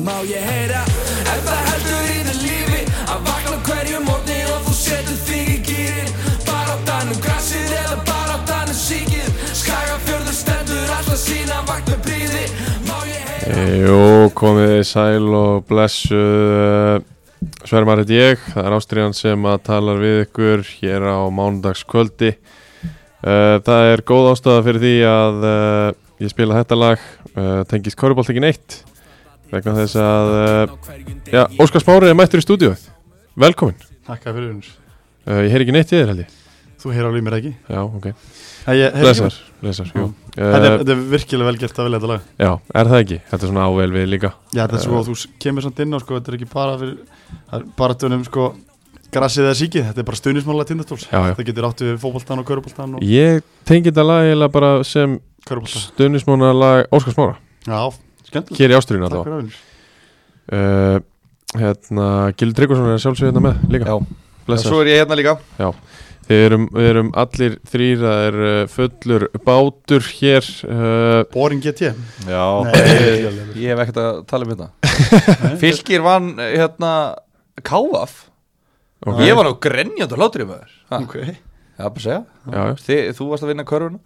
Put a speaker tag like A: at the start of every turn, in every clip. A: Má ég heyra ef það heldur í þér lífi Að vakna á hverju mótni og þú setur þig í gýrin Baráttan um grassið eða baráttan um síkið Skagafjörður stendur alltaf sína vakt með bríði Má ég heyra
B: Jú, komið þið sæl og blessuð Svermar heit ég, það er Ástriðan sem að talar við ykkur hér á mánudagskvöldi Eh, Það er góð ástæða fyrir því að eh, ég spila þetta lag eh, tengist korfbólt ekki neitt vegna þess að eh, já, Óskar Smári er mættur í stúdíóið Velkomin,
C: Takk fyrir unnur.
B: Eh, ég heyr ekki neitt í þér held ég
C: Þú heyr alveg mér ekki.
B: Já, ok,
C: Nei, ég heyri ekki.
B: blessar, blessar jú.
C: Þetta er,
B: Eh,
C: þetta er virkilega vel gert að velja þetta lag.
B: Já, er það ekki? Þetta er svona ável við líka
C: Já, þetta er svo,
B: Eh.
C: þú s- kemur samt inn á, sko, þetta er ekki bara fyrir, það er bara tönum, sko, grassið eða síkið, þetta er bara stuðnismála tindastóls.
B: Já, já.
C: Það getur átt við fókbaltan og körubaltan og
B: Ég tengi þetta lag eiginlega bara sem
C: körubaltan.
B: Stunismóna lag Óskar Smára
C: Já, skemmtilegt.
B: Hér í Ásturínu
C: Takk
B: alltaf
C: fyrir unnur.
B: uh, Hérna, Gildur Tryggvason er sjálfsög hérna með líka
D: Já.
B: Blessar
D: Svo er ég hérna líka
B: Við erum, við erum allir þrýr Það er uh, fullur bátur hér uh,
C: Boring GT.
D: Já
C: Nei.
D: Ég hef ekkert að tala um þetta Fylgir vann hérna Káaf
B: ok.
D: Ég var nú grenjandi á hlátri með þér Ha,
C: Ok.
D: Já, bara segja
B: já, já,
D: Þi, Þú varst að vinna körfuna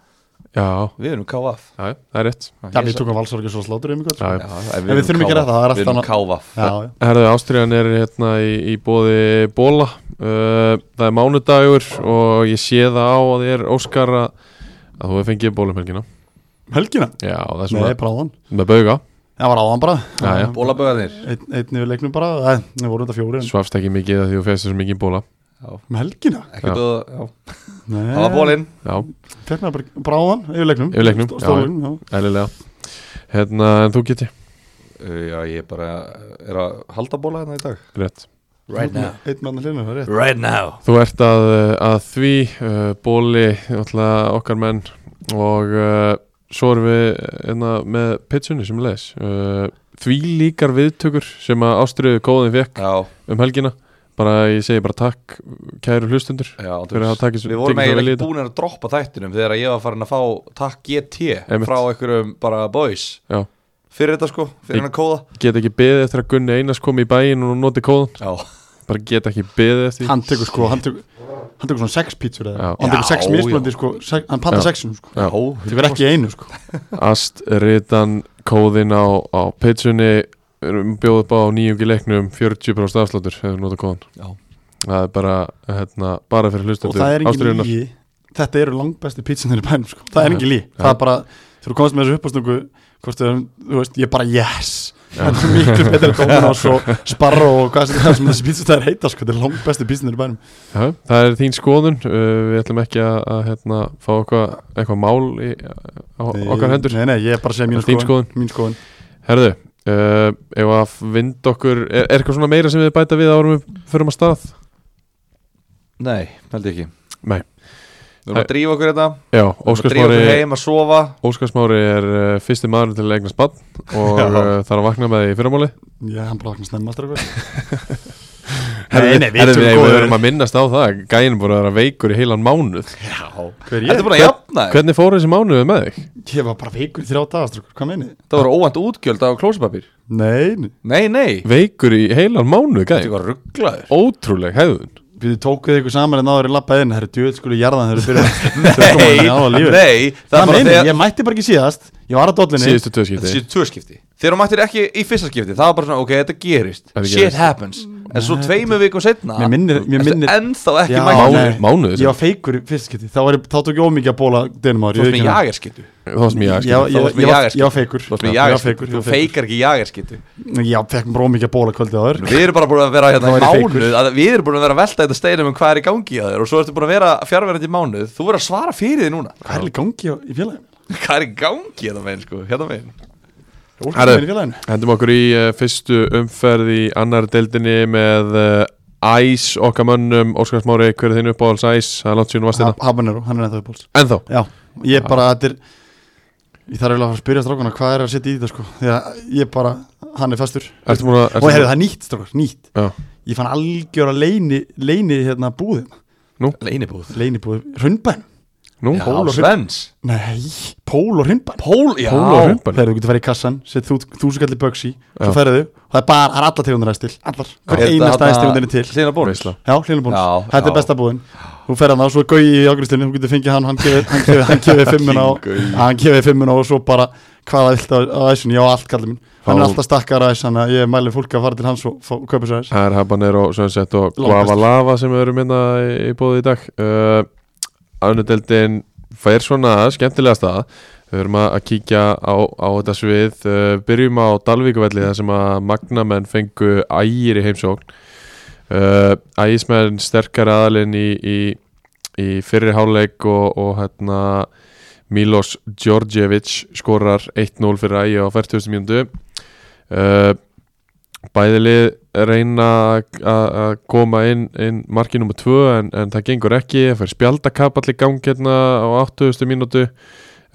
B: já,
D: Við erum Káaf
B: já, það er rétt
C: Já, við tókum valsorgir svo slátur um ykkur.
B: já, já.
C: En við þurfum ekki að ræða það, það er allt
D: Við erum
C: annað.
D: Káaf
C: Já, já.
B: Herðu, Ástriðan er hérna í, í bóði Bóla uh, Það er mánudagur og ég sé það á að þér Óskar að, að þú hefur fengið bólumhelgina
C: Helgina?
B: Já, það er svona
C: Nei, bara áðan.
B: með bauga
C: Það var áðan bara.
B: Já, já.
D: Bólaböðanir
C: Einn ein, við leiknum bara, það við vorum þetta fjóri. En...
B: Svafst ekki mikið af því þú fegst þessu mikið í bóla
C: Um helgina?
B: Já.
D: Ekkert að já. Eh.
C: Nei.
D: Það var bólinn
B: Já,
C: Fekk maður Hérna, bara, bara áðan, yfir leiknum.
B: Yfir leiknum,
C: Stó-
B: já.
C: stórleiknum, já.
B: Ælilega Hérna, en þú geti
D: Uh, Já, ég bara er að halda bóla hérna í dag Hérna.
B: Rétt
C: Einn- Hérna, Einn mann hlýnum, það er rétt
D: Right now
B: Þú ert að, að því uh, Bóli, náttúrulega okkar menn Og uh, svo erum við einna, með pitsunni sem leðis uh, Því líkar viðtökur sem að Ástriðu góðin fekk
D: Já,
B: um helgina Bara, ég segi bara takk kæru hlustundur
D: já
B: Fyrir að hafa takið svo-
D: Við vorum
B: tekið svo vel í
D: eiginlega
B: þetta.
D: búin að droppa þættinum þegar ég var farin að fá takk GT
B: Einmitt.
D: frá einhverjum bara boys
B: Já.
D: fyrir þetta sko, fyrir
B: Ég-
D: hennar kóða
B: Get ekki beðið eftir að Gunni Einars komi í bæinn og noti kóðan
D: Já,
B: Bara get ekki beðið eftir því.
C: Hann tekur sko, hann tekur Hann tekur svona sex pítsur
B: Já.
C: eða Hann tekur sex
D: Já,
C: misblandi sko sex, Hann pantar
B: Já.
C: sexinu sko
B: Já.
C: Þau verð ekki í einu sko
B: Astritan kóðin á, á pitsunni erum bjóð upp á nýjungi leiknum 40% afsláttur hefur nota kóðan
D: Já.
B: það er bara, hérna, bara fyrir
C: Og
B: hlustendur
C: það er engin
B: Ástríðunar.
C: lí Þetta eru langbæsti pítsunir í bænum sko Það
B: Já.
C: er engin lí Það er bara Þegar þú komast með þessu uppástungu Hvort þau, þú veist, ég bara yes Þetta er svo miklu betur að dómina og svo sparra og hvað sem það sem þessi pítsutæðir heita sko Þetta er langbæsti pítsunir í bænum
B: Já, það er þín skoðun uh, við ætlum ekki að, að hérna, fá eitthvað eitthva mál í, á, okkar hendur
C: Nei, nei, ég er bara að segja mín
B: Þín
C: skoðun Mín skoðun
B: herðu, uh, ef að vind okkur er, er eitthvað svona meira sem við bæta við árum við förum að stað?
D: Nei, held ekki
B: Nei.
D: Við erum að drífa okkur þetta Við
B: Já,
D: erum að drífa okkur
B: Óskarsmári
D: heim að sofa
B: Óskarsmári er uh, fyrsti maður til að eigna spann og
C: Já.
B: uh, þarf að vakna með því í fyrramáli
C: Ég, hann bara vakna snemma strákur
B: Herðu,
C: Nei, nei, við erum
B: við,
C: góðir.
B: við erum að minnast á það Gæin búin að vera veikur í heilan mánuð
D: Já
C: Hver er
D: Þetta er
C: ég?
D: búin að jafna þig
B: Hvernig fór þessi mánuð með þig?
C: Ég var bara veikur í þrjá daga strákur Hvað meinið?
D: Það voru óvænt útgjöld á klósipapir
C: Nei, nei.
D: Nei, nei
B: Veikur í heilan mánuð,
D: Þetta
B: gæin
D: var rugglaður
B: Ótrúleg hegðun
C: við tókuð ykkur saman en áður í labbaðin það eru djöð skulu jarðan þegar þú
D: Nei,
C: byrjar
D: nei Það er
C: það
D: bara
C: meina,
D: þegar
C: ég mætti bara ekki síðast ég var að dollinni
B: Síðustu tvö
D: Þetta
B: skipti
D: séu tvö skipti Þegar hún mættir ekki í fyrsta skipti Það var bara svona, ok, þetta gerist
B: Þetta
D: Shit
B: gerist.
D: happens En svo tveimu vikum setna
C: Mér minnir- mér
D: ertu
C: minnir-
D: Ennþá ekki
C: Já,
D: mættur
C: nei.
B: Mánuð, mánuð
C: ég var feikur í fyrst skipti þá, var ég, þá tók ég ómikið að bóla dynum
D: Þú
C: ári
D: veist með jagerskittu
B: Það var sem ég
C: Já,
B: að
C: ég,
D: varst
C: ég,
D: með
C: var,
D: jagerskip.
C: ég var feikur
D: Þú varst með
C: Já, ég var
D: jagerskittu,
C: feikur,
D: þú
C: ég var feikur.
D: feikar ekki jagerskittu
C: Já, fekk mér ómikið að bóla kvöldið áður
D: Við erum bara búin að vera hérna
C: Þá
D: í
C: er ég feikur.
D: mánuð að Við erum búin að vera að velta þetta steinum um hvað er í gangi að þér Og svo ertu búin að vera fjárverandi í mánuð Þú verður að svara fyrir því núna
C: hvað er í gangi á- í félaginu?
D: Hvað er í gangi hérna megin sko, hérna megin
B: Herru.
C: Óskum í félaginu
B: Hendum okkur í uh, fyrstu umferð í annar deildinni með uh, Æs okkar mönnum Óskarsmári, hver er þinn uppáhalds Æs? Það er langt síðan vast þetta
C: Ha- Habanero, hann er ennþá í bóls
B: Ennþá
C: Já, ég bara, þetta er ég þarf eiginlega að fara að spyrja strákuna hvað er að setja í þetta sko því að ég bara, hann er fastur
B: Ertu múin að
C: og heyrðu, það er nýtt strákur, nýtt
B: Já,
C: ég fann algjör að leini, leini hérna búðum
D: Leinibúð
C: leini búðum, raunbæn
B: Nú,
D: Já,
C: Pól og
D: Svens
C: Nei, pól og hrimban
D: Pól, já
B: Pól og hrimban.
C: Þegar þú getur farið í kassan, sett þú, þú sem kallir Bugsy Svo
B: Já.
C: ferðu, það er bara, það er alla tegundir aðeins til Allar, hver
D: Er þetta
C: einasta aðeins
D: þarna
C: tegundinni til
D: Hlínar Bóns
B: veisla
C: Já, hlýnubóns,
D: Já,
C: þetta
D: já.
C: er besta búinn Þú ferð hann á, svo er gauði í ágristinu Þú getur fengið hann, hann gefið- hann gefið- hann gefið fimmuna og-
D: Gaui.
C: Hann gefið fimmuna og svo bara Hvaða vilt á á æsinu, já allt kallar minn Hann er
B: Já.
C: alltaf stakkar aðeins, þannig að ég mæli fólk að fara til hans og fá- kaupa sér aðeins
B: Það er Habanero, Sunset og
C: Langkast.
B: Guava Lava sem við erum hérna í, í bóði í dag uh, Annudeldin fær svona skemmtilega stað Við erum að að kíkja á, á þetta svið uh, Byrjum á Dalvíkuvelli þar sem að magnamenn fengu ægir í heimsókn uh, Ægismenn sterkar aðalinn í, í, í fyrri hálfleik og, og hérna Milos Djordjevic skorar 1-0 fyrir ægi á 40. mínútu uh, bæðilið reyna að- að koma inn, inn markið nummer 2 en, en það gengur ekki, það fyrir spjaldakap allir gangi hérna á 80. mínútu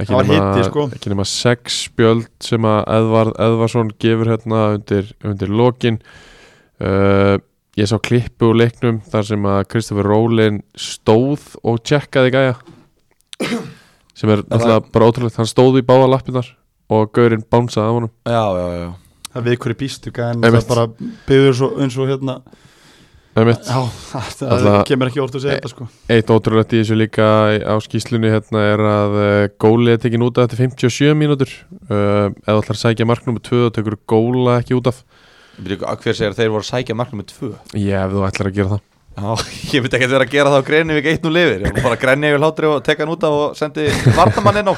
B: ekki
C: Það var
B: nema-
C: hiti, sko.
B: ekki nema 6 spjöld sem að Edvard Edvarsson gefur hérna undir, undir lokin uh, ég sá klippu úr leiknum þar sem að Kristoffer Rólin stóð og tjekkaði gæja sem er náttúrulega bara ótrúlegt hann stóð í báða lappinnar og gaurinn bánsaði af honum
D: Já, já, já
C: Það við hverju býstu, en
B: Einmitt.
C: það bara byggður svo eins og hérna
B: Einmitt.
C: Já, það, það
B: Alla-
C: kemur ekki orð til að segja þetta sko
B: eitt ótrúlegt í þessu líka á skýslunni hérna er að uh, góli er tekin út af þetta 57 mínútur uh, eða ætlar að sækja marknum 2 og tekur góla ekki út af
D: Byrju, Hver segir að þeir voru að sækja marknum með tvö
B: já ef þú ætlar að gera það
D: Já, ég veit ekki að vera að gera það á Greinvík eitt nú lifir Ég var bara að grenja yfir hlátri og teka hann út af og sendi vartamann inn á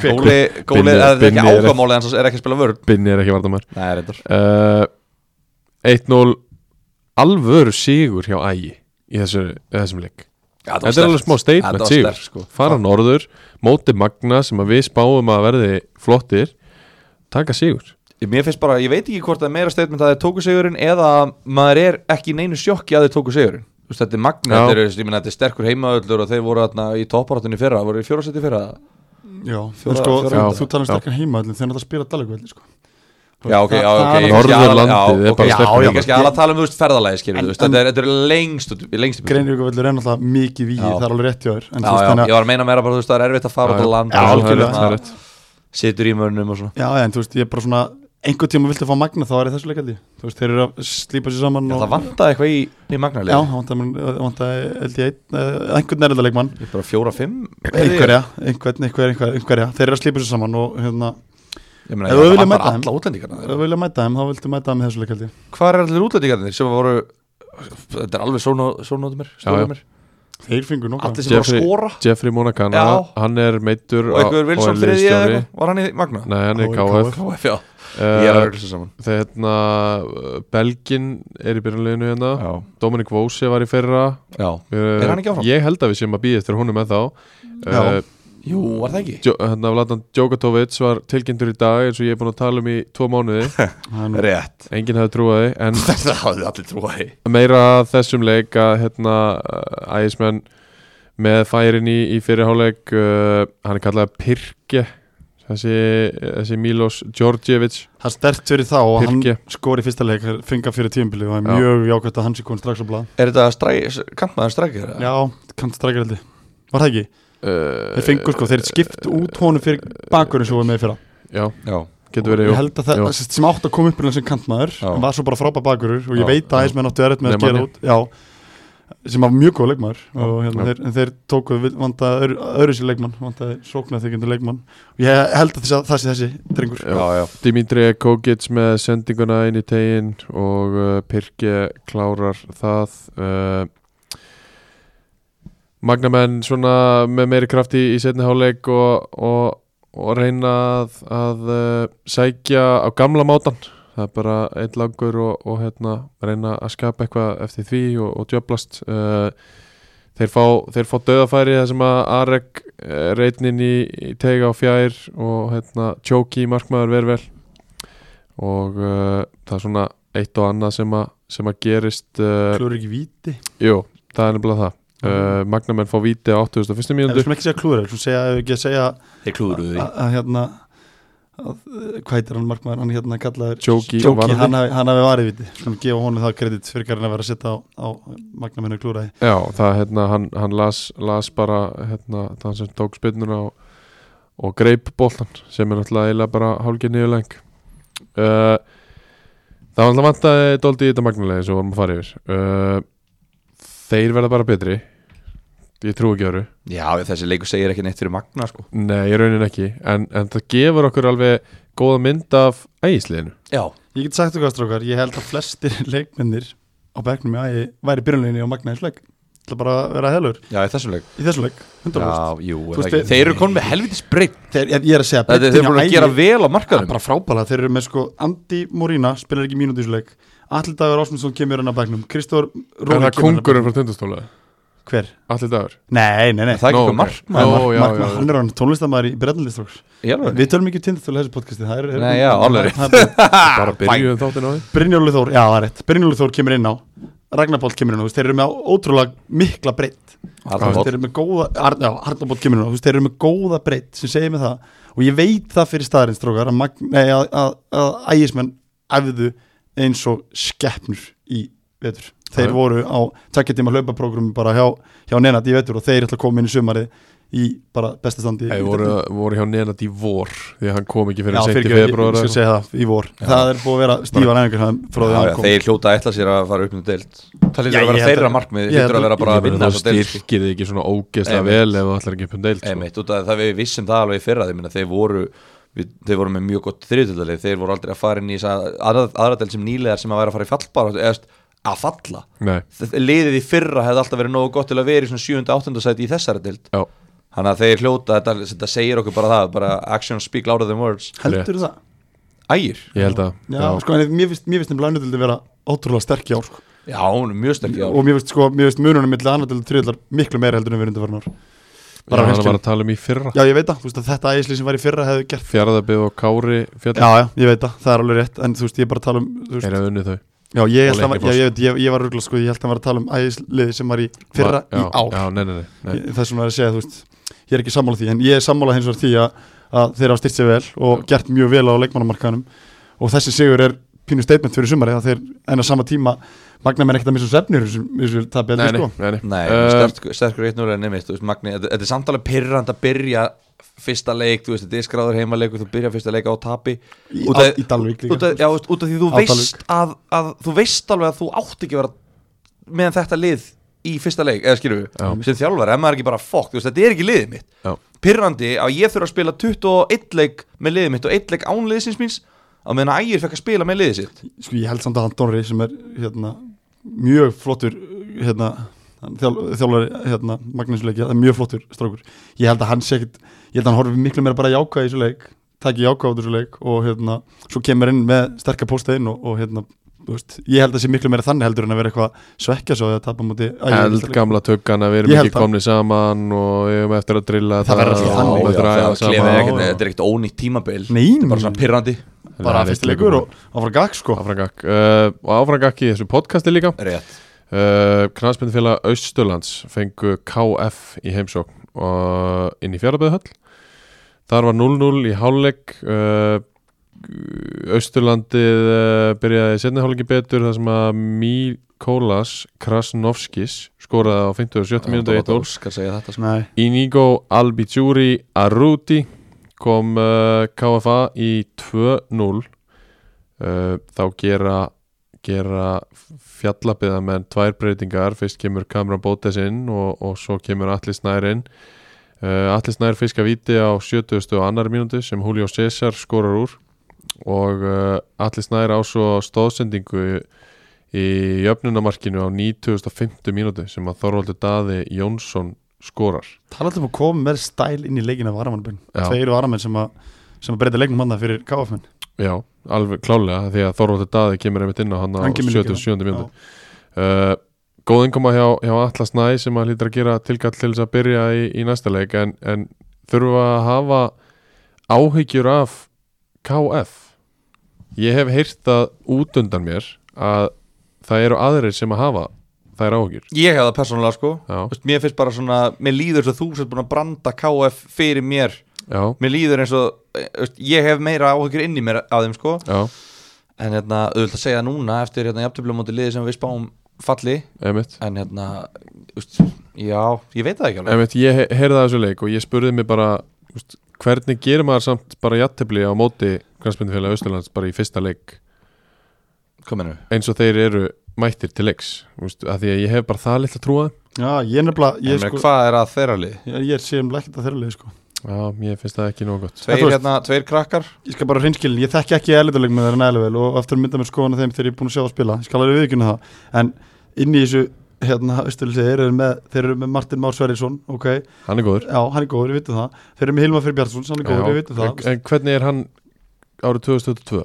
D: Góli, góli,
B: Binni-
D: eða þetta er ekki
B: Binni er-
D: ágamáli en það er ekki að spila vörn
B: Binni er ekki vardamær
D: Nei, reyndar
B: uh, 1-0 alvöru sigur hjá ægi í þessu, þessum leik
D: Já, það var
B: þetta er alveg
D: sterkt.
B: smá
D: Þetta
B: statement
D: var
B: sigur
D: sterkt, sko.
B: fara norður, móti magna sem að við spáum að verði flottir taka sigur
D: Mér finnst bara, ég veit ekki hvort það er meira statement að þeir tóku sigurinn eða maður er ekki í neinu sjokki að þeir tóku sigurinn Þú veist, Þetta er magna,
B: Já.
D: þetta er, ég meina, þetta er sterkur heimaöllur og þeir voru atna, í topparáttunni fyrra, voru í fjórasæti fyrra
C: Já, en
D: Fjóra-
C: sko,
D: fjóra-
C: þú,
B: Já.
C: þú talar um
B: Já.
C: sterkan heima allir þegar það spila dalagvelli sko
D: Já, ok, já,
C: Það-
D: ok
C: það-
D: ég er kannski
B: Norðurlandið
D: aðal-
B: er
D: já,
B: bara
D: ok,
B: sterkur
D: Já,
B: heimavöllur.
D: ég kannski aðal að tala um, þú veist, ferðalagi, skilur
C: En-
D: þú veist, Þetta er- þetta er lengst, út- lengst upp.
C: Greinvíkavöllur er náttúrulega mikið víð,
D: Já.
C: það er alveg rétt hjá þér En
D: Já,
C: þú veist
D: já,
C: þannig
D: ég var að meina meira bara, þú veist, það er erfitt að fara út á land
C: já,
D: og svona,
C: algjörlega.
D: hérna,
B: það er rétt
D: Situr í mönnum og svona
C: að- Já, en þú veist, ég er bara svona einhvern tíma viltu að fá magna þá er ég þessu leikaldi Þú veist, þeir eru að slípa sér saman
D: Já,
C: og-
D: Það vantaði eitthvað í, í
C: Já,
D: magnarlega
C: það vantaði mun- það vantaði, held ég, einn, eh, einhvern erðarleikmann
D: Ég er bara fjóra, fimm
C: Einhverja, einhvern, einhver, einhver, einhverja Þeir eru að slípa sér saman og hérna
D: Ég meina,
C: Ef þú
D: það
C: vilja
D: vantar
C: mæta þeim.
D: alla útlendingarna
C: Ef þú vilja mæta þeim, þá viltu mæta þeim í þessu leikaldi
D: Hvað er allir útlendingarnir sem voru Þetta er alveg sónóðum mér,
B: Já, já.
D: stóðum mér
C: Þeir fingur nokkuð
D: Allir sem voru að
B: Jeffrey-
D: skora
B: Jeffrey Monacana,
D: Já.
B: hann er meittur
D: Og einhver Wilson þriði eða eitthvað Var hann í Magna?
B: Nei, hann er í
C: Á, í
B: KF
D: KF, já Ég er að
B: uh,
D: rögla saman
B: Þegar hérna uh, Belgin er í byrjanleginu hérna
D: Já,
B: Dominic Vose var í fyrra
D: já
B: uh,
D: Er hann ekki áfram?
B: Ég held að við séum að býða eftir honum en þá
C: Já.
B: uh,
D: Jú, var það ekki?
B: Djo- Hérna Vladan Djokotovic var tilkynntur í dag eins og ég er búin að tala um í tvo mánuði
C: Það er nú-
D: Rétt
B: Enginn hefði trúaði En
D: Þetta hafði allir trúaði
B: meira að þessum leik að hérna uh, ægismenn með færin í, í fyrirháleik uh, hann er kallað Pirke þessi, þessi Milos Djordjevic
C: það er stert fyrir þá og hann
B: Birki.
C: skori fyrsta leik fingar fyrir tímbili og
B: Já.
C: það er mjög jákvæmt að hann sé komin strax á blað
D: Er þetta stræk, kantmaður strækir?
C: Já, kannst strækja heldur Var það ekki?
B: uh,
C: Þeir fengur sko, þeir skipt út honum fyrir bakurinn sem voru með í fyrra
B: uh, Já,
D: já
B: getur verið
C: Ég
B: jú.
C: held að það
B: jú.
C: sem- sem átt að koma upp innan sem kantmaður
D: Já.
C: var svo bara frábær bakurur og ég
D: Já,
C: veit að aðeins menn áttu erfitt með að
B: Nema
C: gera
B: hann.
C: út Já, sem var mjög góð leikmaður og hérna,
B: Já.
C: þeir, en þeir tóku vil- vantaði öðru, öðru sér leikmann vantaði sóknarþykjandi leikmann og ég held að þess að það sé þessi drengur
B: Já. Dimitri Kogic með sendinguna inn í tegin og uh, Pirke klárar það uh, Magnamenn svona með meiri krafti í setni háleik og, og, og reyna að, að uh, sækja á gamla mátan það er bara einn langur og, og hérna, reyna að skapa eitthvað eftir því og, og djöblast uh, þeir fá, þeir fá döðafæri þar sem að Arek eh, reitn inn í, í tega á fjær og hérna Tjóki markmaður verið vel og uh, það er svona eitt og annað sem að, sem að gerist uh,
C: klúður ekki víti
B: jú, það er nefnilega það uh, Magnamenn fá víti á 81.
C: Við
B: mínúndu
C: skulum ekki segja klúður, við skulum segja, ef við ekki að segja
D: Þeir klúðuðu því
C: að að, hérna að, eh, hvað heitir hann markmaður, hann hérna kallaður
B: Jóki
C: Jóki,
B: Varði.
C: hann hafi- hann hafi varðið viti svona gefa honum það kredit fyrir hvernig að vera að setja á, á magnaminu klúraði
B: Já, það hérna, hann, hann las, las bara hérna, það sem tók spinnuna og, og greip boltan sem er náttúrulega eiginlega bara hálgir niðurleng uh, Það var náttúrulega vantaði dóldi í þetta magnulega eins og vorum að fara yfir uh, Þeir verða bara betri Ég trú ekki öru
D: Já, þessi leikur segir ekki neitt fyrir Magna sko.
B: Nei, ég raunin ekki en, en það gefur okkur alveg góða mynd af ægisliðinu
D: Já,
C: ég get sagt okkar strókar, ég held að flestir leikmennir á bekknum í ægi væri byrjunleginni á magnaðins leik Það er bara að vera helur
D: já, í þessum leik
C: í þessum leik, 100%
D: Já, jú, er
C: Þú veist,
D: það ekki.
C: þeir-
D: þeir eru konum með helvitis breytt
C: Þeir, ég, ég er að segja
D: Þeir eru
C: breiddin
D: búin
C: á
D: að
C: Ægi-
D: gera vel á markaðum
C: bara frábæla, þeir eru með sko Andi Morína, spilar ekki mínúti í þessu leik Allir Dagur Ásmundsson kemur hann að bæknum Kristóður
B: Er
C: Róli
B: það kongurinn frá tundastóla?
C: Hver?
B: Allir dagur?
C: Nei, nei, nei
D: Það er ekki
B: Nó,
D: okkur
B: ok.
D: markmaður
B: Nó, já,
C: Magna,
B: já, já.
C: hann er hann tónlistamæður í Breitlindistróks
D: Já,
C: Við tölum ekki um tindastóla þessu podcasti Það er, er
D: Nei, já, alveg.
C: það er-
B: Bara byrjuðum þáttin á því
C: Brynjólu Þór, já, það er rétt Brynjólu Þór kemur inn á Ragnar Páll kemur inn á, þú veist, þeir eru með ótrúlega mikla breytt Þeir
D: Arnór.
C: eru með góða, Ar- já, Arnar Páll kemur inn á þú veist, Þeir eru með góða breytt sem segir mig það Og ég veit það fyrir staðarins, strókar að, Magn- nei, að, að, að ægismenn æfðu eins og skeppnur í vetur Þeir
B: Já.
C: voru á takkja tíma hlaupaprógrum bara hjá, hjá Nenat í vetur og þeir ætla að koma inn í sumari í bara bestastandi
B: Þeir voru, voru hjá Nenad í vor Því að hann kom ekki fyrir
C: Já,
B: sent í
C: fyrirgefðu, ég-
B: februar
C: ég skal segja það, í vor Það er búið að vera stífa næfingar frá því
D: Já,
C: að
D: já,
C: hann kom
D: Þeir hljóta að ætla sér að fara upp með deild Það
C: Já,
D: lítur að
C: ég
D: vera
C: held
D: þeirra
C: að-
D: markmið
C: ég
D: Það lítur
C: held
D: að vera
C: að-
D: bara að vinna
B: Það
D: þessa deild sko.
B: styrkir þið ekki svona ógeðslega
D: Einmitt.
B: vel Ef þú ætlar ekki upp um deild sko.
D: Einmitt, út af það við vissum það alveg í fyrra þeir, minna, þeir, voru, við, þeir voru með mjög gott þriðutöldalið þeir voru aldrei að fara inn í þessa aðra- aðra del sem nýlegar sem að væri að fara í fallbar eða þú veist, að falla
B: Nei,
D: Þ- liðið í fyrra hefði alltaf verið nógu gott til að vera í svona 7. og 8. sæti í þessari deild
B: já,
D: þannig að þeir hljóta, þetta, þetta segir okkur bara það bara actions speak louder than words
C: Heldur það?
D: Ægir,
B: ég held að
C: Já, sko, en mér finnst, mér finnst nefnilega annardöldi vera ótrúlega sterk í ár sko.
D: já, hún er mjög sterk í ár
C: og mér finnst, sko, mér finnst mununum millir annardöldi þriðlar miklu meira heldur en við undanverðin ár
B: Já,
C: bara
B: hann var
C: hreinskilin.
B: að tala um í fyrra
C: Já, ég veit það, þú veist að þetta ægisli sem var í fyrra hefði gert
B: Fjaraðabið og Kári fjall
C: Já, já, ég veit það, það er alveg rétt en þú veist, ég er bara að tala um þú veist,
B: Er að unni þau
C: Já, ég
B: Og
C: held að,
B: Leikni
C: já,
B: Foss.
C: ég, veit, ég, ég var ruggla, sko, ég held að vera að tala um ægisli sem var í fyrra
B: já,
C: í ár
B: Já, nei, nei, nei, nei.
C: Ég- Það er svona að segja, þú veist, ég er ekki sammála því en ég er sammála hins vegar því að, að þeir hafa styrt sér vel og gert mjög vel á leikmannamarkaðanum og þessi sigur er pínu statement fyrir sumari að þeir en að sama tíma magna menn ekkert að missa svefnir þessu, þessu tabi
B: Nei,
C: heldur sko
B: nei, nei, nei.
D: Nei,
B: Eh,
D: sterk- sterkur eitt núlega en nefnist, þú veist, Magni, þetta þetta er samtalið pyrrand að byrja fyrsta leik, þú veist, þetta er skráður heimaleikur, þú byrja fyrsta leik á tapi
C: Í-
D: Út af-
C: á- í Dalvík líka.
D: út af, Já, þú veist, út af því þú
C: Á
D: veist að, að, þú veist alveg að þú átt ekki að vera meðan þetta lið í fyrsta leik, eða skilur
B: Já.
D: við, sem þjálfari, ef maður er ekki bara fokk, þú veist, þetta er ekki liðið mitt
B: Já.
D: Pyrrandi að ég þurfa að spila 21 leik með liðið mitt og 1 leik án liðsins míns á meðan að ægir fekk að spila með liðið sitt
C: sko ég held samt að hann Donri sem er hérna, mjög flottur hérna, hann þjál, þjálfari hérna, Magnúsleik, það er mjög flottur strókur ég held að hann sé ekkit, ég held að hann horfi miklu meira bara jákvæð í þessu leik, taki jákvæð út úr þessu leik og hérna, svo kemur inn með sterka pósta inn og, og hérna þú veist, ég held að sé miklu meira þannig heldur en að vera eitthvað svekkja svo að tapa múti
B: Eld gamla tökkan að við erum
C: Ég held
B: ekki
C: það.
B: komni saman og við erum eftir að drilla
C: Það
B: og
C: verður alltaf
B: við
C: þannig.
D: já,
B: erum eftir að
D: það
B: æfa
D: klefið
B: saman
D: ekkert,
C: eh,
B: og-
D: þetta er ekkert ónýtt tímabil
C: Nei,
D: bara svona pyrrandi
C: bara
B: Nei,
C: fyrsti
B: rétt
C: leikur og áfram gag sko
B: Áfrangak uh, og áfrangak í þessu podcasti líka
D: Rétt
B: uh, Knastbindfélag Austurlands fengu KF í heimsókn og inn í fjárabæðuhöll þar var 0-0 í hálfleik uh, Austurlandið uh, byrjaði setni hálfleiki betur þar sem að Mikolas Krasnovskis skoraði á 57 mínútu 1-0
D: Óskar segja þetta sko.
C: Nei,
B: Inigo Albicuri Arruti kom uh, KFA í 2-0 uh, þá gera gera fjallabiða með tvær breytingar, fyrst kemur Kamran Bótes inn og, og svo kemur Atli Snær inn uh, Atli Snær fiska víti á 70. og annar mínútu sem Julio César skorar úr og uh, Atli Snær á svo stóðsendingu í jöfnunamarkinu á 9050 mínútu sem að Þorvaldur Daði Jónsson skorar
C: tala alltaf um að koma með stæl inn í leikin af varamannbyrn,
B: Já.
C: tveir varamenn sem að sem að breyta leiknum manna fyrir KF-menn
B: Já, alveg klálega því að Þorvaldur Daði kemur einmitt inn á hann á
C: Hann kemur líka inn.
B: 77. mjöndu uh, Góð innkoma hjá, hjá Atlas Næ sem að hlýtur að gera tilkall til þess að byrja í, í næsta leik en, en þurfa að hafa áhyggjur af KF Ég hef heyrt það út undan mér að það eru aðrir sem að hafa þær áhyggjur
D: Ég hef það persónulega sko
B: Já,
D: Vist, Mér finnst bara svona, mér líður svo þú sem búin að branda KF fyrir mér
B: já,
D: mér líður eins og eh, veist, ég hef meira áhyggjur inn í mér á þeim sko
B: já,
D: en hérna, auðvitað að segja núna eftir hérna jafntöflum móti liði sem við spáum falli
B: einmitt
D: en hérna, veist, já ég veit það ekki alveg
B: einmitt, ég he- heyrði það þessu leik og ég spurði mig bara úst, hvernig gerir maður samt bara jattefli á móti Granspindfélag Östurlands bara í fyrsta leik
D: kominu,
B: eins og þeir eru mættir til leiks úst, að því að ég hef bara það litla trúa
C: Já, ég er nefnilega,
D: en
C: ég,
D: sko,
C: sko,
D: hvað er að þeirra lið?
C: ég, ég er séum ekkert að þeirra leið sko.
B: já, ég finnst það ekki nóg gott
D: Tveir,
C: En þú veist-
D: hérna, tveir krakkar
C: Ég skal bara reynskilin, ég þekki ekki elituleik með þeirra nægilega vel og eftir að mynda mér skoðan á þeim þegar ég er búin að sjá að spila, ég skal alveg viðkynna það en inn í þessu, hérna, austurlýsi þeir eru með, þeir eru með Martin Már Sverrisson ok,
B: hann er góður
C: já, hann er góður, við vitum það þeir eru með Hilmar Fyrir Bjartsson, hann er góður, við vitum
B: Já,
C: það
B: en, en hvernig er hann árið 2022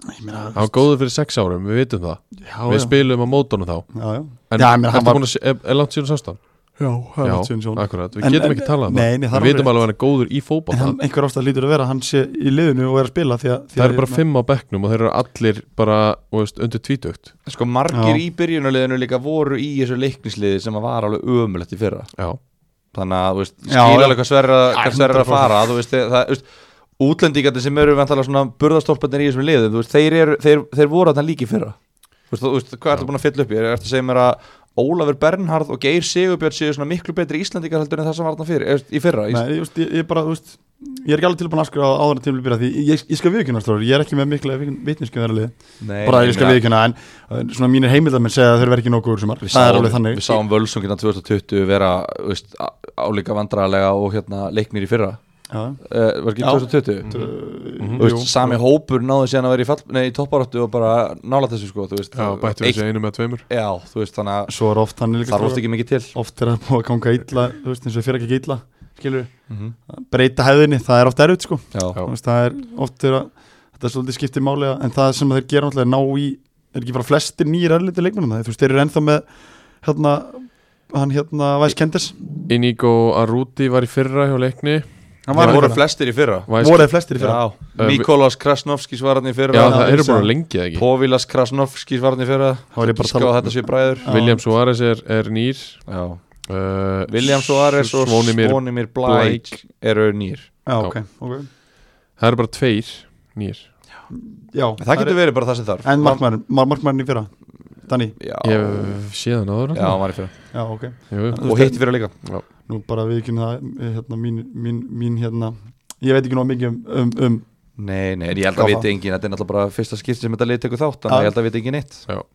C: Ég meina,
B: hann var góður fyrir 6 árum, við vitum það
C: já,
B: við
C: já,
B: spilum á mótunum þá
C: já, já.
B: en
C: Já, ég meina, hann
B: ertu
C: var-
B: búin að, se- er, er langt síðan sástan?
C: Já, það er
B: Já,
C: langt síðan sjón.
B: akkurat, við
C: En-
B: getum
C: en-
B: ekki talað um
C: Nei, nei, það
B: það
C: er
B: Við vitum
C: alveg
B: alveg um að hann er góður í
C: En
B: fótballa
C: hann, einhver ástæð lítur að vera, að hann sé í liðinu og er að spila því að, því
B: Það
C: að hérna-
B: eru bara fimm á bekknum og þeir eru allir bara þú veist, undir tvítugt
D: sko margir
C: Já.
D: í byrjunarliðinu líka voru í þessu leiknisliði sem að var alveg ömulegt í fyrra
B: Já,
D: þannig að þú veist,
C: Já, já.
D: skilja alveg hvað sverra hvað sverra er að
C: 100%.
D: fara þú veist, það, þú veist, útlendingarnir sem eru vantalega svona burðarstólparnir í þessum liðum þú veist, þeir, eru, þeir, þeir voru þarna líki fyrra þú veist, þú veist, hvað ertu búin að fylla upp ég er eftir að segja mér að Ólafur Bernharð og Geir Sigurbjörn séu svona miklu betri íslendingar heldur en það sem var þarna fyrir, er, í fyrra í,
C: Nei, ég, veist, ég, ég bara, þú veist Ég er ekki alveg tilbúin að skra á áður að tímlega byrja því Ég, ég skal viðkynna, stóri, ég er ekki með mikla vitnisku þeirra lið
D: nei,
C: Bara ég skal
D: meina,
C: viðkynna, en, en svona mínir heimildamenn segja að þeir verð ekki nokkuð úr sumar
D: við
C: Það er alveg
D: sáum,
C: þannig
D: við sáum hérna völsungina 2020 vera þú veist, á- álíka vandrarlega og hérna, leiknir í fyrra
C: Já,
D: uh, var ekki
C: Já.
D: 2020
C: mm
D: Mhm. Þú veist, sami hópur náði síðan að vera í, fall, nei, í topparáttu og bara nála þessu sko, þú veist,
B: já
D: þú-
B: bættum
D: eitt-
B: við þessu einu með tveimur
D: Já, þú veist, þannig að
C: Svo er oft þannig líka
D: þar vorst
C: strákar.
D: ekki mikið til
C: Oft er það búið að ganga illa, þú veist, eins og fyrir ekki illa Skilur
D: mm -hmm.
C: breyta hefðinni, það er oft erfitt, sko
D: Já,
B: Mhm. Já.
C: Þú veist, Það er oft er að, þetta er svolítið skiptið máli að- En það sem þeir gera náttúrulega er ná í Er ekki bara flestir nýjir erliti leikmennum það Þú veist, þeir eru ennþá með, hérna, hann hérna Væs Kenders
B: Inigo Arruti var í fyrra hjá leikni
C: Hann
D: það
C: í
D: voru
C: fyrra.
D: flestir í fyrra
B: Væs-
C: voru þeir flestir í fyrra
D: Já, Eh,
B: Uh, vi-
D: Mikolas Krasnovskis var hann í
B: Já,
D: fyrra
C: Já,
B: það
C: ég
B: eru
C: sá.
B: bara lengið ekki
D: Povilas Krasnovskis var hann í fyrra
C: Þá er ég bara að
D: Gíska
C: tala- um-
D: á þetta sé bræður
C: Já.
B: William Suárez er, er nýr
D: Já.
B: uh,
D: William Suárez og
B: Svonimir
D: Svonimir Blæk eru nýr
C: Já,
B: Já.
C: ok, ok
B: Það eru bara tveir nýr
C: Já,
D: En Það getur verið bara það sem þarf
C: En markmærin, mar markmærin í fyrra Danni,
D: Já,
B: Ég hef séð hann áður
D: já, hann var í fyrra
C: já, ok
B: jú, jú.
D: Og hitt í fyrra líka
C: Nú bara við ekki það, eh, hérna, mín, mín, mín, hérna Ég veit ekki nóg mikið um, um, um
D: Nei, nei, en ég held að
C: Já,
D: viti engin Þetta er náttúrulega bara fyrsta skipti sem þetta leið tekur þátt Þannig
C: Já.
D: að ég held að viti engin eitt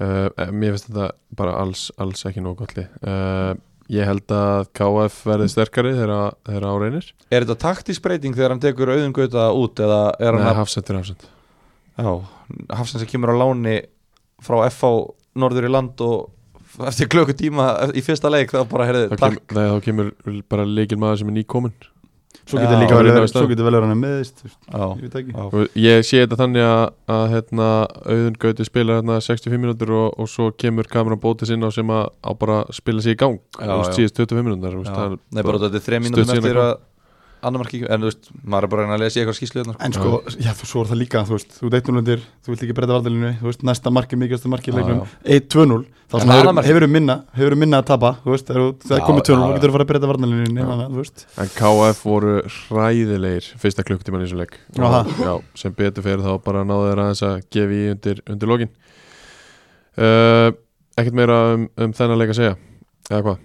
B: Uh, eh, Mér finnst þetta bara alls, alls ekki nóg gotli uh, Ég held að KF verði sterkari þegar þegar á reynir
D: Er þetta taktísk breyting þegar hann tekur auðum gauta út eða er hann
B: Nei,
D: að
B: hafsend er hafsend
D: Já, Hafsins sem kemur á láni frá FH norður í land og eftir klöku tíma í fyrsta leik þá bara heyrðu,
B: þá, kem,
D: takk
B: nei, þá kemur bara leikil maður sem er nýkominn
C: Svo
D: Já,
C: getur líka
B: og
C: vel
B: reyna í
C: verið,
B: staðinn.
C: svo getur vel verið hann er meðist Ég
D: Já,
C: veit það ekki
D: já.
B: Og ég sé þetta þannig að, að hérna, auðun Gauti spilar hérna 65 minútur og, og svo kemur kameran bótis inn á sem að á bara að spila sér í gang
D: Já,
B: þú veist,
D: já.
B: síðust 25 minútur þú veist,
D: Já.
B: það er
D: Nei, bara þetta er þreja
B: stutt
D: mínútum
B: síðan
D: eftir
B: að
D: að annar marki, en þú veist, maður er bara að reyna að lesa í eitthvað skýslu þarna sko.
C: En sko, já, þú svo er það líka, þú veist Þú veit unlendir, þú vilt ekki breyta valdalínu Þú veist, næsta markið, mikilvægsta markið
D: Já,
C: leikum 1-2-0, þá
D: En
C: svona
D: annað
C: hefur-
D: markið?
C: hefurðu minna Hefurðu minna að tapa, þú veist þegar þú-
D: Já,
C: Þegar komið
D: já,
C: 2-0, þá
D: já.
C: getur þú að fara að breyta valdalínu nema, Þú veist,
B: En KF voru hræðilegir fyrsta klukktíman í þessum leik
C: Já,
B: og, já, sem betur fyrir þá bara náðu þeir aðeins að gefa í undir, undir lokin uh, Ekkert meira um, um þennan leik að segja eða hvað,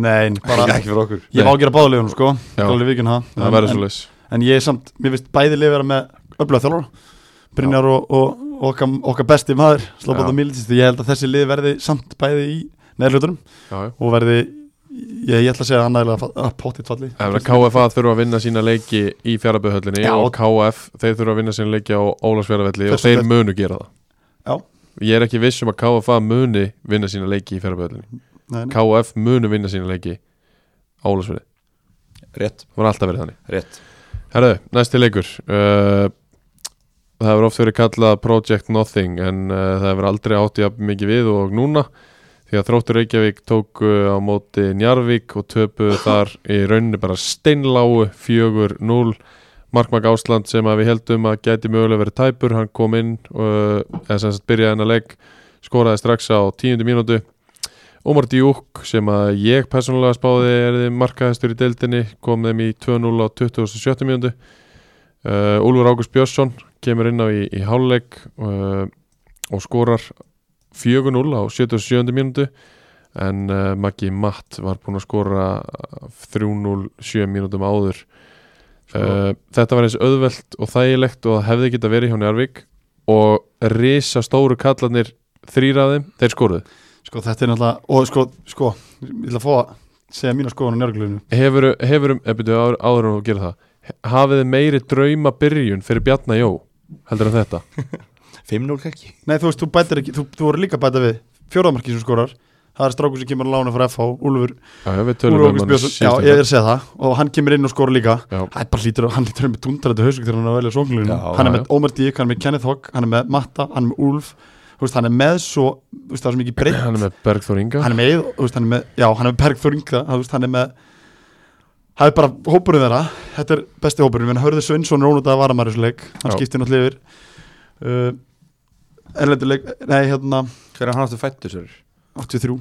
C: nein, bara
D: Ekki fyrir okkur
C: Ég má gera báðulegunum sko
B: Já.
C: Alveg vikinn það
B: það
C: En-
B: verður
C: en-
B: svo leis
C: En ég er samt, mér finnst bæði lið vera með öflaða þjálfara Brynjar og, og, og okkar, okkar besti maður Slóbáta
B: Já.
C: Militist Ég held að þessi lið verði samt bæði í neðlutunum
B: Já, já
C: Og verði, ég, ég ætla að segja að annarlega fall- að pottitt falli
B: Það er að KFA þurfa að vinna sína leiki í fjáraböðhöllinni
C: Já.
B: og KF þeir þurfa að vinna sína leiki á Ólarsfjárabölli og
C: Þess
B: þeir
C: vegna-
B: munu gera það
C: Já.
B: Ég er ekki viss um að KFA muni vinna sína leiki í fjáraböðhöllinni
C: Nei, nei.
B: KF munu vinna sína leiki á Ólarsfjörði
D: Rétt,
B: Það var alltaf verið þannig
D: rétt
B: Herðu, næsti leikur uh, Það hefur oft verið kallað Project Nothing en uh, það hefur aldrei átt í að mikið við og núna því að Þróttur Reykjavík tóku á móti Njarvík og töpuðu þar í rauninni bara steinláu 4-0 Markmak Ásland sem að við heldum að gæti mögulega verið tæpur, hann uh, kom inn og, eða sem sagt byrjaði hennar leik skoraði strax á tíundu mínútu Ómar Djúk sem að ég persónulega spáði er þið markaðastur í deildinni kom þeim í 2-0 á 27. mjöndu uh, Úlfur Ágúst Björnsson kemur inn á í, í háluleik uh, og skorar 4-0 á 77. mjöndu en uh, Maggi Matt var búinn að skora 3-0 7 mínútum áður uh, Þetta var eins auðvelt og þægilegt og það hefði geta verið hjá Njarvík og risa stóru kallarnir þrýraðum, þeir skoruðu
C: Sko þetta er náttúrulega, og sko, sko ég ætla að fá að segja mína skoðan á njörglunum
B: Hefur, hefur, eða áður, áður en þú gerir það he- Hafið þið meiri drauma byrjun fyrir Bjarna Jó heldur en þetta
D: 5-0 kannski
C: Nei þú veist, þú bætir ekki, þú, þú voru líka að bæta við fjóraðmarki sem skorar, það er strákur sem kemur að lána frá FH, Úlfur,
B: Já, já, við tölum
C: Úlfur
B: um
C: Ágúst
B: hann
C: Björnsson Já,
B: síðustu umferð.
C: ég er að segja það, og hann kemur inn og skorar líka
B: Já.
C: Það er bara lítur, hann lítur með tundarættu hausug þegar hann er að velja sónglunum,
D: Já,
C: hann er
B: já,
C: með Ómar Dík, hann er með Kenneth Hogg, hann er með Matta, hann er með Úlf þú veist, hann er með svo, þú veist, það er svo mikið breytt
B: Hann er með Bergþór Inga
C: hann er með, þú veist, hann er með, já, hann er með Bergþór Ingða, þú veist, hann er með það er bara hópurinn þeirra þetta er besti hópurinn, menn Hörður Sveinsson er ónútað að vara maður þessu leik, hann
B: Já.
C: skiptir náttúrulega yfir uh, erlenduleik nei, hérna,
D: Hver er hann aftur fættur sér?
C: 83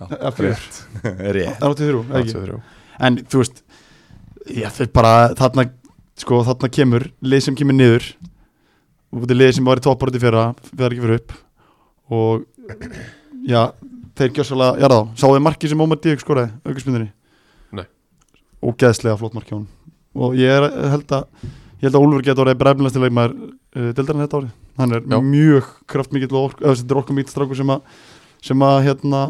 D: Já,
C: Eh, fjör.
D: Rétt
C: Það er 83, eða ekki
B: 83.
C: en þú veist, ég fyrir bara þarna, sko, þarna kemur lið sem kemur niður út í lið sem var í topparöndi fyrra við erum ekki fyrir upp og já, þeir gjössalega, já þá sáu þið markið sem Ómar Dík skoraði aukurspindinni
B: Nei.
C: ógeðslega flott markið hún og ég er, held að ég held að Úlfur getur orðið brefnilegasti leikmaður uh, deildarinn þetta árið, hann er
B: Já.
C: mjög kraftmikill og ork, eða þetta er orku mikill strákur sem að sem að hérna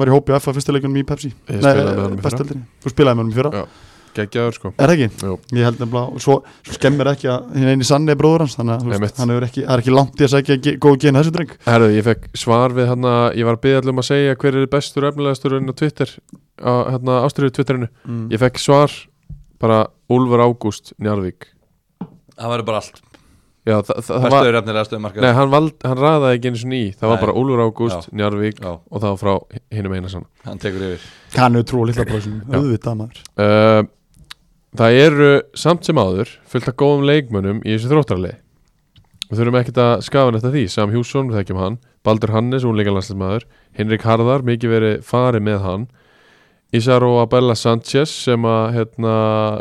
C: var í hópi FA fyrstuleikunum í Pepsi
B: Ég spilaði með honum í fyrra.
C: bestdeildinni. Þú spilaði með honum í fyrra
B: Já. Geggjaður sko
C: Er það ekki?
B: Jú.
C: Ég held nefnilega, og svo, svo skemmir ekki að hinn eini sann er bróður hans, þannig að þú
B: Einmitt.
C: veist, hann hefur ekki, það er ekki langt í að segja ge góð gen þessu dreng.
B: Herðu, ég fekk svar við hann Ég var að byggja allum að segja hver er bestur og efnilegastur en á Twitter á, hérna, ástriðu Twitterinu
C: Mm.
B: Ég fekk svar bara Úlfur Ágúst Njarðvík
D: Það var bara allt
B: Já, það, það, það var
D: Bestuður efnilega stöðu markað
B: Nei, hann, vald, hann raðaði ekki eins og ný Það var
D: Nei.
B: bara Úlfur Ágúst, Njarðvík
D: Já,
B: og það var frá hinum einasann
D: hann tekur yfir
C: Kannu trú og litla bróðsum,
B: Já.
C: auðvitað maður.
B: Uh, Það eru samt sem áður fullt af góðum leikmönnum í þessu þróttarlið Við þurfum ekkert að skafa nætt að því Sam Hjússon, við þekkjum hann Baldur Hannes, unleikalandslismæður Henrik Harðar, mikið verið farið með hann Isaro Abella Sanchez sem að hérna,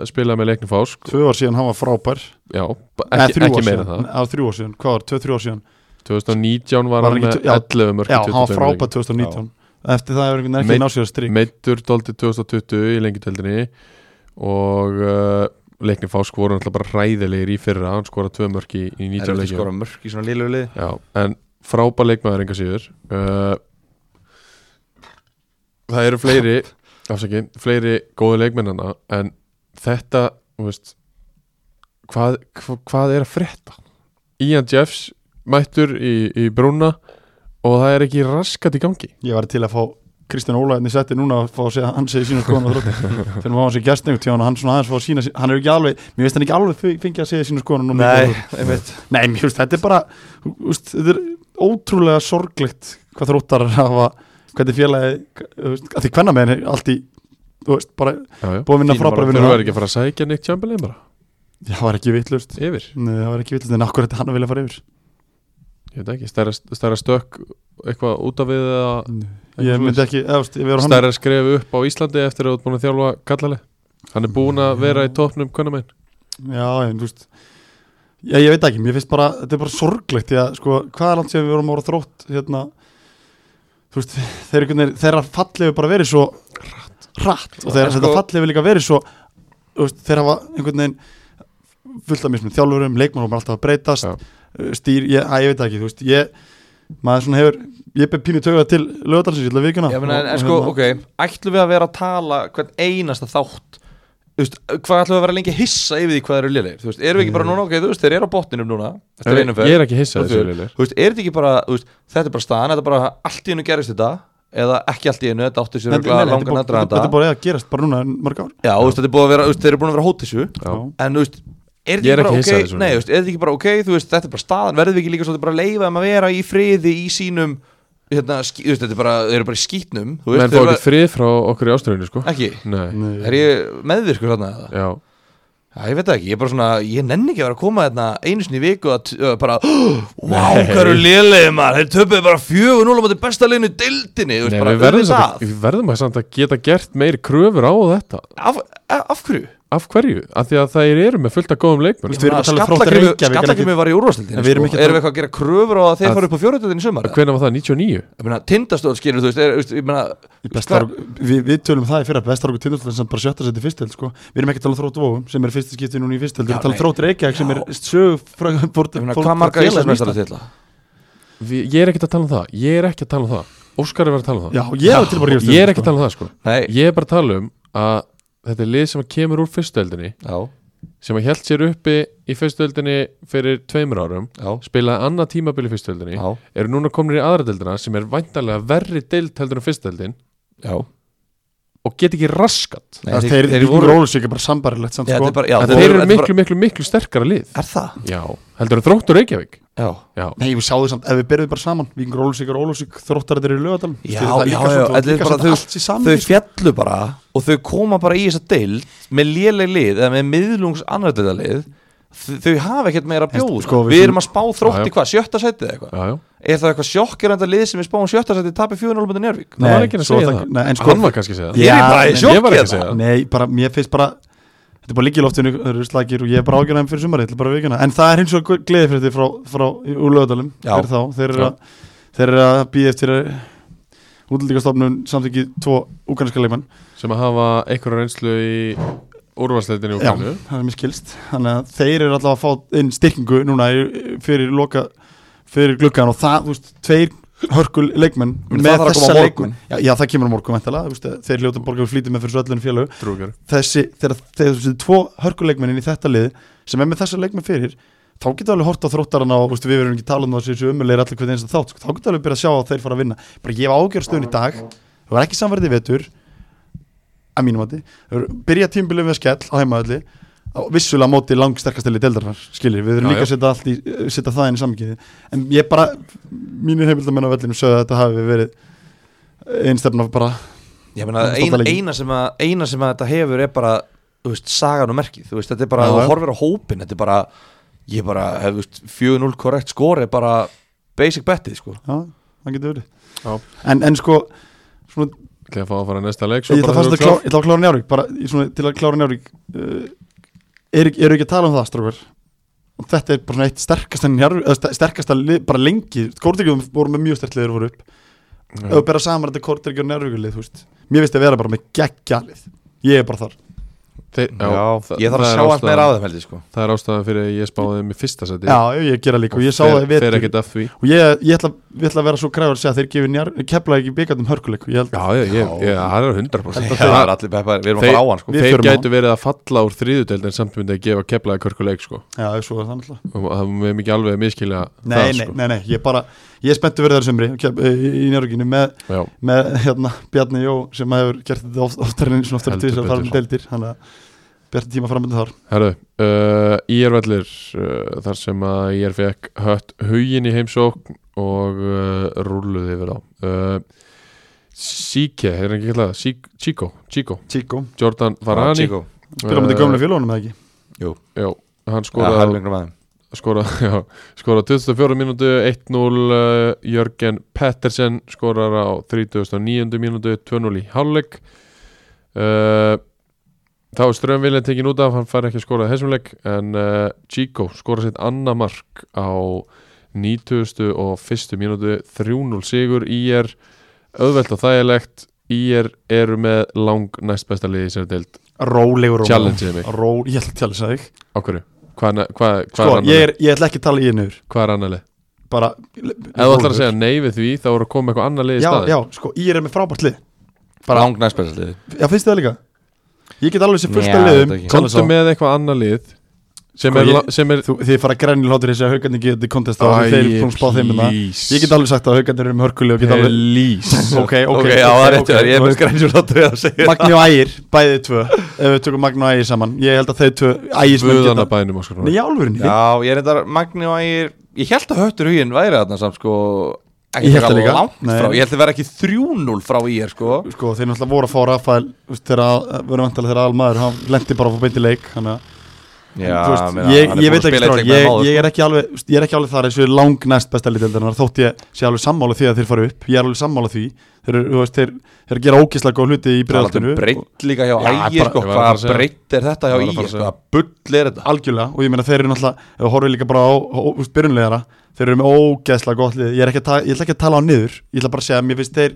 B: spila með leiknum fásk
C: Tvö ár síðan hann var frábær.
B: Já, ba- ekki,
C: þrjú
B: ekki
C: ár
B: meira
C: síðan.
B: það
C: Nei, á þrjú ár síðan, hvað var, tvö, þrjú ár síðan?
B: 2019
C: Var
B: var hann
C: hann
B: með
C: ekki tv- já,
B: 11 mörg
C: Já, hann var frábær 2019. Eftir það hefur einhvern veginn
B: Meitt-
C: ekki náð sér að strík.
B: meittur dólti 2020 í lengjutöldinni og uh, leiknir fásk voru náttúrulega bara hræðilegir í fyrra, hann skoraði tvö mörk í, í
D: Það er
B: 19
D: eftir að
B: leikjum
D: skora mörk í svona liðlegu lið
B: Já, en frábær leikmaður enga síður uh, Það eru fleiri afsaki, fleiri góði leikmennana en þetta þú veist, hvað, hvað, hvað er að frétta? Ian Jeffs mættur í, í brúna og það er ekki raskat í gangi
C: Ég var til að fá Kristján Ólaðin í setti núna að fá að segja hann segi sína skoðan á þrótti fyrir maður sem gæst neitt hjá hann og hann svona aðeins fá að sína hann er ekki alveg, mér veist hann ekki alveg feng- fengið að segja sína skoðan
D: einmitt
C: Nei, mér finnst þetta er bara úst, þetta er ótrúlega sorglegt hvað þróttar hafa hvernig félagi, þú veist, að því hvenna með henni allt í, þú veist, bara
B: Já, já.
C: búið að vinna
D: Fínum bara,
C: frábæra
B: Þurfa
C: vinna
B: ekki að fara að sækja Nick Chamberlain bara
C: það var ekki vitlust
B: yfir,
C: Nei, það var ekki vitlust, en akkur þetta hann að vilja fara yfir
B: ég veit ekki, stærra, stærra stökk eitthvað út af við eða
C: Ég myndi ekki, eða, þú veist, ef ég verið hann
B: stærra skref upp á Íslandi eftir að þú ert búin að þjálfa kallali hann er búin að vera í topnum konamenn
C: Já, en þú veist Já, ég veit ekki, mér finnst bara, þetta er bara sorglegt því að, sko, hvað er langt sem við vorum ára þrótt hérna, þú veist þeir, einhvern veginn- þeirra fallið hefur bara verið svo hratt og þeirra
D: En
C: sko,
D: sko-
C: fallið hefur líka verið svo þú veist, þeir hafa einhvern veginn fullt af mismun þjálfurum, leikmannum alltaf að breytast
B: Já.
C: uh, stýr, ég, að, ég veit ekki, þú veist ég, maður svona hefur, ég beð pínu tögða til lögðarsins, ég ætla að vikuna
D: Já, menn, en, en sko,
C: hérna-
D: ok, ætlum við að vera að tala hvern einasta þátt Þú veist, hvað ætlum við að vera lengi að hissa yfir því hvað þeir eru liðlegir Þú veist, erum við ekki bara núna, ok, þú veist, þeir eru á botninum núna Eftir einum
B: ég
D: ferð
B: er ekki hissað þessu liðir
D: Þú veist, er þetta ekki bara, þú veist, þetta er bara staðan Þetta er bara allt í einu gerist þetta Eða ekki allt í einu, þetta átti sér
C: Nei, nei,
D: örugglega
C: nei, þetta er
D: langan
C: bara-
D: aðdraganda.
C: þetta er bara að gerast bara núna í mörg ár
D: Já, þú veist, þetta er búið að vera, þú veist, þeir eru búin að vera hótissu
C: Já.
D: En, þú veist, er
B: Ég er
D: þetta ekki bara
B: ekki hissa
D: ok
B: þessu.
D: Nei, þú veist, er þetta ekki bara ok, þú veist, þetta er bara staðan Verðum við ekki líka svolítið bara að leifa um að vera í friði í sínum Hérna, skí, þú veist, þetta er bara, þeir eru bara í skítnum þú veist,
B: menn
D: þeir
B: fá
D: eru
B: ekki frið frá okkur í áströðinu sko
D: bara- ekki
B: nei,
C: Nei.
D: Er ég meðvirkur þarna eða?
B: já
D: Já, ég veit það ekki, ég er bara svona, ég nenni ekki að vera að koma þarna einu sinni í viku að uh, bara Vá,
B: Nei.
D: hvað eru lélegir maður, þeir töpuðu bara fjögur núna mátti besta leginu dildinni
B: Nei, við verðum, samt, við verðum að, samt að geta gert meiri kröfur á þetta
D: af, af, af hverju?
B: Af hverju? Af því að þær eru með fullt af góðum leikmenn
C: Við erum að tala um Þrótt Reykjavík, en
D: Skallakrimmi var í úrvastildinni
C: En við erum
D: sko.
C: ekki að
D: Erum við
C: tala-
D: eitthvað að gera kröfur á að þeir
B: Að-
D: fara upp á fjóruðöldinni í sumar?
B: Hvernig var það? 99?
D: Ég meina, tindastóð skilur, þú veist, er, veist, ég meina
C: Í Bestar, við, við tölum um það í fyrra bestarokku tindastóð sem bara sjötta seti fyrstild sko. við erum ekki að tala um þrótt vóum sem er fyrsta skipti núna í fyrstild við
D: Já,
C: erum að tala um
D: nei.
C: þrótt reykjæk sem er sög frá
D: Ég meina, hvað marga íslensmestara til það?
B: Vi, ég er ekki að tala um það Ég er ekki að tala um það Óskar er verið að tala um það
C: já, ég er til bara rífast um
B: Ég er ekki
C: þetta,
B: að tala um það sko
D: Nei,
B: Ég er bara að tala um að þetta er lið sem kemur úr fyrstöldinni
D: já,
B: sem að held sér uppi í fyrstöldinni fyrir tveimur árum
D: já,
B: spilaði annað tímabil í fyrstöldinni
D: já,
B: eru núna komnir í aðra deildina sem er væntalega verri deild heldur en fyrstöldin
D: já
B: og get ekki raskat
D: Nei,
C: Þeir, þeir, þeir
D: voru-
C: voru rólusík er bara sambarilegt samt,
D: Já, þetta
C: sko.
D: er bara, já,
B: Þeir,
D: voru-
B: eru
D: þetta er
B: miklu, miklu, miklu sterkara lið
D: bara- Er það?
B: Já, heldur en þróttur Reykjavík
D: Já
B: Já,
C: Nei, við sjáðum samt, ef við berðum bara saman Víkingur Ólusík og Ólusík, þróttar þeir eru í lögadal
D: Já, já, já, þetta er bara þau, þau
C: sko.
D: fjallu bara og þau koma bara í þessa deild með léleg lið eða með miðlungs annardeilda lið þau, þau hafa ekkert meira að
C: En
D: bjóða
C: sko, við
D: við
C: sem-
D: erum að spá
B: Já, já.
D: þrótti hvað, sjötta setið eða eitthvað
B: já, já
D: er það eitthvað sjokkiranda lið sem við spáum sjötta setið tapir 4-0 búin Njárvík
B: Það var ekki að segja það
C: Nei, en sko,
B: Hann var kannski að segja það
C: Ég er bara í
B: en Ég var
D: sjokki
B: ekki að
D: hérna.
B: segja það
C: Nei, bara, mér finnst bara Þetta er bara líka í loftinu, þau eru slagir og ég er bara ágjörðan fyrir sumari, þetta er bara vikuna En það er hins og gleði fyrir þetta frá, frá úr lögadalum
D: Já.
C: Fyrir þá, þeir eru
B: Já.
C: að Þeir eru að býja eftir að Útlendingastofnun samþykki tvo úkanska leikmann
B: Sem að hafa einhverja reynslu í úrvarsleitinni úr
C: Já,
B: kannu
C: það er mér skilst Þannig að þeir eru alltaf að fá inn styrkingu núna í- fyrir loka fyrir gluggan og það, þú veist, tveir hörkul leikmenn
D: Menn það þarf að koma á morgun.
C: já, já, það kemur á morgun væntanlega, þú veist, þeir hljóta borgar flýtið með fyrir svo öllunum félög
B: Trúkjör
C: þessi, þegar þegar þessi tvo hörkuleikmennin í þetta lið sem er með þessa leikmenn fyrir þá getur alveg hort á þróttarana og veist, við verum ekki talað um það þessu umulegir allir hvernig eins og þátt sko. þá getur alveg byrjað að sjá að þeir fara að vinna bara ég hef ágjörstuðin í dag það var ekki samverðið vetur að mínum mati Þau eru- byrja tímbilið með skell á heimaðalli vissulega á móti langsterkastili deildarfar skilir, við
B: Já,
C: verum líka
B: já.
C: að setja, allt í, setja það inn í samkýði en ég bara, mínir heimildamenn á vellinum sögðu að þetta hafi verið einstefna bara
D: Ég meina,
C: Það er
D: ein,
C: stofnleiki.
D: eina, sem að, eina sem að þetta hefur er bara, þú veist, sagan og merkið, þú veist, þetta er bara,
C: Já,
D: þú
C: já.
D: horfir á hópin, þetta er bara, ég bara, hef, þú veist, 4-0 korrekt skor er bara basic bettið, sko.
C: já, það getur verið
B: Já.
C: en, en sko svona,
B: Þegar fá að fara í næsta leik svo
C: ég ætla
B: bara
C: fast
B: þegar þú klár.
C: að klára, klá, klára njárvík bara í svona, til að klára njárvík uh, eru er ekki að tala um það strókar og þetta er bara svona eitt sterkasta njárvík, eða ster- sterkasta lið, bara lengi Kortryggjum voru með mjög sterkt liður voru upp ef
B: Já.
C: við bera saman þetta Kortryggjum og njárvíkulið þú veist, mér veist að vera bara með geggjalið ég er bara þar,
B: Þeir- já, það-
D: ég þarf að
B: það er
D: sjá allt
B: ástæðan-
D: meira á þeim, held ég, sko.
B: Það er ástæðan fyrir að ég spáði þeim í fyrsta seti
C: já, ég, ég gera líka og ég sá það í
B: Fer
C: vetur
B: ekkert af því
C: og ég, ég, ætla, ég ætla að vera svo græfur að segja að þeir gefi kepla ekki byggandum hörkuleik og ég held
B: Já, já, ég, ég, það er 100%
D: Það er allir peppar, við erum að
B: Þeir-
D: fara á hann, sko.
C: Við
B: Þeir
C: förum á-
B: gætu verið að falla úr þriðudeldin samt myndi að gefa keplaði körkuleik sko.
C: já, svo er það náttúrulega
B: og það með mikið alveg að miskilja
C: Nei,
B: það
C: nei,
B: sko.
C: nei, nei, ég bara Ég er spenntu verið þar sömri kef, í njörginu með,
B: Já,
C: með hérna, Bjarni Jó sem hefur gert þetta oft, oftar en svona oftar en
B: Heldur
C: tvisar þar um
B: betur.
C: deildir þannig að Bjarni tíma framöndu þar
B: herru uh, Ír vellir uh, þar sem að Ír fekk hött hugin í heimsókn og uh, rúluði yfir á uh, Sike, er ekki kallað það? Sik- Chico, Chico,
C: Chico,
B: Jordan Varani
D: Chico.
C: byrjum við gömlega félónum eða ekki
B: Já, Uh, hann
D: Já,
B: skoraði á-
D: helmingnum af þeim.
B: skora, já, skora 24 mínútu 1-0 uh, Jörgen Pettersen skorar á 39. mínútu 2-0 í hálfleik uh, þá er Ström Viljan tekin út af, hann fær ekki að skora í þessum leik en uh, Chico skora sitt annað mark á 90. og 1. mínútu 3-0 sigur í er auðvelt og þægilegt í er eru með lang næst besta liði sem er deild
C: Rólegur og
B: challengeið mig,
C: Ró, Ég ætla að challenge það ekki
B: á hverju? Hvað hva, hva
C: Sko,
B: er annað lið?
C: ég, er, ég ætla ekki að tala í hennu
B: Hvað er annað lið?
C: bara
B: Ef þú ætlar að segja nei við því þá eru að koma eitthvað annað lið í
C: Já,
B: staðin
C: já, sko, ég er með frábært lið
D: Bara ángt næstbæðsaldið.
C: Já, finnst þið það líka? Ég get alveg sér fullt
D: Já,
C: af liðum
D: þetta ekki.
C: challenge
B: Komdu
C: á.
B: með eitthvað annað lið sem
C: Sko,
B: er,
C: ég-
B: ég, sem er
C: Þú, Þið fara grænil hlátur þessi að haugarnir geti kontest á því þeir
B: Æ,
C: komum spá þeim um það
B: please.
C: Ég get alveg sagt að haugarnir eru með hörkuli og get alveg
B: Please
C: ok, ok,
D: Ok, já, það er réttu þar, ég er
C: ok.
D: með grænjur áttur að segja það.
C: Magni og Ægir, bæðið tvö ef við tökum Magni og Ægir saman ég held að þau tvö Ægismenn
B: Vöðana bænum Óskar
C: Nei,
B: Frár.
C: í alvörunni
D: Já, ég er þetta, Magni og Ægir, ég held að höttur huginn væri þarna samt, sko, ekki
C: Ég hélt það
D: eitthvað
C: líka.
D: langt
C: Nei.
D: frá, ég held að vera ekki 3-0 frá Ír, sko.
C: Sko, þeir náttúrulega voru að fá Rafael þú veist, þegar að- voru vantilega þegar almaður hann lendi bara að fá beint í leik þannig að
D: Já,
C: Þú veist,
D: meina,
C: ég,
D: hann er búinn
C: ég veit
D: að
C: ekki
D: spila eitt
C: strákar,
D: leik með
C: ég,
D: þeim áður, sko.
C: ég, er ekki alveg, ég er ekki alveg þar eins og langnæst besta litildarinnar þótt ég sé alveg sammála því að þeir fara upp ég er alveg sammála því þeir, eru, þú veist, þeir, þeir gera ógislega góð hluti
D: Það
C: í
D: er alltaf
C: breyðaltinu
D: breytt um líka hjá
C: Já,
D: ægir
C: bara-
D: sko,
B: ég var að fara að
D: hvað
B: segja.
D: breytt er þetta
B: Ég
D: hjá
B: var að fara
D: ægir sko,
B: að segja.
D: hvað bull er þetta
C: algjörlega og ég meina þeir eru náttúrulega ef við horfum líka bara á, á á- úst, byrjunlegara þeir eru með ógeðslega gott lið ég, er ekki að ta- ég ætla ekki að tala á niður ég ætla bara að segja að mér finnst þeir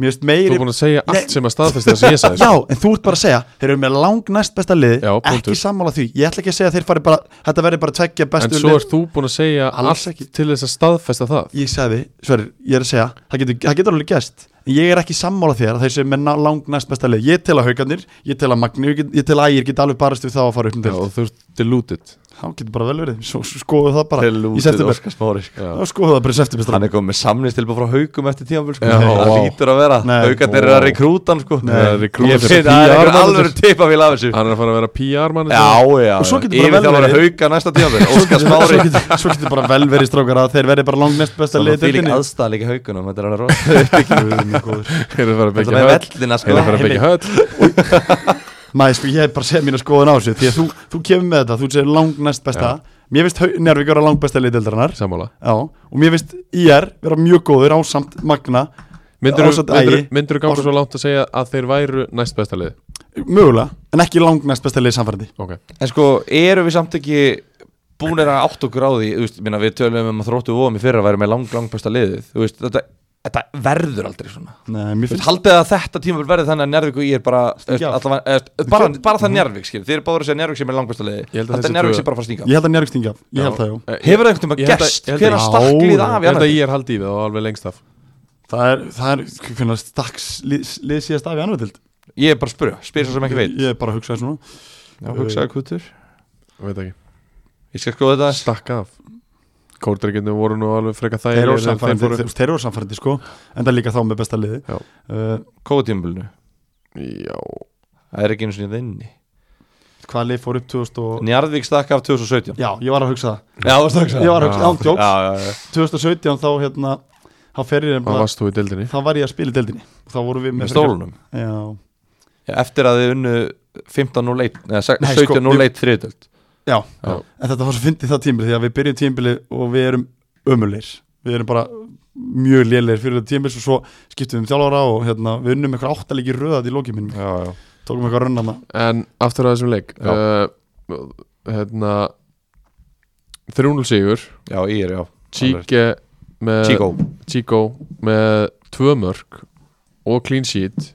C: mér finnst
B: Þú
C: meiri
B: er búin að segja
C: Nei.
B: allt sem að staðfesta það sem ég sagði sko.
C: já en þú ert bara að segja þeir eru með langnæst besta lið
B: Já, punktur.
C: ekki sammála því ég ætla ekki að segja að þeir fari bara þetta verði bara tveggja
B: En
C: bestu
B: svo
C: lið
B: ert þú búin að segja
C: Alls
B: allt
C: ekki.
B: til þess að staðfesta það
C: ég sagði sverir ég er að segja það getur, það getur alveg gæst en ég er ekki sammála þér að þeir sem er langnæst besta lið ég tel að haugarnir ég tel að magni ég, get- ég tel að ægir get alveg barist við þá að fara upp um
B: Já,
C: deild.
B: og þú ert deluded
C: þá getur bara vel verið Svo- svo skoðum það bara í
D: Lútið
C: september
D: Óskar Smári sko.
B: Já.
C: þá skoðum það bara í september strákar.
D: Hann er komið með samnistilbúr frá haugum eftir tímanbúr sko.
B: Já,
D: Það
B: vá.
D: lítur að vera
C: Nei.
D: Haugarnir eru að rekrúta hann sko.
C: Nei.
B: Það er recruit-
D: Ég finn að það er
B: PR
D: einhver
B: manager.
D: alveg tipafíl af þessu
B: Hann er að fara að vera PR mann
D: Já, já
C: Og svo getur bara
D: Yfir
C: vel
D: þjálfari
C: verið-
D: hauga næsta tímanbúr Óskar Smári
C: svo getur, svo getur bara vel verið strákar að þeir verði bara langt næst besta
D: Það
C: lið
D: er fíling aðstæða líka í haugunum Þetta er alveg rosa
C: deildinni
B: Þeir eru að fara að
D: Þetta
B: byggja
D: með
B: höll
D: vellina
B: Þeir
D: sko
B: eru að fara að byggja höll
C: maður sko ég er bara að segja mína skoðun á þessu því að þú, þú kemur með þetta, þú segir langt næst besta mér finnst Hau- Njarðvík vera langt besta lið deildarinnar
B: Sammála
C: já, og mér finnst IR vera mjög góður ásamt Magna
B: Myndirðu-
C: Ásamt
B: Myndirðu
C: Ægi.
B: myndirðu ganga svo langt að segja að þeir væru næst besta lið
C: mögulega, en ekki langt næst besta lið samfærdi
B: Ok
D: En sko, eru við samt ekki búinir að átt okkur á því þú veist, minna, við tölum um að þróttu vóðum í fyrra að vera með lang, lang besta liðið þú veist, þetta, þetta verður aldrei svona
C: Nei, mér
D: Þú veist,
C: finnst
D: haldið að þetta tíma verður þannig að Njárvík og ég er bara þú veist,
C: af.
D: allavega, eða, þú veist, bara, bara það Njárvík, skil, þið eru báður að segja Njárvík sem er lang besta liðið
B: Ég held að
D: þetta
B: þessi
D: er Njárvík
B: tvö-
D: sem bara að fara að stinga Eh,
C: ég held að Njarðvík stingi af, ég held það já
D: Hefur það einhvern
B: Ég
D: tíma
B: held að-
D: gest
B: ég held að-
D: hver að stakklið
C: Já,
D: af
B: Ég held að
D: Njárvík?
B: ég er haldið og alveg lengst af
C: það er, það er, finna stakks lið, lið síðast af í annar dild
D: Ég er bara að spyrja, spyrja svo sem ekki veit
C: ég er bara að hugsa þessu núna
D: Já, hugsaðu kútur
B: Veit ekki
D: Ég skal skoða þetta
B: Stakka af Kórdrygginu voru nú alveg freka
C: þeir
B: þægilegir
C: eru
B: en
C: samfærandi,
B: voru-
C: þú veist, þeir eru samfærandi sko en það líka þá með besta liði
B: Já.
C: uh,
D: Kóðutímabilinu,
B: Já
D: það er ekki einu sinni það inni
C: hvað lið fór upp 2000 og...
D: Njárvík stakka af 2017
C: Já, ég var að hugsa það
D: Já, það var stakka
C: Ég var að hugsa, án
D: Já,
C: djóks
D: já, já
C: 2017 þá hérna þá fer ég
B: Hvað
C: nefnilega
B: varst þú í deildinni?
C: þá var ég að spila í deildinni þá vorum við
D: með
C: með
D: stólunum
C: Já,
D: Já, eftir að þið unnu 15-0-1 eða se-
C: Nei, sko,
D: 17-0-1 þriðutöld
C: já.
D: Já.
C: En þetta var svo fyndið það tímbil því að við byrjum tímbili og við erum ömulegir við erum bara mjög lélegir fyrir þetta tímbil og svo skiptum við um þjálfara og hérna, við unnum eitthvað áttaleggi röðat í lókið minnum
D: já, já.
C: tókum eitthvað rönnana
B: En aftur að þessum leik
D: Já.
B: uh, Hérna 3-0 sigur
D: já, ég er já
B: Chico með,
D: Chico
B: Chico með tvö mörg og clean sheet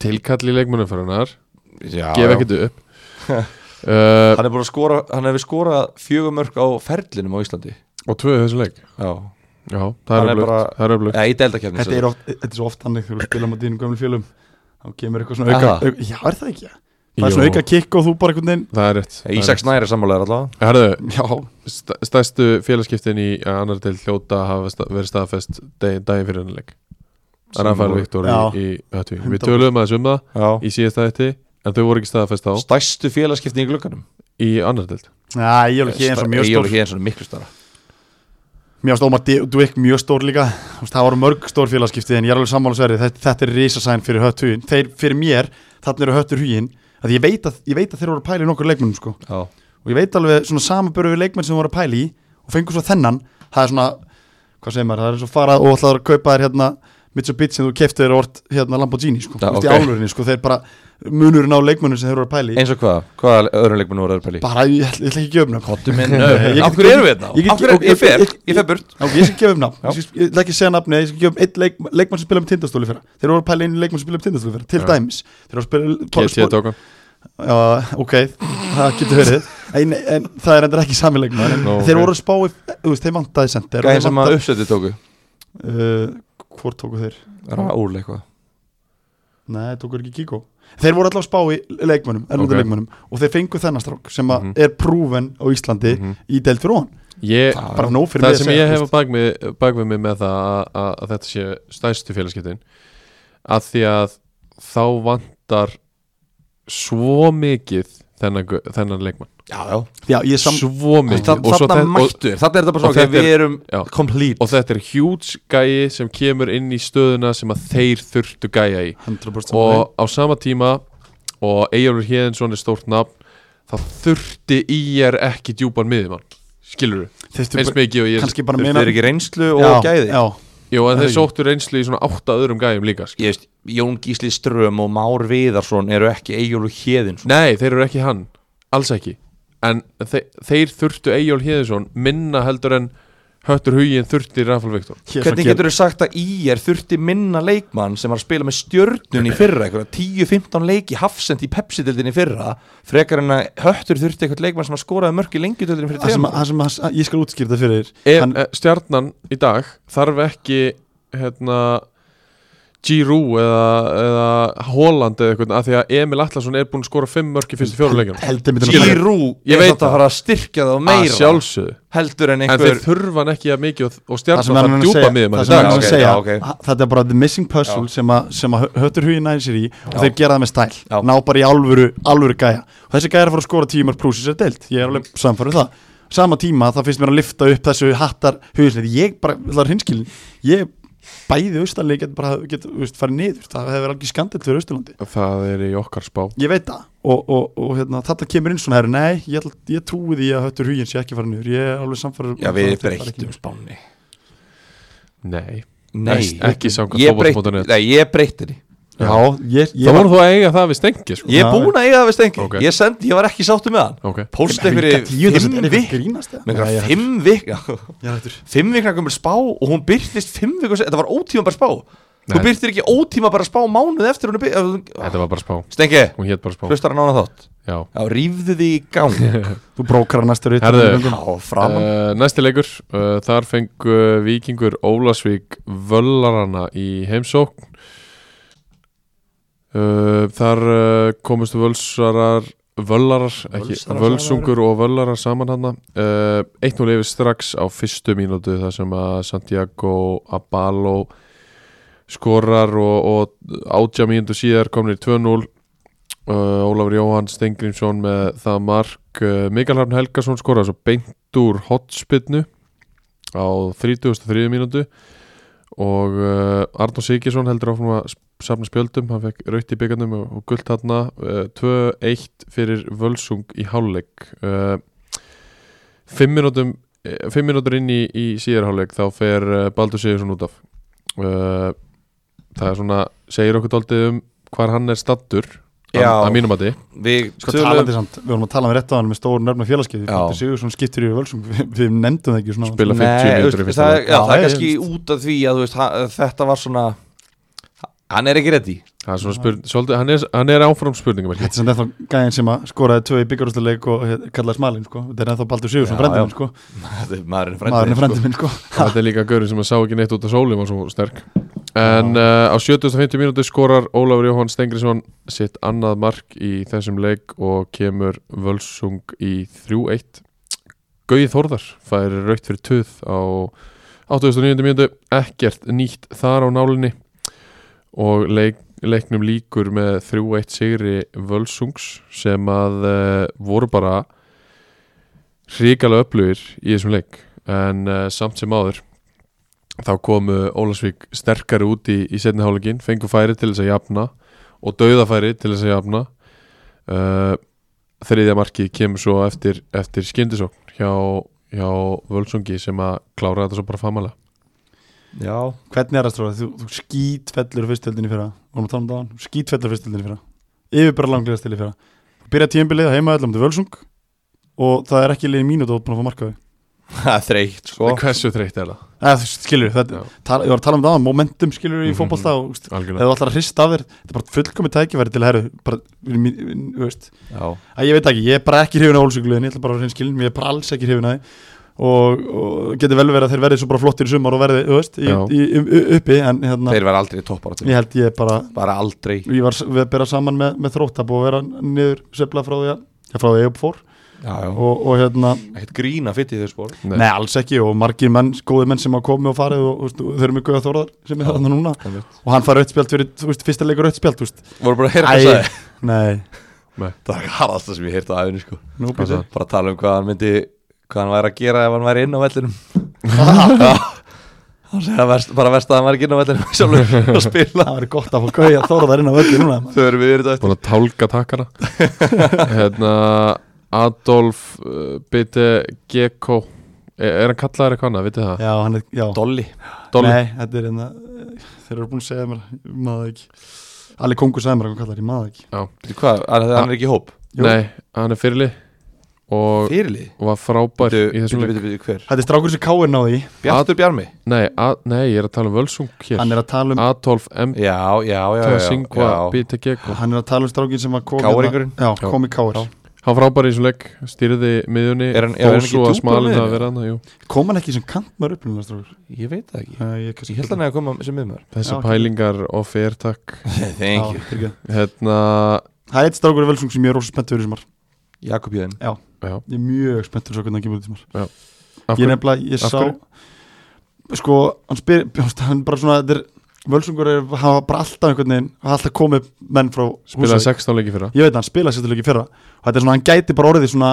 B: tilkall í leikmannumfæranar
D: já,
B: gef ekkert upp uh,
D: hann er búin að skora hann hefur skorað fjögumörk á ferlinum á Íslandi
B: og tvö í þessum leik
D: já,
B: Já,
D: Hann
B: það
D: er
B: er öflugt
D: bara-
B: Það er öflugt
D: já í deildakefni
C: þetta, er oft, þetta er svo oft þannig þegar við spilum á dýnum gömlu fjölum þá kemur eitthvað svona auka,
D: Aha.
C: auka Já, er það ekki? Það er svona
B: Jú,
C: auka kikk og þú bara einhvern veginn
B: Það er rétt það er
D: Ísaks
B: rétt.
D: Nær er sammálaður allavega
B: Herðu,
C: Já,
B: sta- stærstu félagskiptin í annar til hljóta hafa sta- verið staðfest daginn dag fyrir hennar leik Rafael
D: voru-
B: Viktor í,
C: Já.
B: í Hötvík Við
C: 100%.
B: tölum aðeins um það
D: já.
B: í síðasta þætti en þau voru ekki staðfest þá
D: stæstu félagskipni í glögganum
B: í annar deild
C: Já, ég er ekki eins og mjög stór
D: Ég er eins og miklu stara
C: Mér varst Ómar D- Dvík mjög stór líka Þú veist, Það voru mörg stór félagskipti en ég er alveg sammála sverri þetta, þetta er risasæn fyrir hött hugin Þeir fyrir mér, þarna eru höttur hugin að ég, veit að ég veit að þeir voru að pæla í nokkur leikmennum sko.
D: já.
C: og ég veit alveg svona samanbörðu við leikmenn sem voru að pæla í og fengur svo þennan það er svona, hvað segir maður, það er eins og fara og ætlaður að kaupa þér hérna Mitsubishi sem þú keftir þér orð hérna Lamborghini sko,
D: Já,
C: Þú veist,
D: ok.
C: í álurinni sko, þeir bara munurinn á leikmennum sem þeir voru að pæla í
D: eins og hvað, hvaða öðrum leikmennu voru að pæli
C: bara, ég, ætla- ég ætla ekki að gefa um nafn
D: Kottu minn
C: Nei, ég
D: Af
C: get-
D: hverju erum við þetta?
C: ég get-
D: Af hverju
C: ok,
D: ég fer,
C: ég-
D: ég fer burt
C: Já, ég skal gefa um nafn,
D: Já.
C: ég skal- ég ætla ekki að segja nafni ég skal gefa um einn leik, leikmann sem spila með tindastóli fyrra þeir voru að pæla einu leikmann sem spila með tindastóli fyrra til
B: Já.
C: dæmis, þeir voru að spila bara
B: Ketiða
C: spor-
B: tóka
C: Já, ok, það getur verið en, en það er endur ekki sami leikmann en
B: Nú, ok.
C: þeir voru að spá í, þú veist, þeir vantaði sendir
D: Gæði sem að uppsetið tóku
C: uh, hvort tóku þeir?
D: Rál eitthvað
C: Nei, tóku þeir ekki Kiko þeir voru alltaf að spá í leikmannum, erlundu
B: Ok.
C: leikmannum og þeir fengu þennan strák sem að
B: Mhm.
C: er prúven á Íslandi
B: Mhm.
C: í delt fyrir hon
B: Ég,
D: Já,
C: Eh, bara
D: já.
C: nóg fyrir
B: það
C: mig að
B: sem
C: segja,
B: ég
C: þú
B: hef
C: veist.
B: á bak við, bak við mig með það að, að, að þetta sé stærstu félagskiptin að því að þá vantar svo mikið þennan, gau- þennan leikmann
D: Já, já
C: Já, ég sam...
B: svo mikið
D: Þa,
B: og, svo
D: þarna
B: þe- og,
D: mættu, þarna er þetta bara
B: og
D: svona ok,
B: þetta er-
D: við erum
B: já.
D: complete
B: og þetta er hjúts gæi sem kemur inn í stöðuna sem að þeir þurftu gæja í
C: 100%
B: og á sama tíma og Eyjólfur Híðinsson er stórt nafn það þurfti í er ekki djúpan miðjumann skilur þú,
C: Þeirstu
B: eins
C: bara-
B: mikið og ég
C: kannski bara
D: Þeir
C: meina
D: eru ekki reynslu og
C: Já,
D: gæði
C: já,
B: Jú, en
C: Það er
B: þeir
C: ekki.
B: sóttu reynslu í svona átta öðrum gæjum líka skilur.
D: Ég veist, Jón Gísli Ström og Már Viðarsson eru ekki Egil og Hjeðin
B: Nei, þeir eru ekki hann, alls ekki En þe þeir þurftu Eyjól Híðinsson minna heldur en Höttur Hugin þurfti Rafal Viktor
C: Hér
D: Hvernig
C: svona
D: getur þau sagt að IR þurfti minna leikmann sem var að spila með stjörnun í fyrra eitthvað 10-15 leiki hafsend í Pepsi-dildin í fyrra frekar en að höttur þurfti eitthvað leikmann sem að skoraði mörg í lengjudildin fyrir
C: Það sem,
D: tveim
C: að sem að, ég skal útskýra þetta fyrir
B: e,
C: þér hann,
B: e, Stjarnan í dag þarf ekki hérna Giroud eða, eða Holland eða eitthvað af því að Emil Atlason er búinn að skora fimm mörk í fyrstu fjóruleikjum
C: Heldur mér
B: Skilur.
C: þetta
D: Gírú
B: Ég
D: er
B: veit
D: þetta
B: það.
D: að fara að styrkja það
B: að
D: meira
B: sjálfsögðu
D: heldur en
B: en þeir
D: einhver
B: þurfa hann ekki að mikið og, og
C: Það sem
B: stjarnan
C: hann
B: þarf
C: er að
B: djúpa
C: segja-
B: miðum
C: það
B: í
C: sem hann
B: dag
C: er
D: ok,
C: að segja
D: já, ok.
C: að Þetta er bara the missing puzzle sem að, sem að hö- höttur hugin næðir sér í og
D: Já.
C: þeir gera það með stæl,
D: Já.
C: ná bara í alvöru alvöru gæja, og þessi gæja er að fara að skora tímar pluss þessar deild, ég er alveg samfærið það sama tíma það finnst mér að lifta upp þessu hattar hugisleiti, ég bara, það er hinskilin ég bæði austanlega get bara get, veist, farið niður, það hefur alveg skandil fyrir austurlandi,
B: það er í okkar spá
C: ég veit það og, og, og hérna, þetta kemur inn svona herri, nei, ég, ætla- ég trúi því að höttur hugin sé ekki farið niður, ég er alveg samfærið
D: Já við breyttum spánni
B: nei,
D: Nei,
B: Ekki- ekki samkvæmt
D: Ég
B: fótbolta.net.
D: breytti- Nei, ég breytti því
C: já, ég, ég
B: það voru þú að eiga það við stengi sko.
D: Ég er
C: Já.
D: búin að eiga það við stengi
B: Ok.
D: ég, sendi, ég var ekki sáttu með hann
B: ok,
D: Póst
C: Helga tíu,
D: einhverju
C: þetta
D: fimm
C: er eitthvað
D: vik
C: grínast eða?
D: með
C: Nei,
D: einhverja
C: ég-
D: fimm vik
C: ég er hættur.
D: fimm vikna gömur spá og hún byrtist fimm vikna, þetta var ótíma bara spá
B: Nei.
D: hún byrtir ekki ótíma bara spá mánuð eftir hún er byrtist
B: þetta var bara spá
D: Stengi,
B: hún hétt bara spá
D: hlustar hann ána þátt
B: já.
D: Já, rýfðu því í gang
C: Þú brókar að næstu rítið
B: Herðu.
D: Já, framan
B: Uh, næsti leikur, uh, þar fengu vikingur Ólasvík völlarana í heimsókn uh, Þar uh, komust völsarar, völlarar, ekki
D: Völsarar
B: völsungur og völlarar saman hana uh, 1-0 yfir strax á fyrstu mínútu þar sem að Santiago Abalo skorar og, og átja mínútu síðar komnir 2-0 uh, Ólafur Jóhann Stengrímsson með það mark uh, Mikael Harn Helgason skoraði svo beint úr hotspinnu á 33. mínútu og uh, Arnó Siggesson heldur áfram að sp- safna spjöldum hann fekk raut í byggarnum og, og gullt hann uh, 2-1 fyrir Völsung í hálfleik uh, fimm mínútum eh, fimm mínútur inn í, í síðarháleik þá fer uh, Baldur Sigurðsson út af uh, það er svona segir okkur daldið um hvar hann er stattur að
D: Já.
B: að mínum að þið
D: Við
C: Sko talandi samt, við vorum að tala með rétt á hann með stóru nörfna félagskeiði
D: Já.
C: Þetta séu svona skiptir yfir völsung Við við nefndum það ekki svona
B: Spila-
D: Nei,
B: 50 mínútur í
D: veist,
B: fyrsta
D: það,
B: leik.
D: já, það er
C: Já,
D: kannski
C: ég
D: út af því að þú veist, ha- þetta var svona Hann er ekki reddi
B: Það er svona spurning, svolítið, hann er, hann er áfram spurningum
C: Þetta er samt ennþá gæðin sem að skoraði tvö í byggarústuleik og hét- kallaði smalinn sko Þetta er ennþá Baldur Sigursson
D: Já,
C: frendið
D: já.
C: minn sko
D: Maðurinn er
C: Maðurinn er
D: frændi
C: frendið minn sko
B: Þetta er líka gaurið sem að sá ekki neitt út af sóli var svo sterk En uh, á 70-50 mínúti skorar Ólafur Jóhann Stengrisson sitt annað mark í þessum leik og kemur völsung í 3-1 Gauði Þórðar fær raukt fyrir töð á 89. mínútu ekkert nýtt þar á nálinni og leik, leiknum líkur með 3-1 sigri völsungs sem að uh, voru bara hrikalega upplöfir í þessum leik en uh, samt sem áður þá komu Ólasvík sterkari út í, í setni hálfleikin, fengu færi til þess að jafna og dauðafæri til þess að jafna uh, þriðja markið kemur svo eftir, eftir skyndisókn hjá, hjá Völsungi sem að klára þetta svo bara famalega
D: Já,
C: Hvernig er það stróða? Þú, þú skítfellur fyrstöldinni fyrra Vorum að tala um það á hann Skítfellur fyrstöldinni fyrra Yfir bara langlega stil í fyrra Þú byrjar tímbilið heima öllum til völsung Og það er ekki liðið mínútu og þú ert búin að fá markaði
D: það er þreytt sko
B: En hversu þreytt er það?
C: Eða, þú veist, skilur, þetta,
B: Já.
C: tala, ég var að tala um það, momentum skilur í
B: Mhm.
C: fótbolta og þú veist, ef
B: Algjörlega
C: þú ætlar að hrista af þér, þetta er bara fullkomi tækifæri til að herru, bara, mín- mín- þú veist,
D: Já,
C: að ég veit ekki, ég er bara ekki hrifin á ólsugluðin, ég ætla bara að reyna skilin, ég er bara alls ekki hrifin að því og, og getur vel verið að þeir verði svo bara flottir í sumar og verði, þú veist, í,
B: Já.
C: í, í, uppi, en hérna,
D: þeir verða aldrei toppar
C: ég held ég bara,
D: Bara aldrei
C: ég var s- við að bera saman með, með þrótt að búið að vera niður söfla frá því að, já, frá því að ég upp fór
D: Já, já
C: og, og hérna,
D: Ekkert grína fytt í þau spór
B: Nei.
C: nei, alls ekki og margir menn, góði menn sem hafa komið og farið og, og, og þau eru mjög góða þórðar sem er
D: Já.
C: þarna núna
D: Voru
C: og hann fær rauðspjald fyrir, þú veist, fyrsta leikur rauðspjald, þú veist
D: bara að heyra hvað það
C: nei,
D: Það er harðasta sem ég heyrta á æfinu sko
C: nú
B: Hvað
C: býttu
B: það?
D: Bara að tala um hvað hann myndi Hvað hann væri að gera ef hann væri inn á vellinum Já. Hann segja verst, bara verst að hann væri ekki inn á vellinum Sjálfur að spila
C: það væri gott að fá gauja Þóra þar inn á völdi núna
D: Þau eru við yfir þetta
B: Búin að tálka takkana Hérna Adolf uh, Bitte Gekko er, er hann kallaður eitthvað annað, vitið það?
C: Já, hann er, já
D: Dolly
B: Dolly,
C: Nei, þetta er hérna eh, Þeir eru búin að segja mér, ég maður það ekki Alli Kongur sagði mér hvað hann kallar, ég maður það ekki
D: Veitu Hvað, hann hann er ekki í hóp
B: nei,
C: Jú.
B: hann er fyrirli og
D: Fyrirlið
B: var frábær
D: Bíddu,
B: í þessum
D: bíddu,
B: leik
D: bíddu, bíddu, hver?
C: Þetta er strákur sem Káir náði í
D: Bjartur Bjarmi
B: nei, a, nei, ég er að tala um Völsung hér
C: Hann er að tala um,
B: Adolf M.
D: Já, já, já, já, já,
B: Tassingva
D: já.
B: Bitte Gekko
C: hann er að tala um strákin sem var kom
D: Káringurinn?
C: hérna- Já,
B: Já.
C: kom í Káir
B: hann var frábær í þessum leik, stýrði miðjunni
D: Er hann- já, er hann
B: þó
D: ekki
B: svo að
D: djúpur á
B: smalinn
D: miðjunni?
B: að vera hann jú.
C: Kom hann ekki sem kantmar upplunum strákur?
D: Ég veit það ekki
C: Uh, ég, kannski-
D: Ég held hann að koma sem miðmör
C: Já,
B: þessar
C: ok.
B: pælingar og fyrtak
C: Já,
D: Thank
C: fyrirgefðu.
B: hérna,
C: Það er eitt strákur í Völsung sem ég er rosa spenntur fyrir sem var
D: you Jakob Jöðin
B: já
C: Ég er mjög spenntur svo hvernig hann kemur út í sem var
B: af
C: Ég
B: hverju-
C: nefnilega, ég
B: Af
C: sá
B: hverju?
C: Sko, hann spyr, hann bara svona Þetta er, Völsungur er, hafa bara alltaf einhvern veginn Hafa alltaf komið menn frá
B: spilaði
C: Húsavík.
B: 16 leiki fyrir
C: ég veit að hann spilaði sérstulegi fyrra og þetta er svona, hann gæti bara orðið svona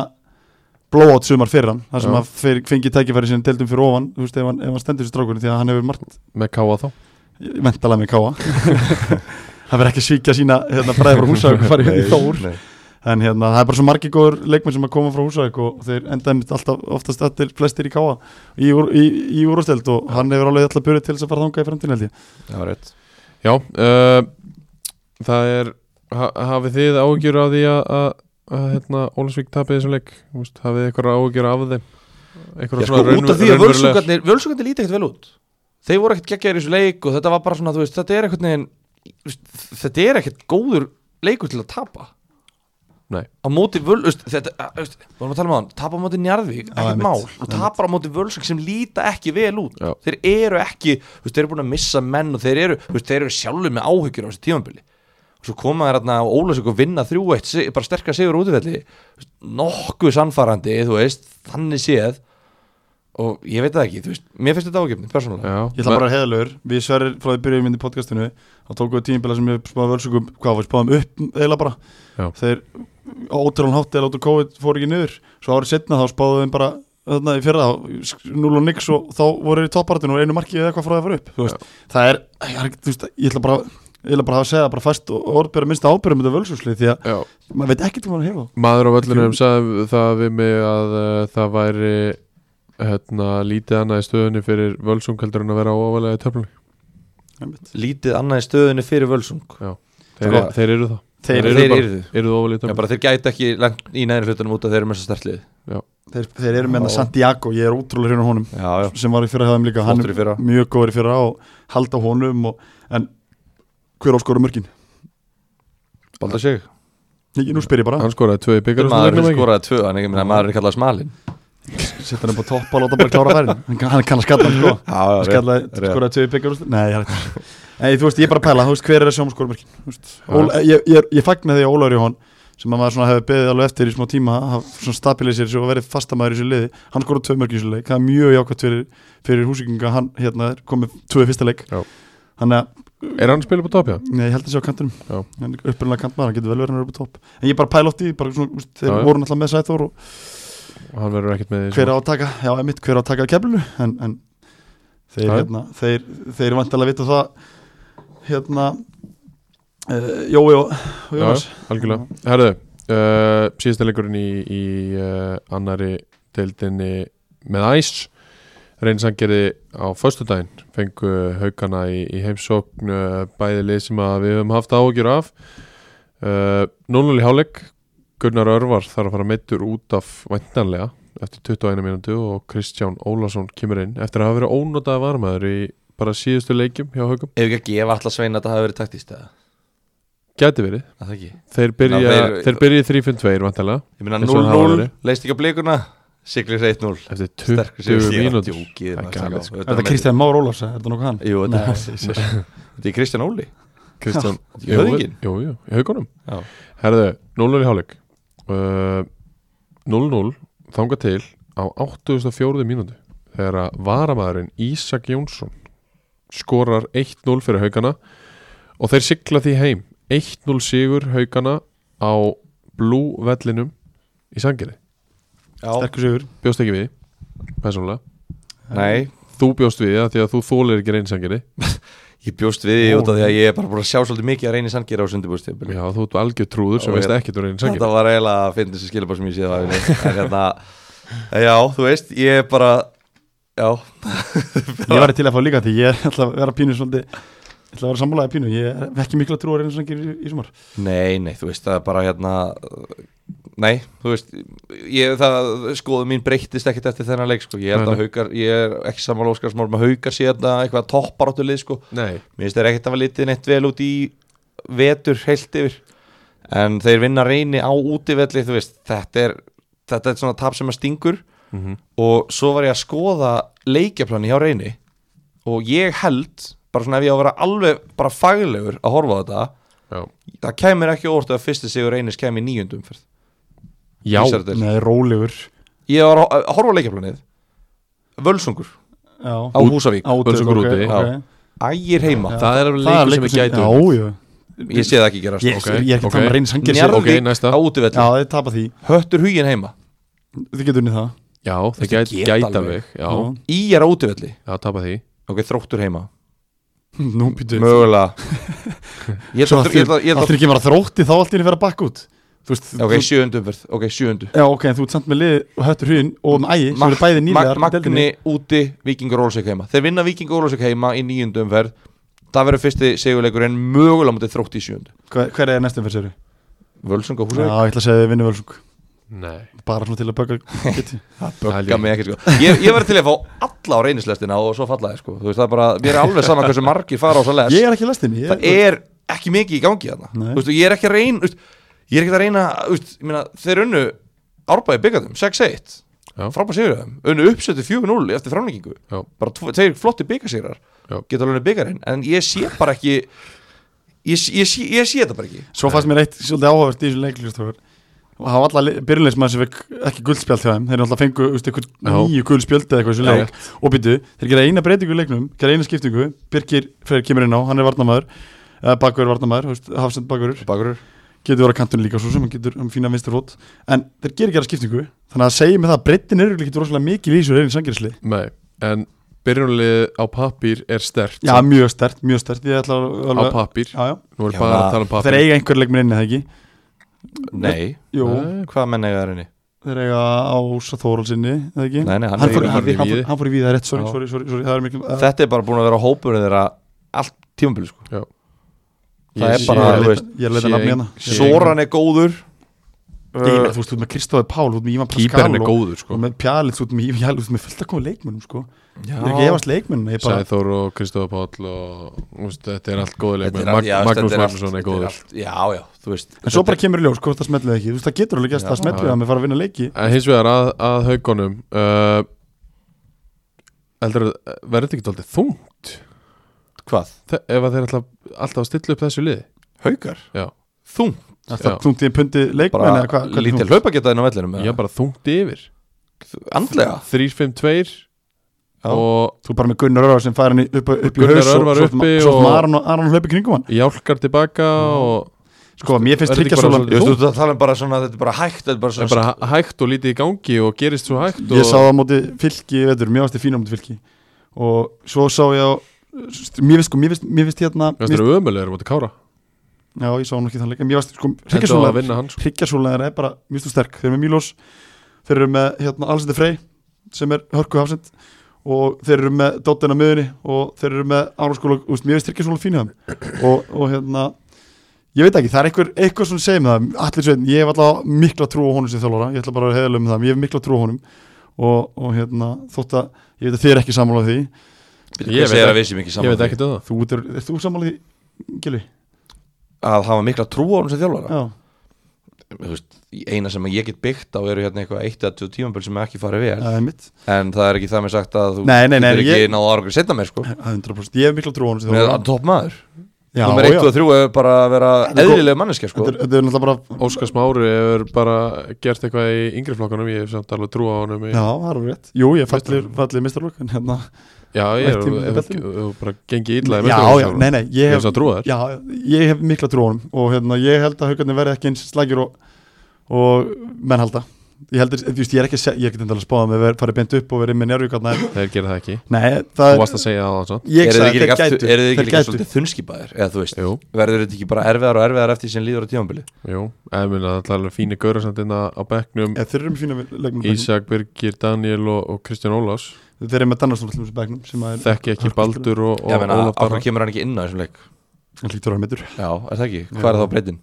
C: blowout sumar fyrir hann þar sem
B: Já.
C: hann fer- fengi tækifæri sinni deildum fyrir ofan þú veist, ef hann, ef hann stendur sér strákunni því að hann hefur margt
B: með káa þá
C: mentalega með káa hann verður ekki að svíkja sína hérna, bræði frá húsauk og farið í þór en hérna, það er bara svo margi góður leikmenn sem að koma frá húsauk og þeir enda einmitt alltaf oftast allir flestir í káa í, úr- í, í úrsteld og hann hefur alveg alltaf burið til þess að fara þangað í framtíðin held ég
D: Það var rétt
B: já, uh, það er ha, hafið þið ágjur á því að, að, að hérna, Ólasvík tapið þessum leik Þú veist, hafið þið eitthvað ágjur af þeim eitthvað
D: Já, sko, út af því að völsungarnir, völsungarnir líti ekkert vel út Þeir voru ekkert geggjaðir í þessu leik og þetta var bara svona, þú veist, þetta er ekkert neginn Þetta er ekkert góður leikur til að tapa
B: Nei.
D: Á móti völ, veist, þetta, að, veist, vorum að tala um hann Tapa á móti Njarðvík, ekkert
C: einmitt,
D: mál Og tapar á móti völsung sem líta ekki vel út
B: Já.
D: Þeir eru ekki, þú veist, þeir eru búin að missa menn Og þeir eru, þú veist, þeir eru sjálfur með áhyggjur á þessu tímambili Og svo koma þær þarna á Ólasvík og vinna 3-1 sig- Bara sterkar sigur útifelli Nokkuð sannfarandi, þú veist, þannig séð og ég veit það ekki, þú veist, mér finnst þetta ágefni persónulega,
B: já,
C: Ég ætla bara að heðalögur, við sverjum frá því byrjuðum inn í podcastinu þá tókum við tímbila sem við spáðum völsugum hvað var, spáðum upp eiginlega bara
B: Já.
C: þeir á ótrúan hátt eða látur COVID fór ekki niður, svo árið setna þá spáðum við bara þarna í fyrra, þá, núl og nix og þá voru þeir í toppartinu og einu marki eða eitthvað frá það að fara upp, þú veist, það er ég, er, ekki- þú veist, ég ætla bara, ég ætla bara að segja það bara fast og orðbera minnsta ábyrjum þetta völsugsli því að
B: já,
C: maður veit ekkert hvað maður hefur
B: maður á völlunum sagði það við mig að uh, það væri hérna, lítið annað í stöðunni fyrir völsung heldur en að vera óvalega í töflunni
D: lítið annað í stöðunni fyrir völsung
B: þeir,
D: Sko-
B: þeir eru það,
C: Þeir,
B: eru
C: þeir,
D: þeir
B: bara-
D: eru þau.
B: eru þú óvalega í
D: Já,
B: töflunni
D: bara þeir gæti ekki langt í neðri hlutunum út að þeir eru með þess að stertlið
C: þeir, eru með
D: Já.
C: hana Santiago, ég er ótrúlega hérna honum
D: Já, já,
C: sem var í fyrra hjá þeim líka hann
D: Flottur í fyrra.
C: er mjög góður í fyrra og halda honum og, en hver áskóru mörkin?
D: balda sig
C: Ég, nú spyr ég bara,
B: hann skoraði tvö í
D: Maður
B: byggarústum
D: skoraði tvö, en ég meina maður er kallað smalinn
C: setja hann upp á topp og láta hann bara klára færin hann, kann- hann kann að skalla hann sko
D: Já,
C: hann skalla,
D: rétt.
C: skoraði tvö í byggjur nei, ég er ekki Nei, þú veist, ég er bara að pæla, þú veist, hver er að sjáum skóru mörkin Þú veist, Ól- ég, ég, ég fagna því að Ólaur Jóhann sem að maður svona hefur beðið alveg eftir í smá tíma hafa svona stabilisir sig og verið fastamæður í sér liði hann skoraði tvö mörkin í sér leik, það er mjög jákvæmt fyrir, fyrir húsíkinga, hann hérna er komið tvö í fyrsta leik
B: Já.
C: þannig að
B: er hann að spila på topja?
C: Nei, ég held að sé á
B: Já.
C: kantinum Hann er Upprunalega kantmaður, hann getur vel verið hann er upp á topp En ég er bara að pæla oft í, bara svona, úst, þeir
B: Já, já.
C: voru náttúrulega með Sæþór og
B: hann verður ekkert með í
C: hver
B: svona-
C: á að taka, já, emitt, hver á að taka keflinu En, en þeir,
B: Já, já.
C: hérna, þeir, þeir vantalega vita það Hérna uh, Jói og, og
B: Já,
C: Jónas
B: algjörlega Herðu, uh, síðasta leikurinn í, í uh, annari deildinni með æs reynsangerði á föstudaginn fengu haugana í, í heimsókn uh, bæði lið sem að við höfum haft áhugjur af uh, 0-0 í hálfleik Gunnar Örvar þarf að fara meittur út af væntanlega eftir 21 minútu og Kristján Ólason kemur inn eftir að hafa verið ónotaða varmaður í bara síðustu leikjum hjá haugum
D: Ef ekki að gefa allar svein að þetta hafi verið taktist eða?
B: gæti verið,
D: að það ekki
B: þeir byrja,
D: Já, þeir-
B: þeir byrja í 3-5-2 væntanlega
D: Ég meina
B: Eins og það hafi
D: 0-0,
B: verið.
D: leist ekki á blikuna siglir 1-0
B: eftir
D: Sterkur sigur. Ég er
B: 20
D: að
B: mínútur
D: djóki,
B: Það er
D: maður, já,
B: galið, sko.
D: auðvitað
C: Er þetta
D: með-
C: Kristján Már Ólafs, er þetta nokkuð hann?
D: Jú, þetta er-
C: Nei, ég-
D: Þetta er Kristján Óli
B: Kristján
D: Í höfðinginn?
B: Jú, jú, í haugunum
D: Já.
B: Herðu, 0-0 í hálfleik Uh, 0-0 þanga til á 84. mínútu þegar að varamaðurinn Ísak Jónsson skorar 1-0 fyrir haugana og þeir sigla því heim 1-0 sigur haugana á blú vellinum í sangeri,
D: Já,
C: Sterkur sigur
B: bjóst ekki við persónulega,
D: nei,
B: þú bjóst við það því að þú þólir ekki reynsangeri
D: Ég bjóst við því út af því að ég er bara búin að sjá svolítið mikið að reyni sangir á sundibúrstjöfum
B: Já, þú ert algjör trúður sem
D: Og
B: veist um
D: ég-
B: ekki þú reynir
D: Þetta
B: sækir
D: var eiginlega að finna þessi skilabá sem ég séð á ævinni. En hérna, já, þú veist, ég er bara Já,
C: Ég var til að fá líka því ég ætla að vera pínu svolítið Ég ætla að vera sammálaðið pínu Ég er ekki mikla trú að reyna svona í, í sumar
D: nei, nei, þú veist, það er bara hérna Nei, þú veist ég, það, skoðu mín breyttist ekkit eftir þennan leik, sko, ég held
B: Nei,
D: að haukar ég er ekki sammála óskarsmál með haukar síðan eitthvað topparáttu lið, sko
B: Nei,
D: Mér finnst þeir ekkert að hafa litið neitt vel út í vetur heilt yfir en þeir vinna reyni á útivelli þú veist, þetta er, þetta er svona tap sem að stingur
B: Mhm.
D: og svo var ég að skoða leikjaplani hjá reyni og ég held bara svona ef ég á að vera alveg bara faglegur að horfa á þetta
B: já
D: það kæmir ekki óvart að fyrsti sigur reynis kæmi í níundum fyrst
B: Já,
D: ég
C: Nei, rólegur
D: var að að horfa á leikjaplanið Völsungur
C: Já
D: á Húsavík
B: Völsungur úti,
D: já. Ægir heima,
C: Já.
B: það er alveg leikur sem ég gætu
C: Já, já
D: ég sé það ekki gerast
C: Ég,
B: Ok,
C: ég er ekki
B: ok.
C: okay. að reyna sangir sér
B: Njarð-
D: Njarðvík
B: Ok, næsta.
D: á útivelli
C: Já, þið tapa því
D: Höttur hugin heima
C: Þið getur unnið það
B: Já, það
D: Þeir
B: gæt,
D: geta
B: gæta
D: alveg.
B: mig Já,
C: Já.
D: Í er á útivelli
B: já, tapa því
D: Ok, þróttur heima
C: Nú býtu
D: Mögulega Ég
C: Svo
D: ætla- ég ætla-
C: allir
D: ég ætla-
C: allir ekki bara þrótti þá allir vera bakk út Þú veist þú-
D: Ok, sjöundu umferð Ok, sjöundu
C: Já, ok, en þú ert samt með lið og höttur huginn og með ægi sem eru bæði nýlegar í deildinni.
D: Magni úti, Víkingur Ólsök heima Þeir vinna Víkingur Ólsök heima í nýjundu umferð Það verður fyrsti segjuleikur en mögulega mútið þrótt í sjöundu
C: Hver hver er næstum fyrir sér?
D: Völsung og
C: Já,
D: Húsavík
C: ég ætla að segja að þið vinnu völsung
B: Nei
C: Bara svona til að bögga geti.
D: Það
B: Það er
D: böggar mig ekki sko Ég, ég verður til að fá alla á reynislestina og svo falla þér sko Þú veist það er bara, mér er alveg sama hversu margir fara á svo les
C: Ég er ekki í lestinni ég,
D: það er ekki mikið í gangi þarna
C: Nei.
D: Þú veist, og ég er ekki að reyna þú veist, ég er ekki að reyna þú veist, ég meina, þeir unnu árbæði byggandum 6-1
B: Já.
D: frábæð sigur þeim unnu uppsötu 4-0 eftir framlengingu
B: Já.
D: bara tvo- tveir flotti byggasýrar
B: Já.
D: geta alveg unnu byggarinn en ég sé bara ekki ég, sé- ég, sé, ég sé þetta bara ekki
C: Svo fannst mér eitt svolítið áhugavert í þessum leiklustofur og hafa alla byrjunleismann sem fekk ekki guldspjald hjá þeim þeir náttúrulega fengu þú veist, eitthvað
B: Já.
C: nýju guldspjald eða eitthvað í þessu
D: Já.
C: leik og býtu, þeir gera eina breytingu í leiknum gera eina skiptingu, Birgir Freyr kemur inn á hann er varnamæður, uh, bakur varnamæður hafsend bakurur,
D: Bakurur
C: getur verið að kantunum líka svo sem hann getur um fína vinstur rót en þeir gera ekki aðra skiptingu, þannig að segja mig það að breytin er ekki rosalega mikil í þessu reyni sangirisli
B: Nei, en byrjunlið á pappír er stert
C: Já, mjög stert, mjög stert Ég ætla að
B: Á
C: alveg-
B: pappír,
C: Já, já.
B: nú
D: Já.
B: er bara að tala um
C: Þeir
B: pappír
C: eiga einhver leikminn inni, það ekki?
D: Nei,
C: Jú,
B: Nei.
D: hvað menn eiga þær inni?
C: þeir eiga Ása Þóralsinni, það ekki?
D: Nei, nei, hann
C: hann, fór,
D: er-
C: í-
B: hann
C: hann,
B: fór í
C: hann,
B: Víði.
C: fór, hann fór í víða rétt, sorry,
D: Já.
C: sorry, sorry, sorry það er mikil uh,
D: Þetta er bara búin að vera hópurinn þeirra allt tímabili sko
B: Já.
D: Það
B: Ég
D: er bara,
B: sé-
D: þú veist,
C: Ég er að leita
B: sé-
C: nafni hérna
B: sé-
D: Soran er góður Uh,
C: Geir, Þú veist, þú ert með Kristóði Pál, þú ert með Ívan
B: Kýperinn
C: Pascal
B: er
C: og-
B: góður sko
C: og með Pjalið, þú ert með Ívan Pjalið, þú ert með fullt að koma leikmennum sko.
D: Já.
C: Ég er ekki efast leikmennum, ég er bara
B: Sæþór og Kristófa Páll og úst, þetta er allt góði
D: Þetta er
B: leikmenn
D: allt-
B: Mag
D: já,
B: Magnús
D: þetta er allt-
B: Magnússon er
D: þetta
B: góður
D: allt- Já, já, þú veist
C: En svo
D: þetta
C: bara kemur í ljós, hvort það smellið ekki Þú veist, það getur alveg gæst
D: Já.
C: að smellið að með fara að vinna leiki
B: en hins vegar að, að haugunum uh, heldur að verður þetta ekki aldrei þungt
D: er- Hvað?
B: Þe- ef að þeir ætla alltaf að stilla upp þessu liði
D: Haukar?
B: já,
D: Þung
C: Það
B: Já.
C: er þungt í pundi leikmenn
D: Bara
C: eða hvað- hvað er
D: lítil
C: þungt?
D: hlaupagetaðin á vellinum
B: ég er bara þungt yfir
D: bara Andlega
B: 3-5-2
D: Já.
B: og
C: Þú er bara með Gunnar Örvar sem fær henni upp, upp í
B: Gunnar
C: haus og
B: Örvar
C: svo
B: uppi
C: Svo
B: og-
C: maður Aron, Aron hlaupi kringum hann
B: jálkar tilbaka og
C: Sko, mér finnst
B: Er þetta ekki
C: tryggja
B: bara
C: svo
D: Þú veist, þú talar bara svona, þetta er bara hægt Þetta er bara
B: það
D: svona
B: er bara hæ- hægt og lítið í gangi og gerist svo hægt
C: Ég
B: og
C: sá það á móti fylki, í vetur, mér varst þið fína á móti fylki Og svo sá ég á Mér finnst, sko, mér finnst, mér finnst hérna mér
B: Þetta
C: finnst,
B: eru ömulegur mútið Kára
C: Já, ég sá hann ekki þannig En mér varst, sko,
B: Þetta var að
C: hryggjasólaðar
B: vinna hann sko.
C: Hryggjasólaðar er bara mjög stu sterk Þeir eru með Mílos Þeir eru með, hérna, Alsendir Frey Sem er hörku hafsend Og þeir eru með Dóttina miðunni Og þeir eru með Árnarskóla Þú veist, mér finnst hryggjasólaðar fínu það og, og hérna Ég veit ekki, það er einhver, eitthvað sem segir með það Allir sveitn, ég hef alltaf mikla trú á honum sem þjálfara Ég ætla bara að heðla um það, ég hef mikla trú á honum og, og hérna, þótt að ég veit að þið er ekki sammála því
D: Bíddu, hvað
B: Ég veit
D: segir
B: ekki-
D: að við sem ekki
B: Ég veit
D: saman
B: ekkert um það
C: Þú er, er þú sammála því, Gilvi?
D: Að hafa mikla trú á hún sem þjálfara
C: Já,
D: Þú veist, Eina sem ég get byggt á eru hérna eitthvað eitt eða 20 tímambil sem ekki farið vel
C: það er mitt
D: En það er ekki það með sagt að þú
C: Nei, nei, nei,
D: getur ekki
C: ég-
D: náða árangur setna mér sko
C: Það er 100% ég hef mikla trú á honum sem
D: Það er
C: þjálfara
D: topp maður
C: Já,
D: Númer 1 og 3 er bara að vera
C: Þetta er gó-
D: eðlilega manneskja sko
C: Þetta er, þetta er náttúrulega bara
B: Óskars Mári hefur bara gert eitthvað í yngri flokkanum Ég hef samt alveg trú á honum í...
C: Já, það er alveg rétt Jú, ég fallið falli mistarlokk en hérna
B: Já, ég er
C: Mætti með
B: hef-
C: beltinu.
B: hef bara gengið illa í
C: Já, já,
B: meistaraflokksþjálfara.
C: nei, nei, ég
B: Ég hef
C: hef
B: samt trú á þér
C: Já, ég hef mikla trú á honum og hérna, ég held að haugarnir verði ekki eins slagir og, og menn halda ég heldur, þú veist, ég er ekki að segja, ég get endala að spáða með að fara beint upp og verið með njárvíkarna en-
B: þeir gera það ekki
C: Nei,
B: Þú
C: það
B: varst að segja það svo
C: ég
D: Eru þið ekki
C: sagði að
D: líka
C: þeir
D: allt-
C: gætu
D: eru þið ekki
C: þeir
D: líka
C: gætu,
D: svolítið þunnskipaðir eða þú veist,
B: Jú,
D: verður þetta ekki bara erfiðar og erfiðar eftir því sem líður á tímanbili
B: jú, eða minna það er alveg fínir gaurur samt inna á bekknum
C: Eða þeir eru með fína leikmenn á bekknum.
B: Ísak, Birgir, Daniel og, og Kristján Ólafs
C: þeir eru með Dannarsson allum sem begnum sem að er
B: Þekki ekki Baldur og, og
D: Já, meina,
B: Ólaf
D: af
B: bara
D: hverju kemur hann ekki inn á þessum leik
C: hann hlýtur ára mittur
D: Já, er það ekki, hvað er
C: Já.
D: þá breytin?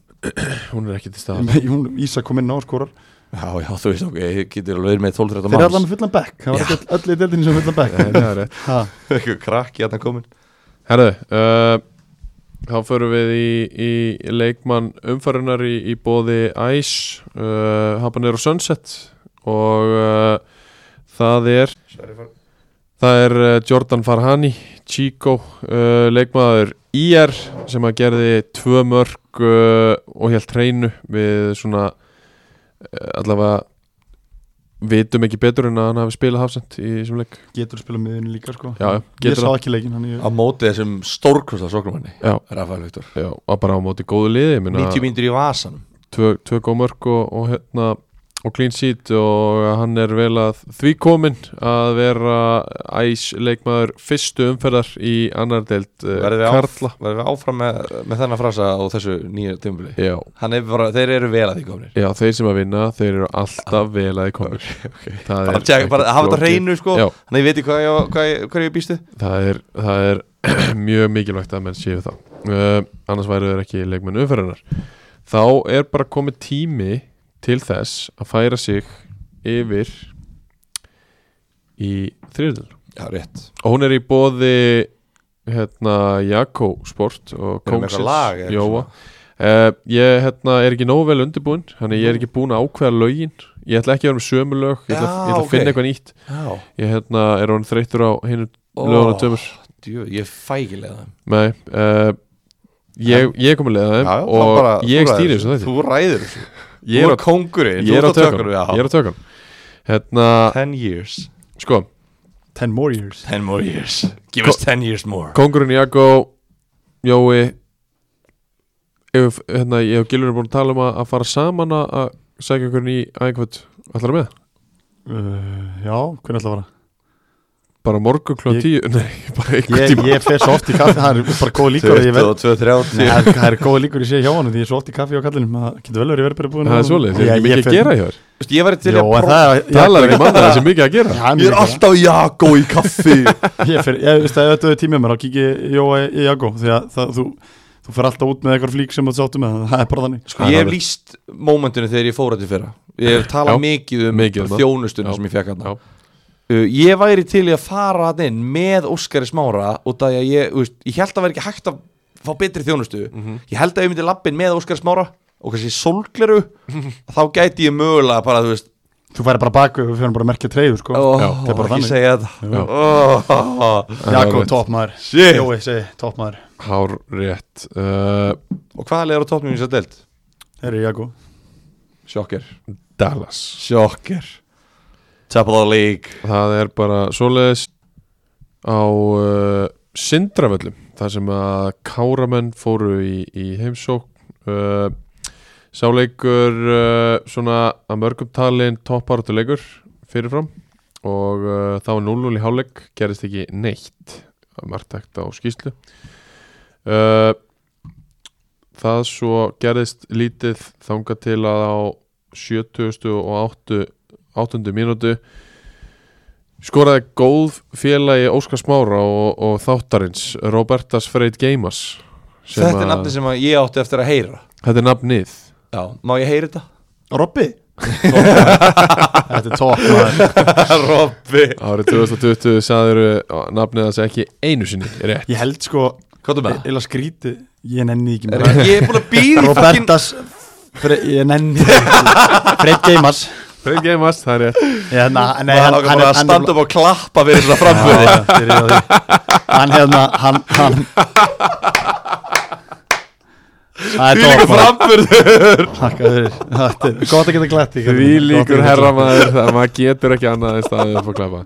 B: Hún er ekki til staðar
C: Ísa kom inn á og skórar
D: Já, já, þú veist, ok, ég getur alveg verið með 12-13
C: þeir eru allan
D: manns
C: með fullan bekk, það var ekki öll í deildinni sem var fullan
B: Nei,
C: bekk
B: það er rétt.
C: Ha,
D: Ekki krakki hérna að það komin
B: Herðu, uh, þá förum við í, í leikmann umfærunar í, í bóði Ice, uh, Habanero Sunset og uh, það er það er uh, Jordan Farhani, Chico, uh, leikmaður IR sem að gerði tvö mörg uh, og helt hreinu við svona uh, allavega vitum ekki betur en að hann hafi spilað hafsend í þessum leik
C: getur að spila með henni líka sko
B: Já, já,
C: ég
B: getur
C: sá
B: það.
C: ekki leikin hann ég
D: Á móti þessum stórkosta sóknumanni
B: Já.
D: Rafael Viktor
B: Já, og bara á móti góðu liði ég meina-
D: 90 mínútur í vasan
B: tvö, tvö góð mörg og, og hérna og clean sheet og hann er vel að því komin að vera æs leikmaður fyrstu umferðar í annar deild eh,
D: Verðum við á-
B: karla
D: Verðum við áfram með, með þennan frasa á þessu nýja tímanbili
B: já,
D: Þeir eru vel að því komin
B: já, þeir sem að vinna þeir eru alltaf vel að því komin Það
D: Bara,
B: er
D: tjekk, bara
B: ekki
D: hafa þetta á
B: flókið.
D: hreinu sko
B: Já,
D: Þannig ég veit ekki hvað ég, hvað ég, hvað ég býst við
B: það er, það er mjög mikilvægt að menn séu það uh, annars væru þeir ekki leikmenn umferðarnar þá er bara komið tími til þess að færa sig yfir í þriðil
D: Já, rétt
B: og hún er í bóði hérna Jakko Sport og
D: Erum við með eitthvað
B: Kóngsins
D: lag eða eitthvað
B: Jóa Uh, ég hérna, er ekki nógu vel undirbúinn þannig ég er ekki búinn að ákveða lögin ég ætla ekki að vera með sömu lög ég ætla,
D: Já,
B: ég ætla að
D: ok.
B: finna eitthvað nýtt
D: Já
B: ég hérna, er hann þreyttur á
D: Ó.
B: hinu oh. löguna tömur
D: Djú, ég fæ ekki leið það
B: Nei, uh, ég, ég kom að leiða þeim og ég stýri þessu þetta
D: Þú ræður þessu
B: Ég
D: Þú
B: er
D: er
B: á-
D: kóngurinn
B: ég er á
D: þú ert
B: tökum Ég er á tökum Hérna,
D: 10 years
B: sko,
C: 10 more years
D: 10 more years Give us 10 years more
B: kongurinn Jakko Jói ef, hérna, ég og Gilur er búin að tala um að, að fara saman að að sækja einhvern í ægvöld Ætlar með?
C: uh, já, hvernig ætla að fara
B: Bara morgun klá
C: Ég-
B: tíu Nei, bara einhvern
C: ég,
B: tíma
C: ég fer svo oft í kaffi, það er bara góð líkur að ég verð
D: 22,
C: Nei,
D: 30
C: það er- það er góð líkur ég sé hjá hann því ég er svo oft í kaffi á kallinum að það getur vel verið verið bara búin
B: Það er svoleiðis, það er ekki mikið að gera hjá þér
D: Veistu, Ég var til
C: Jó,
D: að
C: en
D: prófa
C: það er
B: Talar ekki mann það sem mikið að gera
C: Hann
D: Ég er
C: líka.
D: alltaf jakó í kaffi
C: Ég fer, ég veist að ef þetta er tímið mér þá kikið ég Jóa í Jago því að það, þú, þú fer alltaf út með eitthvað flík sem þú sáttu með það er bara þannig
D: Sko ég hef líst mómentinu þegar ég fór að til fyrra Ég hef talað
B: Já,
D: mikið um
B: mikið um það.
D: þjónustunum
B: Já,
D: sem ég fekk hann
B: já.
D: uh, Ég væri til í að fara hann inn með Óskari Smára og það að ég, þú veist, ég held að vera ekki hægt að fá betri þjónustu Ég held að ég myndi lappin með Óskari Smára og kannski sólgleru þá gæti ég mögulega bara, þú veist
C: Þú færi bara baku og fyrir bara að merkja treyður sko
D: ó,
B: Já,
C: það er bara
D: ekki
C: þannig.
D: segja þetta Ó,
C: Jago,
B: Alveg.
C: topp maður
D: Shit.
C: Jói, segi, topp maður
B: Hár rétt uh,
D: Og hvað leður á toppnum í þess að delt?
C: Herri Jago
D: Sjokker
B: Dallas
D: Sjokker Top of the league
B: Það er bara svoleiðis á uh, Sindraföllum þar sem að káramenn fóru í, í heimsókn uh, sáleikur uh, svona að mörgum talin topparáttu leikur fyrirfram og uh, það var 0-0 í hálfleik gerist ekki neitt að margt ekkert á skýslu uh, það svo gerist lítið þanga til að á 70. og 8. 8. mínútu skoraði góð félagi Óskar Smára og, og þáttarins Robertas Freyt Geimas sem
D: Þetta er
B: að-
D: nafni sem að ég átti eftir að heyra
B: þetta er nafnið
D: Já, má ég heyra þetta?
C: Robbi Topp maður. Þetta er topp maður
D: Robby
B: Árið 2020 sagður nafnið þess ekki einu sinni rétt
C: Ég held sko
D: Hvað er með það?
C: Eila skríti Ég nenni því ekki
D: Ah. Er,
C: maður
D: ég er búin að býða í fucking
C: Robertas Fre, Ég nenni því ekki Freyt Geimas
B: Freyr Geimast, það er rétt
C: Ég, hérna, nei,
D: Það er bara að standa upp og klappa fyrir svona framfyrir
C: Já, já, byrjuðu á því. Hann hérna, hann, hann
D: Því
C: Það er
D: líka
C: topp maður.
D: framfyrir
C: Takk að fyrir Þetta er Gott að geta glætt í
B: Því líkur herramaður það maður getur ekki annað en staðið upp og klappa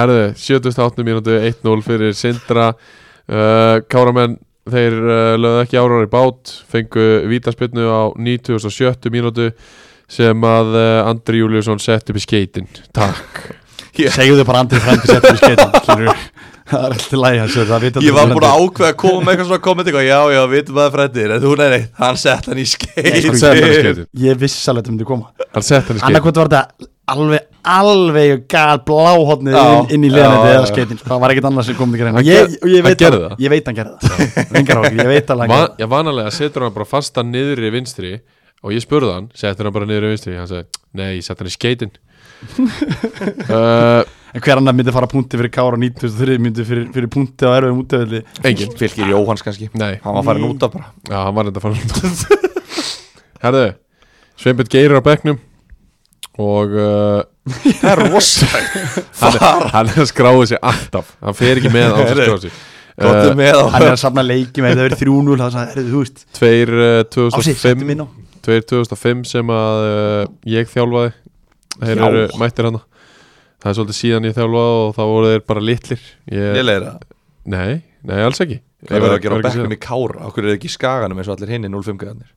B: Herðu, 78 mínútu 1-0 fyrir Sindra uh, Káramenn, þeir uh, lögðu ekki árar í bát fengu vítaspinnu á 97 mínútu sem að uh, Andri Júliusson sett upp í skeitin takk
D: Ég-
C: segðu þau bara andrið frændi settur í skeitin skilurðu. það er alltaf læg hans
D: Ég var búin að ákveða að koma með eitthvað svona komment eitthvað, já, já, vitum að frættir, en þú, nei, nei, hann sett hann í skeit
B: hann sett hann í skeitin
C: sko, ég vissi alveg að þetta myndi koma
B: hann sett hann í skeitin
C: annarkvæmt var þetta alveg alveg gal bláhotnið
D: Já,
C: inn, inn í leðanandi
D: já, já.
C: eða skeitin sko. það var ekkert annað sem kom til greina
B: Hann
C: ég,
B: ger-
C: og ég,
B: hann
C: veit
B: gerði
C: að-
B: það?
C: ég veit hann gerði það Engar áhyggjur, ég veit alveg hann
B: Va
C: gerði það.
B: já, vanalega setur hann bara fasta niður í vinstri og ég spurði hann, setur hann bara niður í vinstri hann sagði, nei, ég sett hann í skeitin uh,
C: en hver annar myndi fara punkti fyrir Kára 1903 myndi fyrir, fyrir punkti á erfið mútavöldi
B: engin,
D: Fylgir Jóhans kannski,
B: nei
D: hann var farin út af bara
B: Já, hann var enda farin út Herðu, Sveinbjörn Geir er á bekknum og uh,
D: Það er rosalega,
B: hann, er, hann er að skráði sig alltaf hann fer ekki með á þess að skráði sig
D: gottum
B: uh,
D: með á
C: hann er að safna leiki með þetta verið 3-0 það er svona, heyrðu, þú veist
B: Tveir uh,
C: Ási, settu
B: 2005
C: minn á
B: Tveir 2005 sem að uh, ég þjálfaði Þeir
D: Já.
B: eru mættir hann Það er svolítið síðan ég þjálfaði og þá voru þeir bara litlir ég,
D: Lélega það
B: Nei, nei, alls ekki
D: Hvað verður að gera á
B: ekki
D: bekknum
B: síðan.
D: í Kára? Okkur er ekki í skaganum eins og allir hinni 05 gæðanir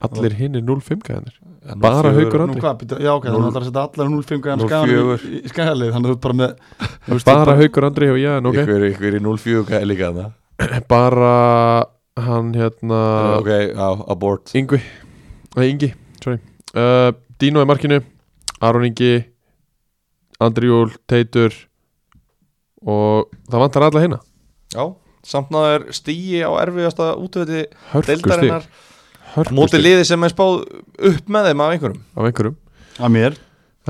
B: Allir hinn er 0-5 gæðanir Bara Haukur
C: Nú
B: Andri.
C: hvað, býttu- já ok, þannig að það er að setja allar 0-5 gæðan skagalið, skagalið, þannig að þú ert bara með þú veist, þú ert
B: Bara Haukur Andri og Jan, ok
D: Ykkur ykkur í 04 gæði líka þarna
B: Bara hann hérna
D: Ok, á, abort
B: Yngvi Nei, Ingi, sorry uh, Dino í markinu Aron Ingi Andri Júl, Teitur Og það vantar alla hérna
D: Já, samt náður stíi á erfiðasta útvöldi
B: Hörkustig
D: deildarinnar Móti
B: Hörkustig
D: liði sem er spáð upp með þeim af einhverjum
B: Af einhverjum
C: að mér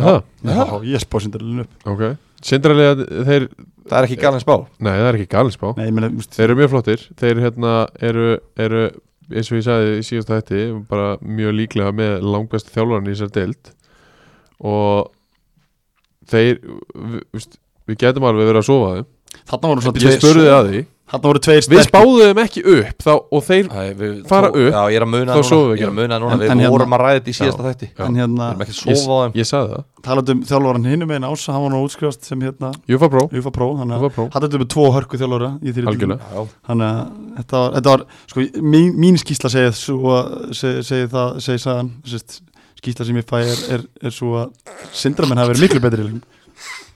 B: Það,
C: já, ég spá sindarlegin upp
B: ok Sindralega þeir
D: Það er ekki galin spá
B: Nei, það er ekki galinspá
C: nei, ég meina, þú veist,
B: Þeir eru mjög flottir Þeir hérna eru, eru eins og ég sagði í síðasta hætti bara mjög líklega með langbestu þjálfarni í þessar deild og þeir við, við, við getum alveg verið að sofa þeim
C: þarna voru svona
B: ég
C: tveir-
B: spurði að því
C: þarna voru tveir
B: Við
C: sterkir-
B: spáðum ekki upp þá, og þeir
D: Æ, við-
B: Fara
D: þó-
B: upp,
D: Já, ég er að muna
B: þá
D: það
B: sofum við
D: núna Ég er
B: ekki.
D: að muna það núna
C: En-
D: Við
C: en hérna-
D: vorum að ræða þetta í síðasta þætti Við
C: en hérna,
D: erum ekki að
B: Ég,
D: sofa á þeim
B: ég sagði það
C: talandi um þjálfvaran hinum einn ása, hann var nú útskrifast sem hérna
B: Júfa Pro,
C: UFA Pro, þannig að
B: Júfa Pro
C: hann þetta með tvo hörku þjálfvara í þriðju deild.
B: Algjörlega
D: Já,
C: þannig að þetta var, þetta var sko, mín, mín skýsla segið svo að- seg- segir það, segir sagan sérst, skýsla sem ég fæ er, er, er svo að sindramenn hafa verið miklu betri í leiknum.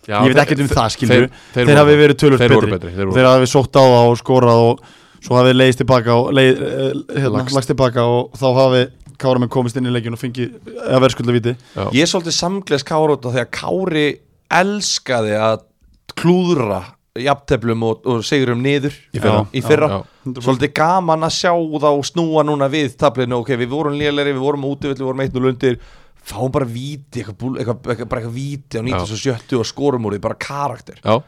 B: Já,
C: ég veit
B: þeir-
C: ekkert um það skilur
B: Þeir,
C: þeir, þeir hafi verið tölvöld
B: Þeir
C: betri
B: voru betri Þeir
C: og
B: voru
C: þeir hafið sótt á það og skorað og svo hafið leiðist tilbaka og leið, eh, hérna,
B: Lagst.
C: lagst tilbaka og þá hafið Káramenn komist inn í leikjun og fengið að verðskulda viti
B: já.
D: Ég er svolítið samgleðs Kára út af því að Kári elskaði að klúðra jafnteflum og, og sigurum niður
B: Í fyrra.
D: í fyrra.
B: Já.
D: Svolítið gaman að sjá þá snúa núna við tablinu, ok, við vorum lélæri, við vorum útivill, við vorum eitt og lundir fáum bara víti, eitthvað, búl, eitthvað, eitthvað, bara eitthvað víti á 1970 og skorum úr því, bara karakter
B: já.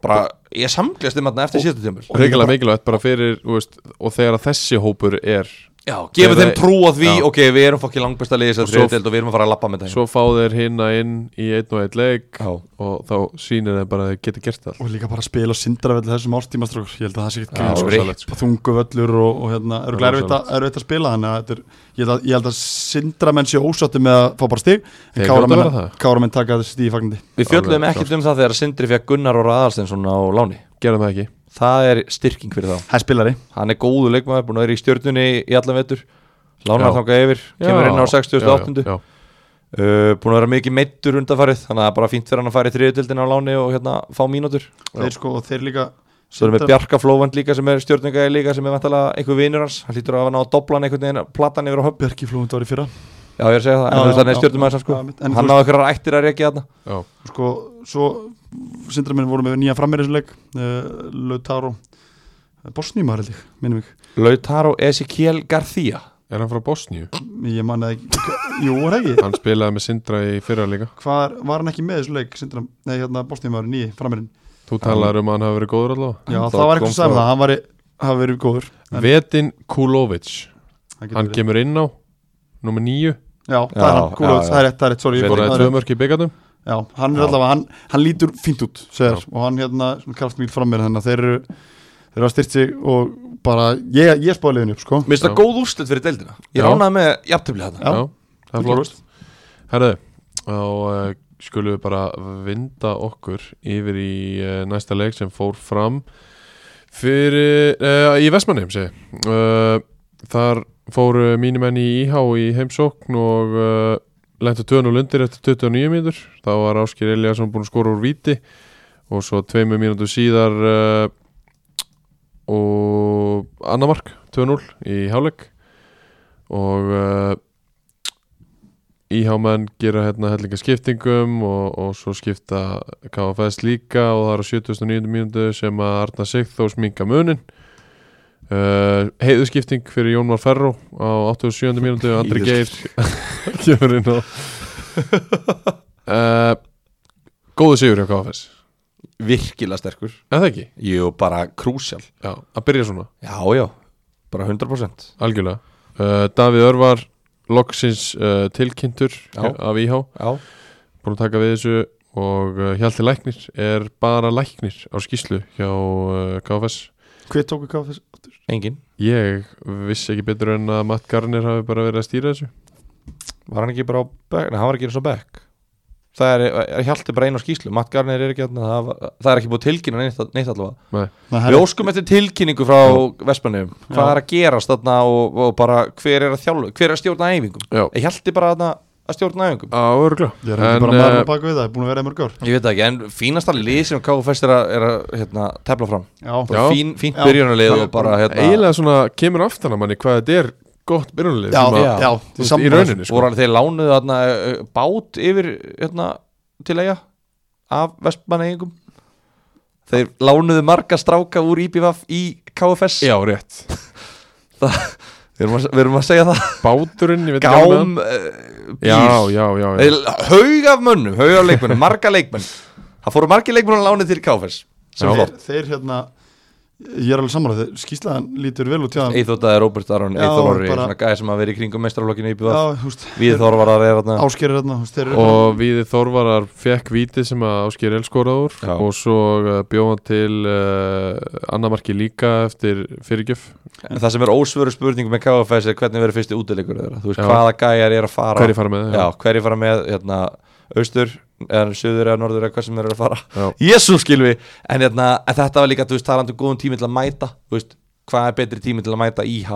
D: bara, ég samgleðst um þarna eftir síðustu tjömmul
B: Regilega mikilvægt bara fyrir þú veist, og þegar að þessi hópur er
D: Já, gefa
B: Þeir-
D: þeim trú á því,
B: Já.
D: ok, við erum fokkið langbesta liðis
B: Og
D: að
B: svo-
D: þriðdelt og við erum að fara að lappa með það
B: svo fá þeir hinna inn í einn og einn leik
D: Já.
B: og þá sýnir þeir bara að þeir geti gert það
C: og líka bara að spila og sindra velli þessum ástímastrókur ég held að það sé ekkert
D: Já,
C: grín, sko.
D: rip.
C: þungu völlur og, og hérna, er
B: Það er
C: erfitt að, erfitt að spila þannig að þetta er, ég, held að, ég held að sindra menn sé ósattu með að fá bara stig
B: Þeir
C: en
B: hljóta að vera
C: káramenn,
B: það.
C: káramenn taka þessi stíði fagnandi
D: Við fjöllum
B: Alveg
D: ekkert um það þegar Sindri fekk Gunnar og Raðarstensson á láni
B: Gerðum það ekki
D: það er styrking fyrir þá
C: það er spilari
D: hann er góðu leikmaður, búin að vera í stjörnunni í allan vetur lánar
B: Já.
D: þangað yfir, kemur inn á
B: Já,
D: 68.
B: já, já.
D: Uh, búin að vera mikið meittur undanfarið þannig að það er bara fínt fyrir hann að fara í þriðutildin á láni og hérna fá mínútur
C: þeir sko og þeir líka
D: svo erum við
C: Sindra-
D: Bjarka Flóvand líka sem er stjörnungæði líka sem er vantalega einhver vinur hans hann hlýtur að hafa náð doblan einhvern veginn platan yfir á höfn
C: Björki Flóðund var í fyrra
D: já ég er að segja það,
C: Já,
D: en
C: já,
D: þannig
C: já,
D: er stjörnumæðis sko.
C: já, mitt. En
D: hann
C: þú
D: náðu ykkur ættir að rekja þarna
B: Já.
C: sko, svo sindra menn voru með nýja frammeirinsleik uh, Lautaro Bosníma held ég, minnum ég
D: Lautaro Ezekiel García
B: Er hann frá Bosníu?
C: ég manna ekki, jú er það ekki
B: Hann spilaði með Sindra í fyrra líka
C: hvað er- var hann ekki með þessu leik sindra, nei hérna Bosníma var nýja frammeirinn
B: Þú talaður um að hann hafi verið góður allavega
C: já,
D: Þá
C: það var
D: kom
C: eitthvað sem
D: frá-
C: það, hann var hafa verið góður En-
B: Vetin Kulovic
C: hann getur
B: Hann
C: verið.
B: kemur inn á Númer nýju
C: já, það er
D: Já,
C: hann,
D: já,
C: kúla,
D: já.
C: það er rétt, það er rétt, sorry ég fór-
B: Skoraði
C: það er
B: tvö
C: rétt.
B: mörk í byggatum
C: já, hann er
D: Já.
C: allavega, hann, hann lítur fínt út segir, og hann hérna, svona kraft mjög frammeir þannig að þeir eru, þeir eru að styrt sig og bara, ég, ég spáði liðinu upp sko
D: Mér finnst það góð úrslit fyrir deildina Ég
B: Já.
D: ránaði með jafntöfli þarna
C: Já.
B: það er flott Herðu, og uh, skulum við bara vinda okkur yfir í uh, næsta leik sem fór fram fyrir, uh, í Eh, Vestmannheim segi ég. uh, Þar fóru mínumenn í IH í heimsókn og uh, lentu 2-0 undir eftir 29 mínútur þá var Áskir Eliasson búinn að skora úr víti og svo tveimur mínútur síðar uh, og annamark 2-0 í hálfleik og uh, íhámenn gera hérna hellinga skiptingum og, og svo skipta KFS líka og það er á 79. mínútu sem að Arna Sigþó sminka munin uh, heiðu skipting fyrir Jónmar Ferro á 87. mínútu og Andri Geir kemur inn á uh, góðu sigur hjá KFS
D: virkilega sterkur
B: en það ekki,
D: Jú, bara krúsjál
B: já, að byrja svona
D: Já, já, bara 100%
B: algjörlega uh, Davíð Örvar loksins uh, tilkynntur
D: Já.
B: af IH
D: Já,
B: búin að taka við þessu og uh, Hjalti Læknir er bara Læknir á skýslu hjá uh, KFS
C: Hver tók við KFS?
D: engin
B: ég vissi ekki betur en að Matt Garnir hafi bara verið að stýra þessu
D: Var hann ekki bara á bekk? Nei, hann var ekki eins og bekk Það er, er hjalti bara einu á skýslu Matt Garnir er ekki hann það, var- það er ekki búið að tilkynna neitt, neitt allavega
B: Nei.
C: Nei,
D: Við
C: herri,
D: óskum eftir tilkynningu frá Vespunum Hvað
C: Já.
D: er að gerast þarna og, og bara hver er að þjálfa Hver er að stjórna æfingum
B: já,
D: Ég hjalti bara þarna að stjórna æfingum
B: á örgla
C: Ég er ekki
B: en
C: bara maður
B: uh,
C: bak við það, það er búin að vera í mörg ár
D: Ég veit það ekki, en fínasta lið sem KFS er að, er að hérna, tefla fram
C: Já,
D: bara
B: Já.
D: fín, fínt
C: Já.
D: byrjunarlið
C: Já.
D: og bara hérna,
B: eiginlega svona kemur aftan að manni hvað þetta er gott byrjunlið
C: já, já,
D: já.
C: já
B: Þú veist, í rauninni sko.
D: voru alveg þeir lánuðu hérna, eh, bát yfir hérna, til eiga af vestmanneigingum þeir lánuðu marga stráka úr IBVF í KFS
B: já, rétt
D: við erum, að, við erum að segja það
B: báturinn, ég veit ekki alveg með hann.
D: gám, eh, bíl
B: já, já, já, já.
D: Þeir- haug af mönnum, haug af leikmönnum marga leikmenn, það fóru margi leikmenn að lánuðu til KFS
B: Já.
C: þeir, þeir hérna Ég er alveg sammála þeir skýslaðan lítur vel út hjá þeim.
D: Íþótaði Róbert Aron,
C: Já,
D: Íþór Orri
C: bara-
D: svona gæði sem að vera í kringum meistarflokkinu í IBVF
C: Já, húst,
D: við þorvarar er þarna
C: áskerir hérna húst, Þeir eru
B: og Víði Þorvarar fekk víti sem að Ásker elskóraði úr
D: Já.
B: og svo uh, bjóð hann til uh, annamarki líka eftir fyrirgjöf
D: En það sem er ósvöru spurning með KFS er hvernig verður fyrsti útilegur þeirra Þú veist,
B: Já.
D: hvaða gæjar er að fara
B: hverju fara með
D: með, já. hverjir fara með hérna, austur, eða söður eða norður eða hvað sem þeir eru að fara
B: Já.
D: Jésús skilvi, en, hérna, en þetta var líka, þú veist, talandi um góðum tími til að mæta Þú veist, hvað er betri tími til að mæta IH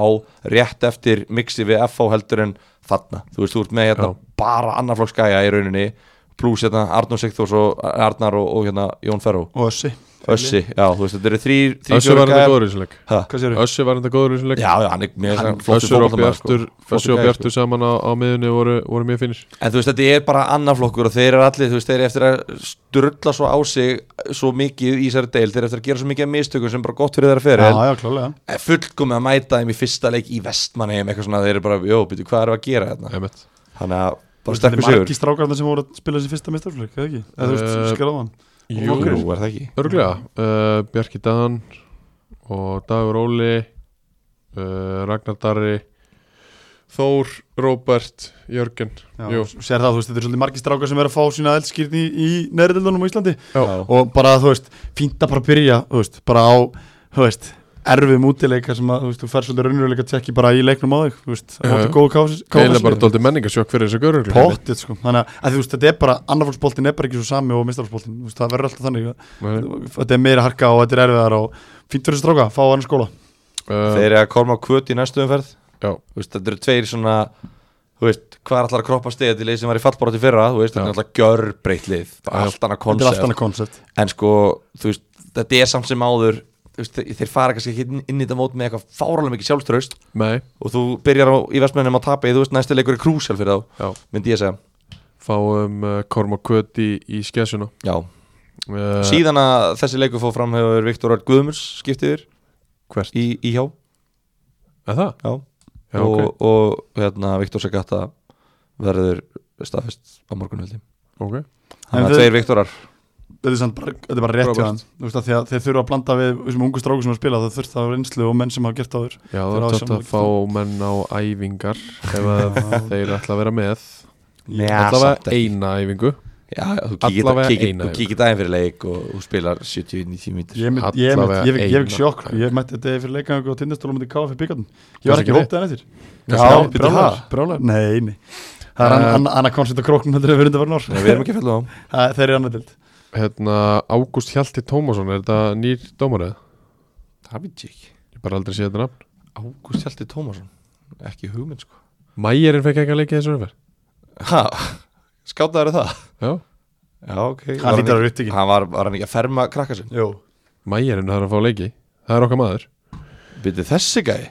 D: rétt eftir mixi við FH heldur en þarna Þú veist, þú ert með hérna,
B: Já.
D: bara annarflokks gæja í rauninni pluss hérna, Arnur Sigþórs og Arnar og, og hérna, Jón Ferro
C: Og össi
D: Össi, já, þú veist, þetta eru þrýr, þrýr,
B: Össu var enda góður í þessum leik
D: góður
C: Hvað sér
B: Össu var enda góður í þessum leik
D: Já, já, hann er mjög hann,
B: Össu og
D: fótboltamaður, sko.
B: Bjartur, Össu og
D: gæi,
B: Bjartur saman á, á miðunni voru, voru mjög finnir
D: En þú veist, þetta er bara annar flokkur og þeir eru allir, þú veist, þeir eru eftir að sturla svo á sig svo mikið í þessari deil þeir eru eftir að gera svo mikið af mistökum sem er bara gott fyrir þeirra
C: Já,
D: fyrir
C: já, klálega
D: en fullkomið að mæta þeim í fyrsta leik í vestmannegjum eitthvað svona, þeir eru bara, jó, býtu, hvað eru að gera hérna?
B: Einmitt.
D: Þannig að
C: Þú
D: bara
C: veist, þetta
D: sterkur
C: er
D: sigur
C: margi strákarna sem voru að spila þessi fyrsta mestarflögg, eða ekki? Eða þú veist,
B: Eh,
C: skiljaðu hann
B: Jú,
D: Jú, er það ekki?
B: örglega uh, Bjarki Dan og Dagur Óli uh, Ragnar Darri Þór, Róbert, Jörgen Jú.
C: Já, sér það, þú veist, þetta er svolítið margi strákar sem er að fá sína eldskýrni í, í neðrildunum á Íslandi
B: Já.
C: og bara, þú veist, fínt að bara byrja, þú veist, bara á, þú veist, erfið mútileika sem að, þú veist, þú fer svolítið raunveruleika tjekki bara í leiknum á þig, þú veist, það
B: Já.
C: er góð káfis
B: Eila Eh, bara dóldi menningasjokk fyrir þessu görur
C: Pottið, sko, þannig að, að þú veist, þetta er bara annafoldsboltin er bara ekki svo sami og mistarfoldsboltin, þú veist, það verður alltaf þannig
B: Nei,
C: þetta er meira harka og þetta er erfiðar og fínt fyrir þessu stráka, fá hann skóla
B: uh,
D: Þeir eru að korma á kvöt í næstu umferð
B: Já.
D: Þú veist, Þetta eru tveir svona Þú veist, hvað er allar að kroppa stegið til leið sem var í fallbárat í fyrra Þú veist, þetta
B: Já.
D: er allar gjörbreytt lið Það er Allt annað
C: þetta er allt
D: konsept
C: annað koncept
D: En sko, þú veist, þetta er samt sem áður þú veist, þe- Þeir fara kannski ekki inn- inn í þetta mót með eitthvað fárálega mikið sjálfstraust
B: Nei,
D: Og þú byrjar á, í vestmennum að tapa í, Þú veist, næsti leikur er krúsjál fyrir þá,
B: já
D: myndi ég segja
B: fáum uh, korm og kött í, í skessuna
D: Já,
B: uh,
D: síðan að þessi leikur fór fram hefur Viktor Örn Guðmunds skiptiður
B: hvert
D: í, í hjá
B: er það?
D: Já,
B: Já,
D: og,
B: ok,
D: og hérna Viktor Segata verður staðfest á morgunveldi
B: ok
C: En
D: Þannig að
C: þið-
D: tveir Viktorar
C: þetta er, samt bara, þetta er bara rétt hjá
B: Robert.
C: hann Þú veist, af því að þeir þurfa að blanda við þessum ungu stráku sem að spila það þurft að reynslu og menn sem hafa gert áður
B: Já,
C: Þeir
B: það
C: hafa
B: er þetta
C: sjálfur
B: að fá menn á æfingar ef að þeir ætla að vera með
D: samt
B: allavega
D: ekki.
B: eina æfingu
D: Já, já, þú kíkir
B: Allavega
D: kíkir-
B: eina
D: þú
B: yfir.
D: kíkir daginn fyrir leik og þú spilar 70-90 mítur
C: ég, mynd, ég, mynd,
B: Allavega
C: ég, ég, ég fikk
B: eina.
C: sjokk ég mætti þetta fyrir leikangu og tindastólum myndi káfa fyrir byggarn ég
B: Kannski
C: var ekki
B: við.
C: hótt en eftir
B: Já,
D: býttu,
C: brjálar,
D: ha?
C: brjálar. nei, nei það
B: Eh,
C: er anna- anna- annað koncept á króknum heldur en við erum
D: Nei,
C: þetta
D: Við erum
C: var
D: ekki að um fellum á
C: nár þeir eru annað dild
B: Hérna, Ágúst Hjalti Tómasson er þetta nýr dómarið?
D: Það veit ég ekki
B: Ég bara aldrei séð þetta nafn
D: Ágúst Hjalti Tómasson Ekki hugmynd sko
B: Mæjarinn fekk ekki að leika í þessu umferð
D: Hæ, skátaður það?
B: Já,
D: Já, ok
C: Hann lítur að vera upptekinn.
D: Hann var, var hann ekki að ferma krakka sinn
C: Jó,
B: mæjarinn þarf að fá leiki Það er okkar maður,
D: Býttu þessi gæi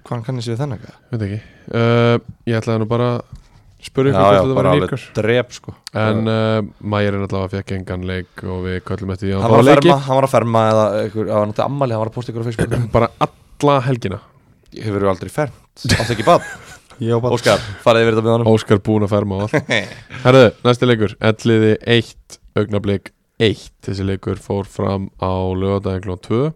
D: Hvað hann kannist við þennan gæi?
B: veit ekki uh, Ég ætlaði nú bara að spyrja ykkur
D: Já, já,
B: hvort þetta var
D: bara alveg
B: líkur
D: drep sko
B: En uh, mæjarinn allavega fekk engan leik og við köllum eftir því að
D: Hann
B: hann
D: var
B: fá
D: að
B: leiki
D: ferma, hann var að ferma eða ykkur, hann var náttúrulega ammali, hann var að posta ykkur á Facebook
B: Bara alla helgina
D: Ég hefur aldrei fermt, átt ekki bad
C: ég á bara
D: Óskar, farið yfir þetta með honum
B: Óskar búin að ferma á allt Herðu, næsti leikur, elliði 1 augnablík 1 Þessi leikur fór fram á lögadaginn klón 2 uh,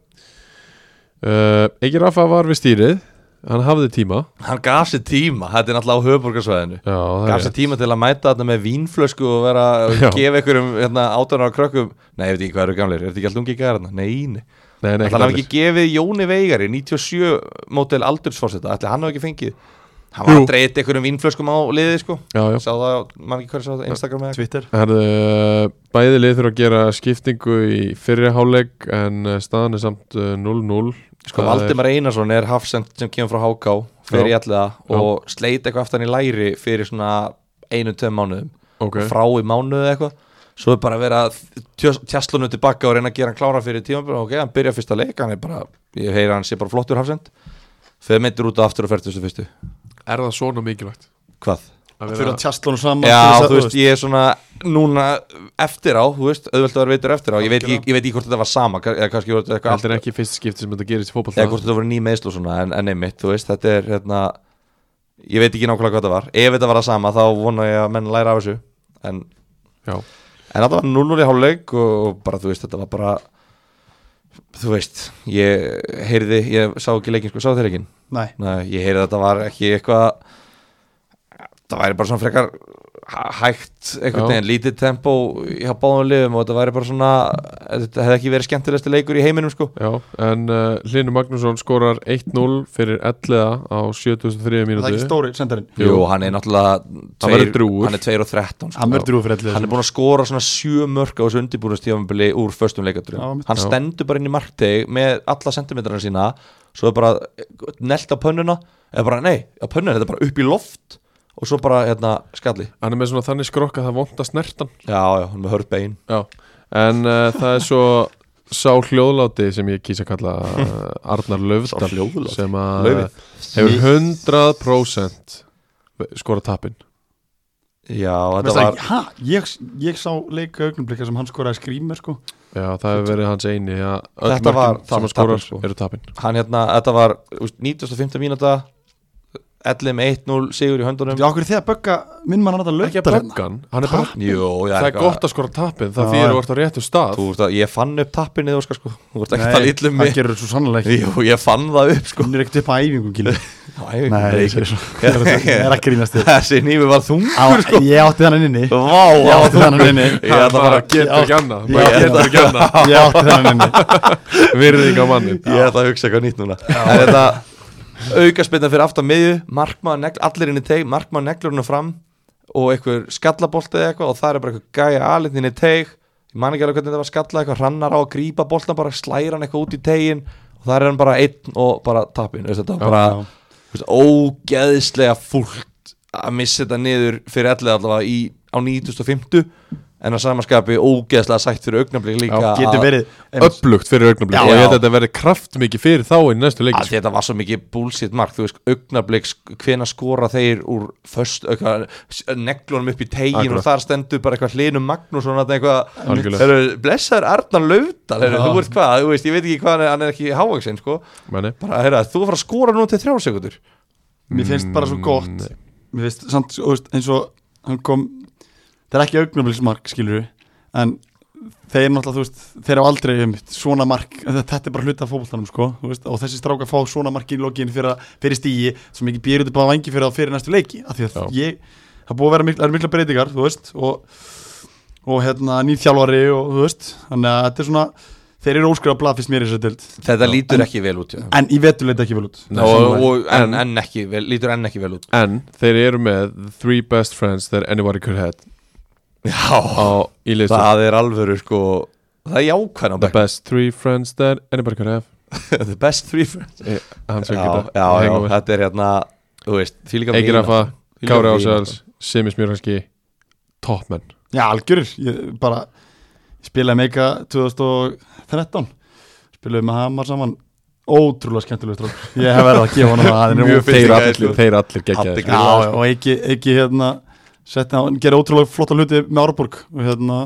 B: Ekki Rafa Uh, var við stýrið Hann hafði tíma
D: Hann gaf sér tíma, þetta er náttúrulega á höfburgarsvæðinu
B: Já, það
D: Gaf
B: er
D: sér tíma til að mæta þarna með vínflösku og vera að
B: Já.
D: gefa ykkur um hérna, átunar á krökkum Nei, ég veit ekki hvað eru gamlir, er þetta ekki alltaf ungi gæðarna? Nei, nei
B: Nei,
D: Ætli
B: nei, ekki
D: hann hafi
B: allir
D: ekki gefið Jóni Veigari 97 mótel aldursforsetta Ætli hann hafi ekki fengið Hann var
B: Jú.
D: að dreita ykkur um vínflöskum á liðið sko
B: Já, já
D: Sá það, mann ekki hverju sá það, Instagram eða
C: Twitter
B: Herðu, uh, bæði lið þurfa að gera skiptingu í fyrri hálfleik en uh, staðan er samt uh, 0-0
D: Sko
B: Það
D: Valdimar Einarsson er hafsend sem kemur frá HK fyrir
B: Já.
D: allega og sleit eitthvað aftan í læri fyrir svona einu, tveim mánuðum
B: er- Ok,
D: frá í mánuðu eitthvað svo er bara að vera að tjastlunum tilbaka og reyna að gera hann klára fyrir tímabili ok, hann byrja fyrsta leik, hann er bara ég heyra hann sé bara flottur hafsend fyrir myndir út á aftur og fyrstu fyrstu
B: er það svona mikilvægt?
D: hvað?
B: Að
C: Fyrir
B: vera,
C: að tjastlunum saman
D: Já,
C: til þess að-
D: þú veist, ég er svona núna eftir á, þú veist, auðvelt að vera veitur eftir á ég veit, ekki- ég veit ekki hvort þetta var sama kann- eða kannski hvort þetta eitthvað
B: þetta er ekki fyrst skipti sem þetta gerist í fótball
D: eða hvort þetta voru ný meðsl og svona en, en einmitt, þú veist, þetta er hérna, ég veit ekki nákvæmlega hvað þetta var ef þetta var það sama, þá vona ég að menn læra af þessu en,
B: Já,
D: en þetta var 0-0 í hálfleik og, og bara, þú veist, þetta var bara þú veist, ég heyrði ég sá ekki leikin, sko, sá þér leikin
C: Nei,
D: Nei, ég heyrði að þetta var ekki eitthvað það væri bara svona frekar hæ- hægt einhvern
B: Já.
D: veginn, lítið tempó hjá báðum liðum og þetta væri bara svona þetta hefði ekki verið skemmtilegsti leikur í heiminum sko
B: já, en uh, Hlynur Magnússon skorar 1-0 fyrir 11 á 73
C: það er ekki
B: mínútu
C: stóri sendarinn
B: Jú.
D: Jú, hann er náttúrulega
B: verður drjúgur.
D: Hann er 2 og 13 sko.
C: Hann verður drjúgur fyrir elliði,
D: Hann er búin að skora svona 7 mörg á þessu undibúrnastífambili úr föstum
C: Já,
D: leikadröðum
C: mitt.
D: Hann
B: Já.
D: stendur bara inn í markteg með alla sentimetrarna sína Svo er bara nelt á pönnuna Eða bara, nei, á pönnuna, þetta er bara upp í loft Og svo bara, hérna, skalli
B: Hann er með svona þannig skrokk að það vonda snertan
D: Já, já, hann er með hörð bein
B: Já, en uh, það er svo sá hljóðláti sem ég kýsa að kalla uh, Arnar Löfdal
D: Sá hljóðláti.
B: sem að
D: Laufið.
B: hefur 100% skora tappin
D: Já, þetta
C: Veist það,
D: var
C: ha, ég, ég sá leika augnublika sem hann skoraði skrýmer sko
B: Já, það hefur verið hans eini að öll
D: Þetta var-
B: mörkin
D: það var
B: sem að skorar
D: tappinn, sko.
B: eru tappin
D: Hann hérna, þetta var úst, 95. mínúta 11 með 1-0 sigur í höndunum
C: Já, okkur er þið að bögga minn mann að þetta
B: Ekki að
C: lögdar hérna?
B: böggan, hann er bara
D: Jú,
B: Það er gott að skora tappin, það fyrir
C: Já,
B: að
C: já.
B: vart á réttu stað
D: Þú veist að ég fann upp tappinni þú sko, sko. Þú veist ekki að tala
C: Nei,
D: illum
C: hann
D: mig
C: gerur svo sannlega ekki
D: Jú, ég fann það upp sko
C: Hún er ekkert upp á æfingu gilið
D: Æ,
C: Nei,
D: nei,
C: ég segi svo Ég er ekki grínast þér
D: Þessi nými var þungur
C: Á, Ég átti þannig inni
D: Vá,
C: Ég
D: vá,
C: átti
D: þungur
C: þannig inni
D: Ég ætla bara
B: bara getur ekki annað
C: Ég
B: bara
C: átti
B: getur ekki annað
C: Ég átti þannig inni
B: Virðing á mannin
D: Ég ætla að hugsa eitthvað nýtt núna En þetta aukaspinna fyrir aftan miðju Markmaður negl, allir inn í teig Markmaður neglur hún fram Og einhver skallabolti eða eitthvað Og það er bara eitthvað gæja alinn inn í teig Ég man ekki alveg hvernig þetta var skalla eitthvað Hrannar á að grípa boltan bara Slæra hann eitthvað út í tegin Og það er hann bara einn og bara tapin Þetta var bara
C: Já.
D: þú veist, ógeðslega fúlt að missa þetta niður fyrir allir allavega í, á 9.50 en að samanskapi ógeðslega sætt fyrir augnablik líka
C: Getur
D: að,
C: verið einmitt.
B: Öflugt fyrir augnablik
D: Já,
B: og ég
D: já.
B: held að þetta verði kraftmikið fyrir þá í næstu leik
D: að þetta var svo mikið bullshit mark þú veist, augnablik, hvena skora þeir úr föst, eitthvað, neglunum upp í tegin
B: Akkurat.
D: og þar stendur bara eitthvað um hlinum Magnússon að eitthvað
B: Algjörlega.
D: heru, blessaður Arnar Laudal, heru,
C: Já.
D: þú veist hvað, þú veist, ég veit ekki hvað hann er, hann er ekki hávaksinn, sko,
B: Meni.
D: bara, heru, þú er að fara að skora nú til þrjá sekundur
C: Mér finnst bara svo gott
B: Nei.
C: Mm, Mér finnst samt þú veist, eins og hann kom Það er ekki augnablismark skilur við En þeir náttúrulega þú veist Þeir á aldrei um svona mark Þetta er bara hluta af fótboltanum sko þú veist, Og þessi stráka fá svona mark í lokin fyrir, að- fyrir stíi Svo mikið býr út upp á vangi fyrir, þá fyrir næstu leiki Af Því að ég, það er búið að vera mikla, mikla breytingar Þú veist Og, og hérna nýþjálfari og þú veist Þannig að þetta er svona Þeir eru óskrifað blað fyrst mér í þessu dild
D: þetta lítur
C: en-
D: ekki vel út já.
C: En í vetur leit ekki vel út
B: Nei.
D: og, og, en,
B: En-
D: en ekki, vel, lítur enn ekki vel út
B: En þeir eru með the Three best friends that anybody could have
D: Já,
B: á, Í listu
D: Oh, það er alvöru sko Það er jákvæðan á
B: The
D: bekk
B: best three friends that anybody could have
D: The best three friends
B: Eh, Hann sem
D: Já,
B: geta
D: já, já
B: hengum við.
D: þetta er hérna Þú veist, því líka sko.
B: Eikir Rafa, Kári Ásjáls sem er smjörhanski toppmenn
C: Já, algjörur, ég bara ég spilaði meika 2013 spilaði með Hamar saman ótrúlega skemmtilegur strókur ég hef verið að gefa hann það hann er
D: Mjög
C: ótrúlega-
D: fyndið
B: þeir
D: gæði,
B: allir,
D: sko.
B: þeir allir
D: Allir
B: geggjaðir
D: geggjaðir.
B: sko.
D: grillaður,
C: Já,
D: sko.
C: og ekki, ekki hérna setna, hann gerir ótrúlega flotta hluti með Árborg og hérna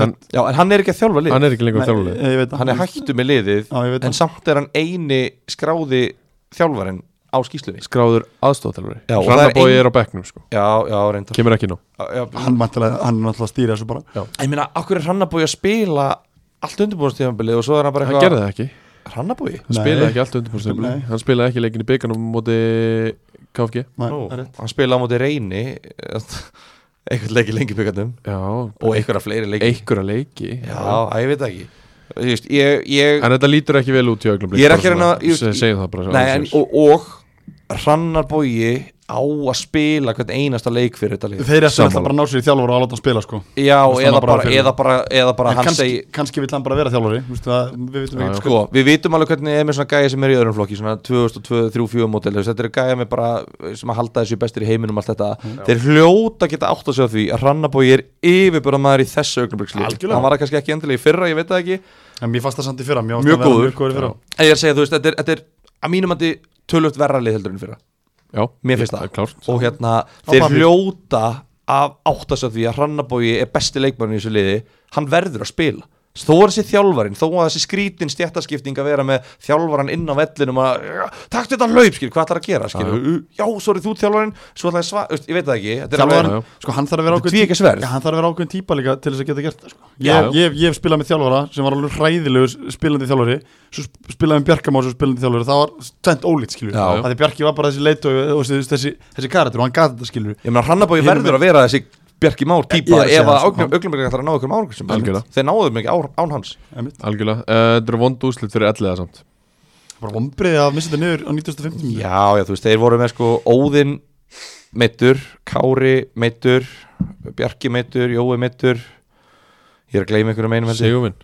B: en
D: Já, en hann er ekki að þjálfa lið
B: hann er ekki lengur
C: nei,
B: þjálfulið
C: ég veit það.
D: Hann er hættu með liðið
C: Já, ég veit
D: En
C: það.
D: samt er hann eini skráði þjálfarinn á skýslunni
B: skráður aðstofþjálfari
D: Já, og það er
B: Rannabói
D: ein-
B: er á bekknum sko,
D: Já, já, reynda
B: kemur ekki ná
D: já,
C: hann, væntanlega- hann er náttúrulega að stýra þessu bara
D: Ég meina, okkur er Hrannabói að spila allt undirbúðastífambilið og svo er hann bara
B: hann gerði það ekki,
D: Hrannabói?
B: hann
C: Nei.
B: spilaði ekki allt undirbúrstum
C: Nei.
B: hann spilaði ekki leikin í byggarnum móti KFG
C: Nei,
D: Nú,
C: það er rétt.
D: hann spilaði á móti reyni einhvern leik í lengjubyggarnum
B: já,
D: og einhverja fleiri leiki
B: einhverja leiki
D: Já, að ég veit það ekki Þú veist, ég, ég,
B: en þetta lítur ekki vel út í augnum
D: Ég er ekki að reyna að- ég-
B: segjum það bara
D: nei, en,
B: alveg
D: og, og Hrannarbói á að spila hvern einasta leik fyrir þetta lið
C: þeir eftir alltaf
B: Sammála.
C: bara að ná sér í þjálfur og að láta hann spila sko
D: Já,
C: Þú veist,
D: eða
C: hann var bara
D: bara,
C: fyrir-
D: eða bara, eða bara
C: en
D: hann
C: kannski,
D: segi
C: kannski vill hann bara vera þjálfari þú veist það, við vitum
B: Já,
C: ekki
B: já.
D: Sko, við vitum alveg hvernig er með svona gæja sem er í öðrum flokki svona 2002-2004 mótel þetta eru gæja með bara sem að halda þessu bestir í heiminum allt þetta,
C: Mm.
D: þeir hljóta geta átt að segja því að Rannabói er yfirbjörða maður í þessu augnablikslið,
C: Algjörlega.
D: hann var það kannski ekki endilega í fyrra, ég veit það ekki,
C: en mér fannst það samt í fyrra mér fannst
D: Mjög
C: hann vera
D: góður.
C: mjög góður í fyrra
D: en ég er að segja þú veist, þetta er, þetta er að mínum andi tölvöld verra lið heldur en í fyrra
B: já,
D: mér finnst
B: ég-
D: það.
B: er klárt
D: og hérna,
C: Það
D: þeir
C: var fínt.
D: hljóta að átta sig á því að Hrannabói er besti leikmann í þessu liði, hann verður að spila þó er þessi þjálfarin, þó að þessi skrítin stjættaskipting að vera með þjálfaran inn á vellinum að, takt þetta hlaup skil, hvað ætlar að gera skil, já, já sorry þú ert þjálfarin svo ætlar ég sva, veist, ég veit það ekki þetta er
C: Þjálfarinn-
D: alveg-
B: já,
C: sko hann þarf að
D: Þetta er
C: vera ákveðin tí-
D: tvíeggja sverð.
C: Já, hann þarf að vera ákveðin típa líka til þess að geta gert það sko.
B: Já.
C: ég, ég, ég hef spilað með þjálfara sem var alveg hræðilegur spilandi þjálfari svo sp- spilaði með Bjarkamá sem spilandi þjálfari það var stent ólít skilur
D: Já.
C: að því Bjarki var bara þessi leit og, og þessi, þessi, þessi karakter og hann gaf þetta skilur
D: ég meina Hrannabói
C: Hinum
D: verður að vera þessi Bjarki Már
C: Ég er
D: típa
C: að segja
D: ef að
C: það, sko.
D: augnumöglega ætlar að ná ykkur árangur sem
B: Algjörlega.
D: þeir náðum ekki á- án hans
B: algjörlega, Eh, þetta eru vond úslit fyrir elliða samt
C: bara vombriði að missa þetta niður á 1950 mínútu.
D: Já, já, þú veist, þeir voru með sko Óðinn meittur, Kári meittur, Bjarki meittur, Jói meittur Ég er að gleyma einhverjum einum held ég
B: Sigurvin,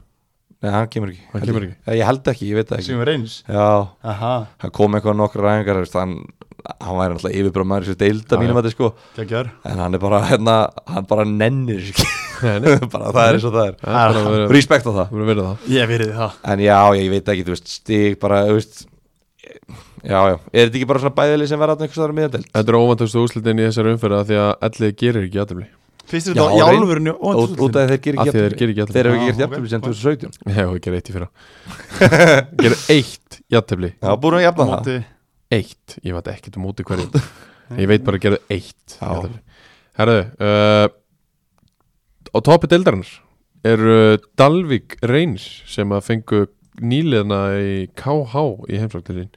D: Nei, hann kemur ekki
B: Hann
D: held
B: kemur
D: ég. Ég held ekki, ég veit það ekki
C: Sigmar Reynis
D: Já,
C: aha
D: hann kom eitthvað nokkra ræðingar Hann, hann væri náttúrulega yfirbróð maður þessu deilda
B: Já,
D: mínum að þetta sko
C: geggjör
D: En hann er bara, hérna, hann bara nennir þessu ekki
B: Nei, nei.
D: Bara það er eins og það er
B: það er bara verið-
D: Respekt á það
B: verið verið það
C: ég verið það
D: En já, ég veit ekki, þú veist, stig bara, þú veist Já, já, er þetta ekki bara svona bæðileg sem verða þarna einhvers staðar um miðjadeild?
B: Þetta eru óvæntastu úslitin í þessari umferða því að ellið gerir ekki aðtöfli
C: finnst
D: Já,
C: þetta í
D: Reyn-
C: alvörinu
D: út út af að þeir gerir
B: Af
D: ekki
B: því þeir
D: jafntefli.
B: gerir ekki jafntefli.
D: þeir hafa
C: Já,
D: ekki gert
C: ok,
D: jafntefli síðan
C: fine.
D: 2017
B: Ég hef ekki eitt í fyrra Gerir eitt jafntefli
D: já, búin að jafna það
C: móti
B: Eitt, ég veit ekkert um út í hverju Ég veit bara að gera eitt
D: Já.
B: jafntefli. Herðu uh, Á topi deildarinnar eru Dalvik Reyns sem að fengu nýliðna í KH í heimsóktilin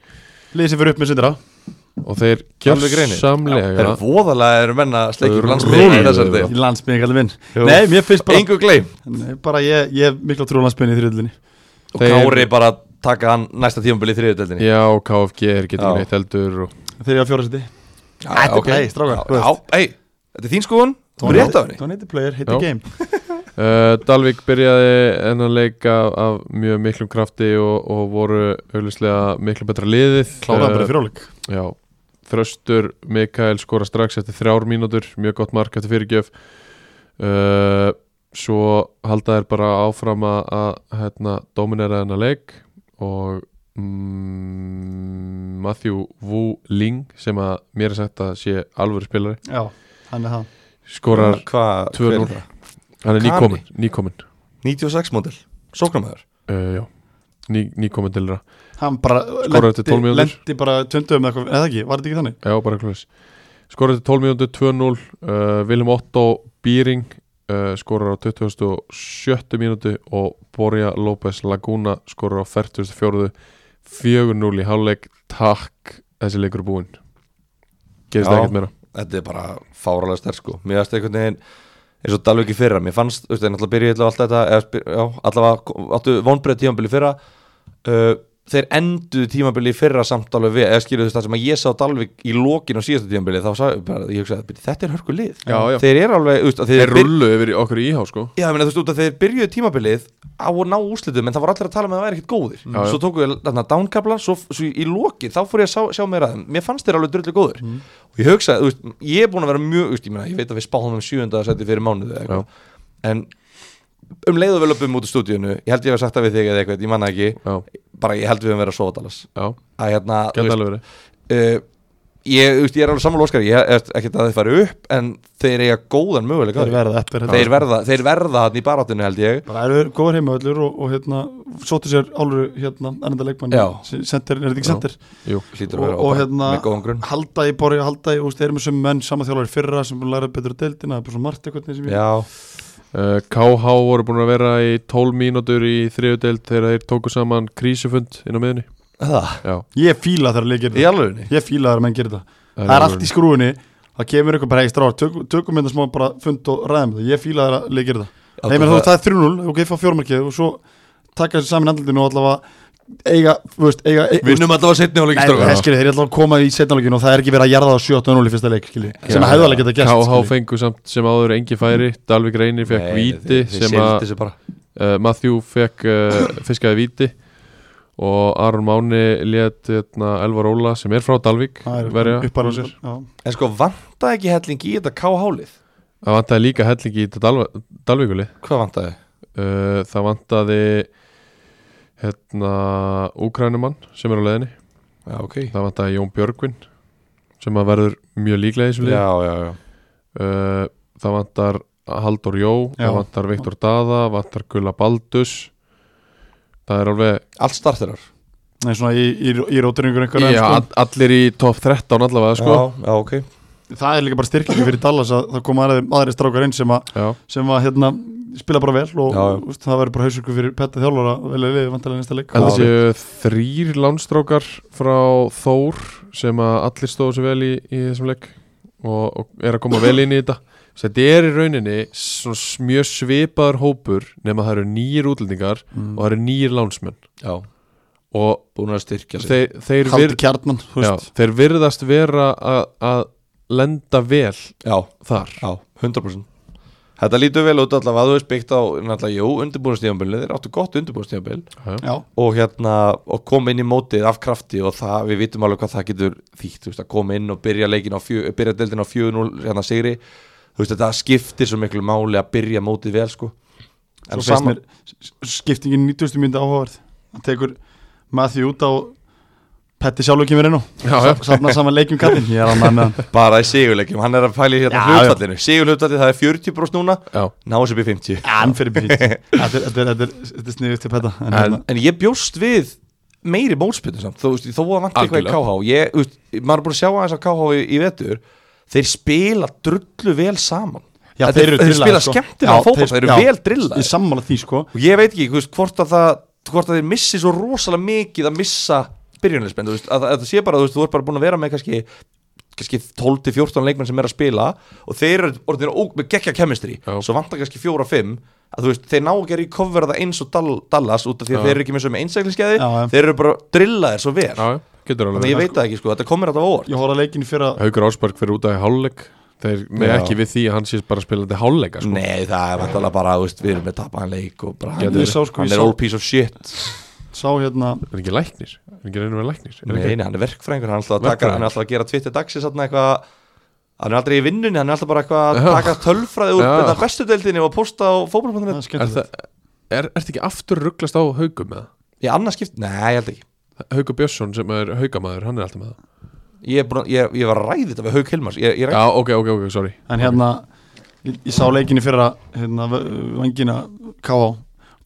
C: lýsið fyrir upp með sindra
B: og þeir
D: Dalvík Reynir? það
B: gjörsamlega
D: er voðalega eru menna sleikjum
B: Rúllu.
D: landsbyrði
C: í landsbyggjum kallum minn
D: Jú.
C: nei, mér finnst bara
D: engu gleym
C: Nei, bara ég, ég hef mikla trú á landsbyrjunni í þriðlunni
D: og
B: Þeir-
D: Kári bara taka hann næsta tímabili í þriðutöldinni
B: Já, KFG er ekki
D: Já.
B: neitt heldur og
C: Þegar ég á fjóra seti þetta er play, strákar, þú
D: já,
C: veist.
D: ei, þetta er þín skoðun þú rétt af henni
C: Don't hit the player, hit
B: Já.
C: the game
B: Uh, Dalvik byrjaði ennan leik af, af mjög miklum krafti og, og voru auðvitað miklu betra liðið
C: Kláraði bara fjóraleg
B: Uh, já, Þröstur Mikael skora strax eftir þrjár mínútur mjög gott mark eftir fyrirgjöf uh, svo halda þær bara áfram að, að hérna, dominera ennan leik og mm, Matthew Wu Ling sem að mér er sagt að sé alvöru spilari
C: Já, hann er það
B: skorar,
D: Hvað-
B: tvö
D: hver er
B: núll.
D: það?
B: hann er
D: Kani.
B: nýkominn nýkomin,
D: 96 módel, sóknarmæður
B: uh, já Ný, nýkomin til þeirra
C: Hann bara
B: Skoraði eftir 12 mínútur.
C: Lendi bara tundum eða eitthvað Eða ekki, var þetta ekki þannig?
B: Já, bara kluris Skorar til 12 mínútur, 2-0 uh, Vilum Otto Býring uh, skorar á 27. mínútu og Borja López Laguna skorar á 44. 4-0 í hálfleik Takk, þessi leikur er búinn Gerist
D: Já.
B: ekkert meira
D: þetta er bara fáralega sterk sko mér fannst einhvern veginn eins og Dalvik í fyrra mér fannst, þú veist, það er náttúrulega byrjaði allavega alltaf þetta eða, spyr- já, allavega áttu vonbreið tímanbili fyrra uh, þeir enduðu tímabili í fyrra samtálu við, eða skilur þú veist það sem að ég sá Dalvik í lokin á síðasta tímabili þá sagði bara, ég hugsaði, "Bíddu, þetta er hörku lið
B: Já, já.
D: þeir eru alveg, þú veist, að þeir,
B: Þeir rullu yfir í okkur í íhá sko
D: Já, ég meina, þú veist, út af þeir byrjuðu tímabilið á að ná úslitum, en það voru allir að tala með að það væri ekkert góðir
B: Já, já.
D: Svo tóku þeir þarna dánkabla, svo, svo í lokið, þá fór ég að sjá, sjá meira að þeim Mér fannst þeir alveg drullu góðir
B: Mm.
D: Og ég hugsaði, þú veist, ég er búin að vera mjög, þú veist, ég meina, ég veit að við spáðum um sjöunda að setja fyrir mánuði eða eitthvað. En um leiðu vel uppum út úr stúdíunu, ég held ég hef sagt það við þig eða eitthvað, ég manna ekki
B: Já,
D: Bara ég held við höfum verið að sofa Dallas
B: já,
D: Að hérna, þú
B: geta
D: veist,
B: alveg verið
D: uh, ég, þú veist, ég er alveg sammála Óskari, ég er ekkert að þeir fari upp, en þeir eiga góðan möguleika á
C: þeir
D: því.
C: verða eftir
D: Þeir verða, þeir verða hann í barátinu held ég
C: bara eru góður heima öllur og, og hérna sóttu sér álur hérna ennenda leikmann
D: Já.
C: center, er þetta ekki center
B: Jú,
D: Hlýtur að
C: og,
D: vera
C: og
D: bara
C: hérna
D: með góðan grunn
C: halda í borði, halda í, og þeir eru með sem menn sama þjálfur í fyrra sem læra betur að deildina, það er bara svo margt eitthvað sem ég
D: Já,
B: Uh, KH voru búin að vera í 12 mínútur í þriðudeld þegar þeir tóku saman krísufund inn á miðunni
D: það,
B: Já,
C: ég fíla þegar leikir
D: í alvegunni
C: ég fíla þegar menn gerir það það er allt í skrúinni, það kemur eitthvað bara hey stráður, tökum, tökum mynda smá bara fund og ræðum það, ég fíla þegar leikir það Nei, menn, það, það er 3-0, ok, fá fjórmarkið og svo taka þessu saman andlutinu og allavega eiga, þú veist, eiga e- þú veist,
D: Vinnum alltaf að setni á
C: Nei,
D: leikistróka
C: það skilur, þeir eru alltaf að koma í setnalögin og það er ekki verið að jarða það 7-0 í fyrsta leik skilur, sem að hefða alveg geta gert Mm.
B: KH
C: skilur.
B: fengu samt sem áður engi færi Dalvik Reynir fekk víti sem að
D: sem að
B: uh, Matthew fekk uh, fiskaði víti og Aron Máni lét hérna, Elvar Óla sem er frá Dalvik
C: Það er
B: verja
C: uppalinn sér Já.
D: En sko vantaði ekki helling í þetta K-hálið
B: Það vantaði líka helling í þetta Dalva, Dalvikuli
D: Hvað vantaði?
B: uh, Það vantaði hérna Úkrænumann sem er á leiðinni
D: Já, ok Já,
B: Það vantaði Jón Björgvin sem að verður mjög líklega í þessu lið
D: já, já
B: uh, Það vantar Haldur Jó,
C: Já.
B: það vantar Viktor Dada vantar Gulla Baldus Það er alveg
D: Allt starterar
C: Nei, svona í, í, í róturingur einhverja
B: já, all- allir í top 13 allavega sko.
D: Já, já, ok
C: sko. Það er líka bara styrklingi fyrir Dallas að það koma aðri, aðri strákar inn sem að,
B: Já.
C: sem að hérna, spila bara vel og,
D: Já.
C: og veist, það verður bara hausöku fyrir Petta þjálfara vel að liði vantarlega næsta leik
B: En það
D: Já.
B: séu þrýr lánstrákar frá Þór sem að allir stóðu sér vel í, í þessum leik og, og er að koma vel inn í þetta Þess að þetta er í rauninni svona s- mjög svipaður hópur nema það eru nýjir útlendingar
C: Mm.
B: og það eru nýjir lánsmenn
D: Já,
B: og
D: búin að styrkja sig
B: þeir, þeir,
C: Haldur
B: vir,
C: kjarnan, þú
B: já,
C: veist
B: þeir virðast vera að, að lenda vel
D: Já,
B: þar
D: já, 100% Þetta lítur vel út allavega þú veist byggt á, náttúrulega, jú, undirbúinastíðanbili Þeir áttu gott undirbúinastíðanbili
C: Já,
D: og hérna og koma inn í mótið af krafti og það, við vitum alveg hvað það getur þýtt þú veist, að koma inn og byrja leikin á fjö, byrja deildin á 4-0 hérna sigri þú veist, það skiptir svo miklu máli að byrja mótið vel sko
C: Svo
D: en
C: finnst
D: saman,
C: mér s- s- skiptingin 90. myndi áhugaverð hann tekur Matthew út á Petti sjálfur kemur inn á
B: Já, já.
C: safna saman leikjum kallinn ég er að manna með hann
D: bara í sigurleikjum hann er að pæli hérna
C: Já,
D: hlutfallinu, sigurhlutfallið það er 40 bros núna,
B: Já,
D: ná þessu upp í 50
C: hann fyrir býtt þetta er, þetta er, þetta er, þetta er sniðið til Petta en, hérna-
B: En-
C: en,
D: en ég bjóst við meiri mótspilnu samt, þú veist, þó að vanta eitthvað í KH ég, þú veist, maður er búin að sjá aðeins á KH í, í vetur, þeir spila drullu vel saman
C: já,
D: Þetta- þeir spila skemmtilega
C: sko. Já,
D: fótbolta, þeir eru
C: já,
D: vel drillaðir.
C: ég sammála því sko
D: og ég veit ekki þú veist, hvort að það hvort að þeir missi svo rosalega mikið að missa byrjunleismenn, þú veist, að, að það sé bara þú, veist, þú ert bara búin að vera með kannski kannski 12-14 leikmenn sem er að spila og þeir eru orðin óg með gekkja kemistri
B: Já.
D: svo vantar kannski 4-5 að þú veist, þeir ná ekki að recovera það eins og Dal Dallas út af því að
B: Já.
D: þeir eru ekki með sömu einsæklingskeði
C: Já, já.
D: þeir eru bara drillaðir svo vel
B: já, já, getur
D: þannig að
B: alveg
D: ég veit það ekki sko, þetta komir alltaf á óvart
C: ég horfði að leikinni fyrir að
B: Haukur Ásberg fyrir út af í hálfleik Þeir með
D: Já.
B: ekki við því að hann sést bara spilandi hálfleika sko.
D: Nei, það er vantalega bara, þú veist, við erum með tapaðan leik og bara, hann,
C: Ég
D: er,
C: sá, sko,
D: hann
C: ég
D: er
C: sá-
D: all piece of shit
C: sá hérna
B: Er ekki læknir? Er ekki reynir með læknir? Er
D: Nei,
B: ekki...
D: nei, hann er verkfræðingur, hann er alltaf að,
B: Verkfræðingur.
D: taka, hann er alltaf að gera Twitter dagsins hann eitthvað Hann er aldrei í vinnunni, hann er alltaf bara eitthvað að
B: Já.
D: taka tölfræði úr
B: Já.
D: þetta bestu deildinni og posta á fótbolum.net
C: það er
B: Er
C: skemmtilegt.
B: það, er, ertu ekki aftur rugglast á haugum með það?
D: Í annars skipt, nei, ég held ekki
B: Haugur Björnsson sem er haugamæður, hann er alltaf með það
D: Ég, er búin, að- ég, ég var að ræði þetta við Hauk Hilmars ég, ég ræði,
B: Já, ok, ok, ok, sorry
C: en hérna ég, ég sá leikinni fyrir að hérna, vangina K.A.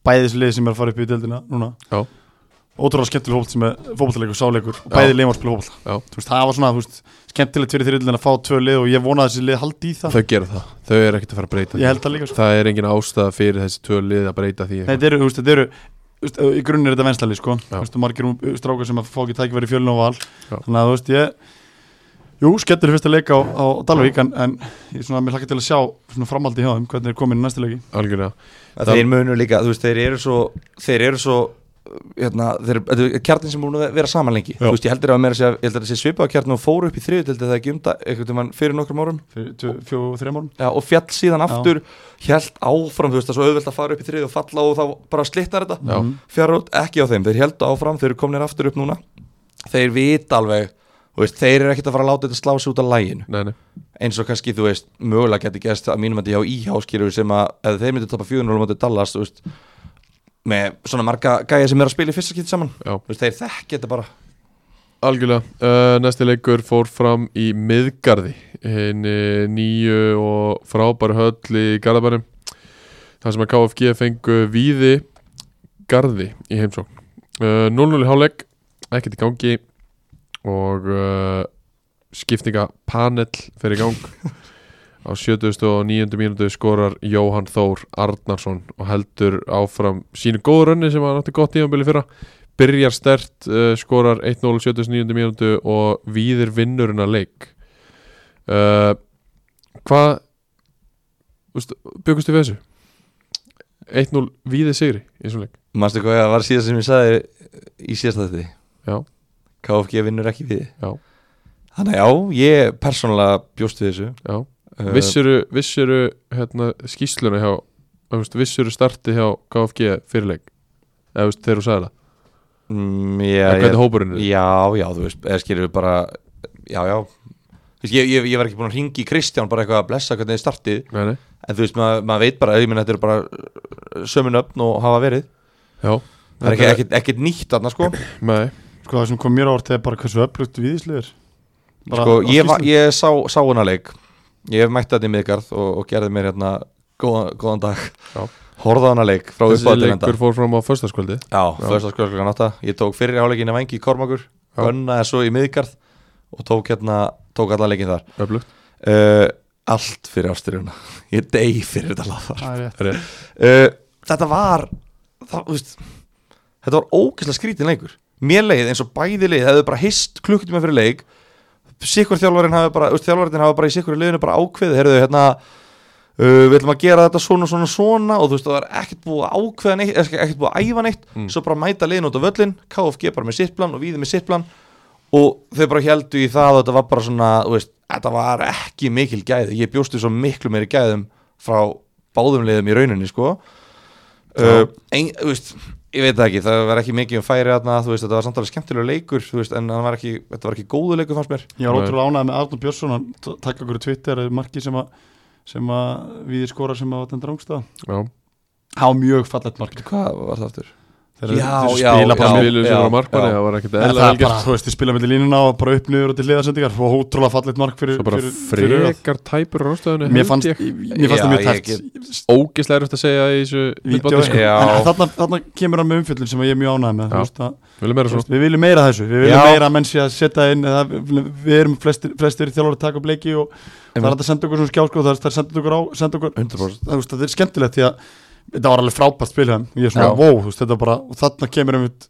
C: bæðis lið sem er að fara upp í deildina núna
B: Já.
C: ótrúlega skemmtileg fólk sem er fótballleikur, sáleikur og bæði liðum að spila
B: Já.
C: fótball veist, það var svona þú veist, skemmtilegt fyrir þyrildin að fá tvö lið og ég vona að þessi lið haldi í það
B: Þau gera það, þau eru ekkert að fara að breyta
C: ég held það líka
B: því
C: sko.
B: Það er engin ástæða fyrir þessi tvö lið að breyta því
C: Nei,
B: eitthvað.
C: þetta eru, þú veist, þetta eru þú veist, í grunn er þetta venslali sko.
B: Já.
C: Þú veist, margir um- strákar sem að fá ekki tækifæri í fjölun og val
B: Já.
C: þannig að þú veist ég Jú, skemmtileg fyrsta leika á, á Dalvík en, en ég svona, mér hlakka til að sjá svona framhaldi hjá þeim, hvernig þeir komin í næsta leiki
B: Algjörlega
D: að þeir munu líka, þú veist, þeir eru svo Þeir eru svo hérna, þeir, þetta er kjarnin sem er búin að vera saman lengi
C: Já.
D: þú veist, ég heldur að meira að segja, ég heldur að þessi svipaða kjarnin og fóru upp í þriðu til þetta ekki um dag einhvern veginn fyrir nokkrum árum
C: fyrir tvö, fjó, þrejum árum
D: Já, og fjall síðan
C: Já.
D: aftur, held áfram þú veist, það er svo auðvelt að fara upp í þriði og falla og þá bara slittar þetta,
B: Já.
C: Mhm.
D: fjárrót ekki á þeim þeir held áfram, þeir eru komnir aftur upp núna þeir vita alveg, þú veist, þeir eru ekkert að fara að láta þetta slá sig út af læginu
B: Nei, nei,
D: eins og kannski, þú veist, mögulega geti gæst að mínum að þetta hjá íháskýru sem að ef þeir myndu tapa 400 mútið Dallas, þú veist með svona marga gæja sem er að spila í fyrsta skipt saman,
B: já
D: þú veist, þeir þekki þetta bara
B: Algjörlega, uh, næsti leikur fór fram í miðgarði henni nýju og frábæru höll í Garðabænum þar sem að KFG fengu víði Garði í heimsókn uh, 0-0 í hálfleik, ekkert í gangi og uh, skiptinga panel fer í gang á 79. mínútu skorar Jóhann Þór Arnarsson og heldur áfram sínu góðu rönni sem hann átti gott tímanbili fyrra byrjar stert, uh, skorar 1-0 79. mínútu og víðir vinnurinn að leik uh, hvað úst, byggustu við þessu? 1-0 víðir sigri í þessum leik
D: Manstu hvað það var síðast sem ég sagði í síðast þetta
B: Já.
D: KFG vinnur ekki við
B: Já.
D: Þannig að já, ég persónulega bjóst við þessu
B: já.
D: Uh,
B: vissuru, vissuru hérna, skýsluna hjá þú veist, vissuru starti hjá KFG fyrir leik eða þú veist, þegar þú sagði það
D: mm, já,
B: eða hvernig
D: ég,
B: hópurinn er
D: já, já, þú veist, eða skilur við bara Já, já Þú veist, Ég, ég, ég var ekki búin að ringi í Kristján bara eitthvað að blessa hvernig þið startið
B: Nei, nei.
D: En þú veist, maður mað veit bara, ég minn þetta eru bara uh, sömu nöfn og hafa verið
B: Já,
D: Það er ekki, ekkit, ekkit nýtt þarna sko
B: nei,
C: sko það sem kom mér á orðið er bara hversu öflugt viðislu er
D: Sko, ég, va- ég sá, sá hana leik Ég mætti þetta í miðgarð og, og gerði mér hérna góðan, góðan dag
B: Já.
D: Horða hana leik frá
B: þessi
D: uppáðum enda
B: leikur fór fram á föstaskvöldi
D: Já, fyrsta skvöld klokkan átta Ég tók fyrir áleikinni vangi í Kormakur
B: Já.
D: Gönnaði svo í miðgarð og tók hérna tók alla leikin þar
B: öflugt
D: uh, Allt fyrir ástyrjuna Ég dey fyrir þetta laðar
C: ég
D: uh, Þetta var það, þú veist, Þetta var ógeðslega skrítin leikur Mér leið eins og bæði leið hefðu bara hist klukkutíma fyrir leik Sikkur þjálfarinn hafi bara þú veist, Þjálfarinn hafi bara í sikkur leiðinu bara ákveðið Herðu hérna Uh, við ætlum að gera þetta svona svona svona og þú veist það var ekkert búið að ákveða neitt eða ekkert búið að æfa neitt
B: Mm.
D: svo bara mæta liðin út á völlin KFG bara með sitt plan og við með sitt plan og þau bara heldu í það og þetta var bara svona þú veist, þetta var ekki mikil gæði ég bjóstu svo miklu meiri gæðum frá báðum liðum í rauninni sko uh, ein, þú veist, ég veit það ekki, það var ekki mikið um færi þarna, þú veist, þetta var samt alveg skemmtilegur leikur þú veist, en hann var ekki, þetta var ekki góðu leikur fannst mér
C: var
B: Nei.
C: ótrúlega ánægð með Arnur Björnsson hann t- takk okkur í Twitter eða marki sem að sem að viði skora sem að var þetta rángstað
B: Já,
C: há mjög fallegt mark
D: hvað var það aftur?
C: þeir,
D: Já,
C: þeir
D: já,
C: spila bara
D: já.
C: með
B: spiluðu sér á markmanni,
D: já.
B: það var ekkert
C: En
B: eðla
C: það er
B: velgjert
C: bara, þú veist, þið spila með línuna og bara upp niður og til hliðarsendingar og ótrúlega fallegt mark fyrir,
B: Svo bara
C: fyrir, fyrir
B: frekar tæpur rástaðinu
C: mér fannst, mér fannst
D: Já,
C: það mjög
D: ég
C: tært
D: get-
B: ógislega erfitt að segja í þessu
C: vídeó,
B: myndbandi
C: sko.
B: sko.
D: Já.
C: en þarna, þarna kemur hann með umfjöldin sem ég er mjög ánægð með
B: Já.
C: þú veist, að,
B: Viljum vera
C: þú veist,
B: svona
C: við viljum meira af þessu, við viljum
D: Já.
C: meira að menn sé að setja inn eða, við við erum flestir, flestir þjálfur að taka upp leiki og það er hægt að senda okkur svona skjáskóð það er það er senda okkur á, senda okkur
D: 100%
C: það, þú veist, það er skemmtilegt því að þetta var alveg frábært spil hann ég er svona,
D: Já.
C: wow, þú veist, þetta bara, og þarna kemur einmitt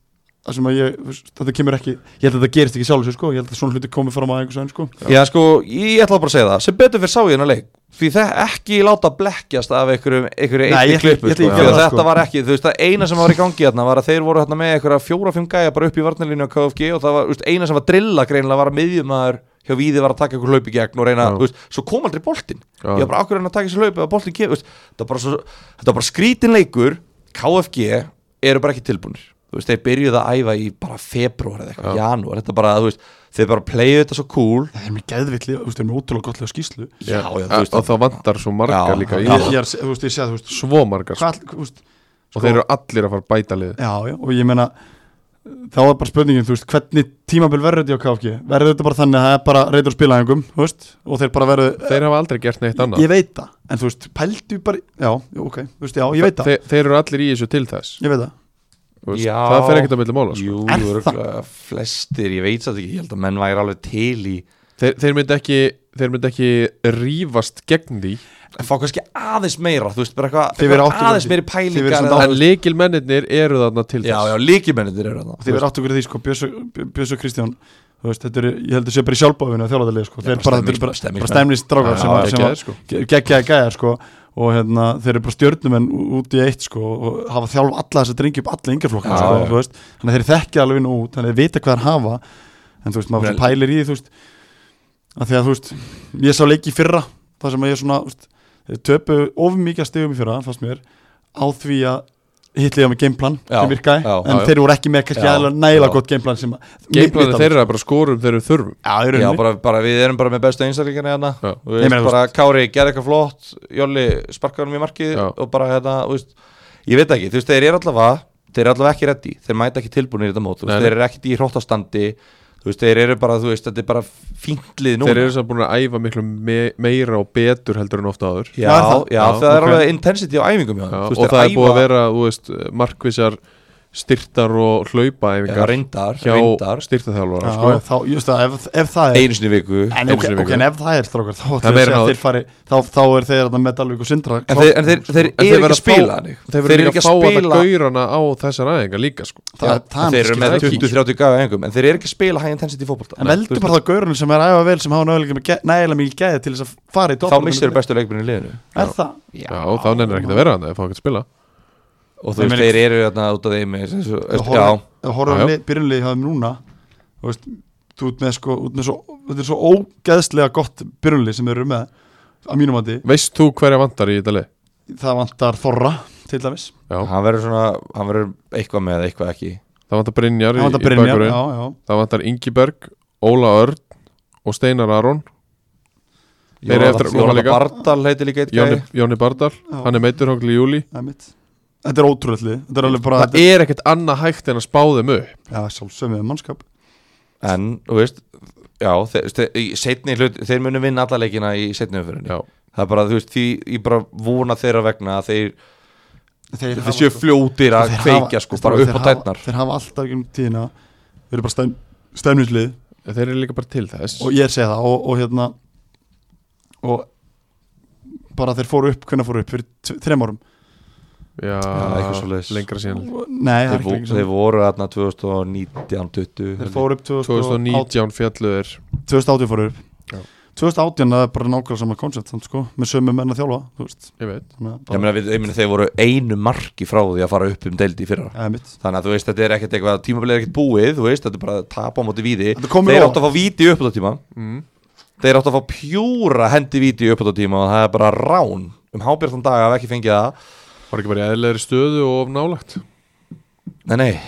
C: það sem að ég, þú veist, þetta kemur ekki ég held að þetta gerist ekki sjálf sér, sko, ég held að svona hluti komið fram að einhvers veginn, sko
D: Já, sko, ég ætla bara að segja það sem betur fyrir sá ég hennar leik því það ekki láta blekkjast af einhverjum einhverju
C: Nei,
D: einni
C: ég-
D: klippu
C: ég-
D: sko.
C: ég- ég-
D: Því að
C: það,
D: þetta
C: sko.
D: var ekki, þú veist, það eina sem var í gangi hérna var að þeir voru hérna með einhverja fjóra-fimm gæja bara upp í varnalínu á KFG og það var, þú veist, eina sem var drilla greinilega var að miðjumæður hjá Víði var að taka einhver hlaup í gegn og reyna,
B: Já.
D: þú veist, svo kom aldrei boltinn
B: Já.
D: ég var bara ákveðin að taka þessi hlaup eða boltinn kef, veist, þetta, var bara svo, þetta var bara skrítin leikur KFG eru bara ekki tilbúinir þú veist, þeir byrjuðu að æfa í bara februar eða eitthvað, janúar, þetta bara, þú veist þeir bara playið þetta svo cool
C: það er mjög geðvillig, þú veist, það er mjög ótrúlega gottlega skýslu
D: já, já, þú
B: Og
D: veist,
B: það vantar svo
D: Já,
B: margar líka í
C: ég,
D: já.
B: það.
C: ég, er, þú veist, ég sé að, þú veist,
B: Svo margar sko.
C: hvað, all- þú veist
D: sko?
B: Og þeir eru allir að fara að bæta lið
C: já, já, og ég meina þá er bara spurningin, þú veist, hvernig tímabil verður þetta hjá KFG, verður þetta bara þannig að það er bara reytur spilaðingum, þú veist, og þeir bara verður
B: Þeir hafa aldrei gert neitt annað
C: ég veit það, en þú veist, pældu bara já, jú, ok, þú veist, já, ég veit það
B: Þeir, þeir eru allir í þessu til þess
C: ég veit það,
B: Þú veist,
D: Já.
B: Það fer ekkert að milli mála sko.
D: Jú,
C: Er
D: jú,
C: það?
D: örugglega flestir, ég veit satt ekki, ég held að menn væri alveg til í
B: þeir, þeir myndi ekki Þeir myndi ekki rífast gegn því
D: að fá kannski aðeins meira, þú veist, bara eitthvað
C: Þið verið
D: eitthvað
C: átta fyrir
D: aðeins
C: því.
D: meiri
C: Þið verið
D: pælingar
C: samt
D: eða-
C: átta-
B: En líkilmennirnir eru þarna til
D: Já,
B: þess
D: já, líkimennir eru þarna
C: þið verður átt okkur því, sko, Björs og Kristján þú veist, þetta er, ég heldur sé bara í sjálfbóðinu að þjálfaðarlega, sko, þeir
D: bara
C: bara, þetta eru
D: stemnings-
C: bara,
D: stemnings-
C: bara stemningsdrákar
B: Já,
C: sem, var- sem
B: geggjaðir,
C: var
B: sko.
C: geggjaði gæjar, sko og hérna, þeir eru bara stjörnumenn ú- út í eitt, sko, og hafa þjálf alla þess að drengi upp alla yngjaflokka,
D: Já,
C: sko,
D: já.
C: þú veist þannig að þeir þekkja alveg nú út, þannig að þeir vita hvað þeir hafa en þú veist, maður
D: Vel.
C: Vel. pælir í því, þú veist að því að, þú veist, ég sá leiki í fyrra það sem að ég svona, þú veist, þeir töpu of mikið stegum í fyrra, fannst mér á því að hitliða með gameplan
D: Já,
C: sem virkaði,
D: já, já,
C: en
D: já.
C: þeir voru ekki með kannski
D: Já,
C: aðeins nægilega
D: já.
C: gott gameplan sem
B: Gameplanið þeirra er bara skorum þegar við þurfum
C: Já, í
D: Já,
C: rauninni
D: bara, bara, við erum bara með bestu einstaklingarna hérna
B: Já.
D: Þú veist,
C: Nei, meina, þú
D: bara Kári gerði eitthvað flott Jóli sparkaði hann í markið
B: Já.
D: og bara hérna, þú veist, ég veit ekki, þú veist, þeir eru allavega þeir eru allavega ekki reddi, þeir mæta ekki tilbúinir í þetta mót, þú
B: Nei,
D: veist,
B: nei.
D: þeir eru ekkit í hróttastandi þú veist, þeir eru bara, þú veist, þetta er bara fíntlið núna
B: Þeir eru samt búin að æfa miklu me meira og betur heldur en ofta áður
D: Já,
C: Já,
D: já,
C: er það?
B: Já,
D: það er
B: ok.
D: alveg intensity á æfingum hjá þeim.
B: Já,
D: Þú veist,
B: og
D: þeir
B: það er
D: æfa-
B: búið að vera þú veist, markvissar styrtar og
D: Já,
B: hlaupaæfingar
D: reyndar,
B: hjá
D: reyndar
B: styrtaþjálfara
C: Já,
B: sko.
C: þá, just það, ef, ef það er
D: einu sinni í viku
C: en,
B: einu
C: ok,
B: sinni í
C: ok,
B: viku.
C: en ef það er strókar þá,
B: Það er
C: ætlum við að
B: meira en
C: segja að
B: áður.
C: þeir fari, þá, þá er þeir þarna með Dalvik og Sindra
D: En þeir, en þeir, þeir
B: En
D: eru ekki
B: verða
D: að spila
B: fá-
D: þannig.
B: Þeir verða ekki að fá
D: spila-
B: alltaf gaurana á þessar æfingar líka sko.
C: það,
D: Já,
C: það, það
D: þeir eru með
B: skilur ekki.
D: 20-30 gafa engum en þeir eru ekki að spila high intensity fótbolta
C: en veldur bara það gaurunum sem er að æfa vel sem hafa nægilega mikið- nægilega mikið gæði til þess að fara í
D: þá
C: toppbaráttu.
D: missir bestu leikminni í liðinu
C: er það
B: Já, þá nennir ekki að vera hann eða fá ekki að spila
D: og
C: Ég
D: þú veist
C: meina-
D: þeir eru þarna út af þeim eins og-
C: Ef
D: já,
C: horfum- ef horfum
B: Já, já.
C: við byrjunlið hjá þeim núna þú veist, þú ert með sko út með svo, þetta er svo ógeðslega gott byrjunlið sem þeir eru með að mínum andi,
B: Veist þú hverja vantar í þetta lið?
C: það vantar Þorra til dæmis,
B: Já,
D: hann verður svona hann verður eitthvað með eitthvað ekki
B: það vantar Brynjar,
C: það
B: í,
C: vantar
B: í
C: Brynjar
B: bakurinn
C: já, já,
B: Það vantar Ingiberg, Óla Örn og Steinar Aron Þeir eru eftir að koma
D: Jónata
B: líka.
D: Bardal heiti líka eitt
B: Jóni,
D: gæði
B: Jóni Bardal,
C: Já.
B: hann er meiturhóngli í júli
C: það er mitt þetta er ótrúlega, þetta er alveg bara
B: Það er ekkert annað hægt en að spá þeim upp
C: já, sjálfsögum við mannskap
D: en, þú veist já, þeir, þeir, í seinni hlut, þeir munu vinna alla leikina í setni umfyrinni
B: Já,
D: það er bara, þú veist, því ég bara vona þeirra vegna að þeir,
C: þeir,
D: þeir séu fljótir að
C: Þeir
D: kveikja sko, bara upp
C: þeir
D: á
C: hafa-
D: tætnar
C: þeir hafa alltaf um tíðina þeir eru bara stem, stemnislið
B: þeir eru líka bara til þess
C: og ég segi það og, og hérna og bara þeir fóru upp, hvernig fóru upp fyrir tve- þrem árum
B: Já,
D: eitthvað svoleiðis.
B: lengra síðan
C: Og- nei, það er
D: þeir,
C: ekki
D: vo-
C: lengi
D: þeir
C: síðan.
D: voru þarna 2019 20
C: þeir fóru upp 2018
B: 2019 fjalluður
C: 2018 fóru upp
B: Já.
C: 2018 það er bara nákvæmlega sama koncept þannig sko, með sömu menn að þjálfa þú veist,
B: Ég veit
C: þannig að
D: ég
C: bara,
D: meina, við, ég meina, þeir voru einu marki frá því að fara upp um deildi í fyrra
C: eða mitt
D: Þannig að þú veist, þetta er ekkert eitthvað, tímabilið er ekkert búið, þú veist, þetta er bara að tapa á móti víti
C: Þetta kom mér
D: Þeir
C: á-
D: áttu að fá víti í uppbúttatíma,
B: mm.
D: þeir áttu að fá pjúra hendi víti í uppbúttatíma og það er bara rán um hábjörðan dag að hafa ekki fengið það
B: Var ekki bara í eðlegri stöðu og of nálagt
D: Nei, nei,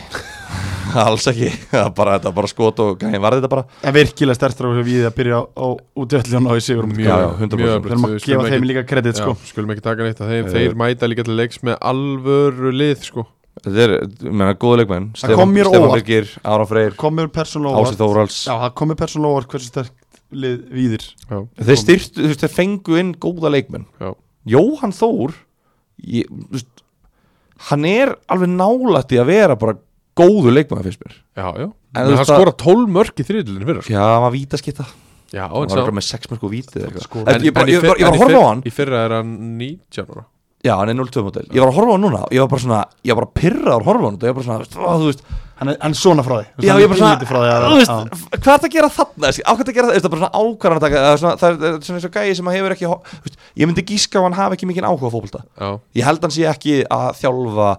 D: alls ekki, það er bara, þetta er bara skot og gæðin varði þetta bara
C: en virkilega stærstrákur sem við að byrja á út í öllu hann á í sigurum
D: Já, já, 100%.
B: mjög
C: þeir maður
B: öflugt.
C: að gefa þeim líka kredit
B: já,
C: sko
B: Skulum ekki taka neitt að þeir,
D: Eh.
B: þeir mæta líka til leiks með alvöru lið sko.
D: Þetta er, ég meina, góðu leikmenn,
C: kom mér
D: Stefán
C: óvart.
D: Birgir, Ára Freyr,
C: komur persónulega
D: Ási Þóralds
C: Já, það komið persónulega óvart hversu sterkt lið víðir
B: Já,
D: Þeir styrtu, þú veist, þeir fengu inn góða leikmenn
B: já
D: Jóhann Þór ég, þú veist, hann er alveg nálætti að vera bara góðu leikmann fyrst mér
B: Já, já,
D: En
B: en
D: þú
B: hann
D: veist að-
B: skora 12 mörk í þriðlunum fyrir sko.
D: Já, hann var vítaskitta Hann
B: Já, en
D: var
B: sá
D: eitthvað með 6 mörg og vítið en,
C: Sko,
D: en, ég, bara,
B: í
D: ég,
B: fyrr-
D: var- ég var
B: en
D: að horfa á
B: í fyrr-
D: hann
B: Í fyrra er hann 19 ára
D: Já, hann er 0-2 model Ég var að horfa á hann núna og Ég var bara svona Ég var bara pirraður að horfa á hann og Ég var bara svona veist, ó, Þú veist
C: Hann er, hann er svona frá því
D: Já, ég bara
C: svona frá því
D: svona
C: að,
D: Þú veist
C: að,
D: Hvað er það að gera þarna Ákvæmt að gera það Það er bara svona ákvarðan að taka Það er svona Það er svona eins og gæi sem hefur ekki ho- þú veist, Ég myndi gíska á hann hafi ekki mikið áhuga á fótbolta
B: Já,
D: Ég held hann sé ekki að þjálfa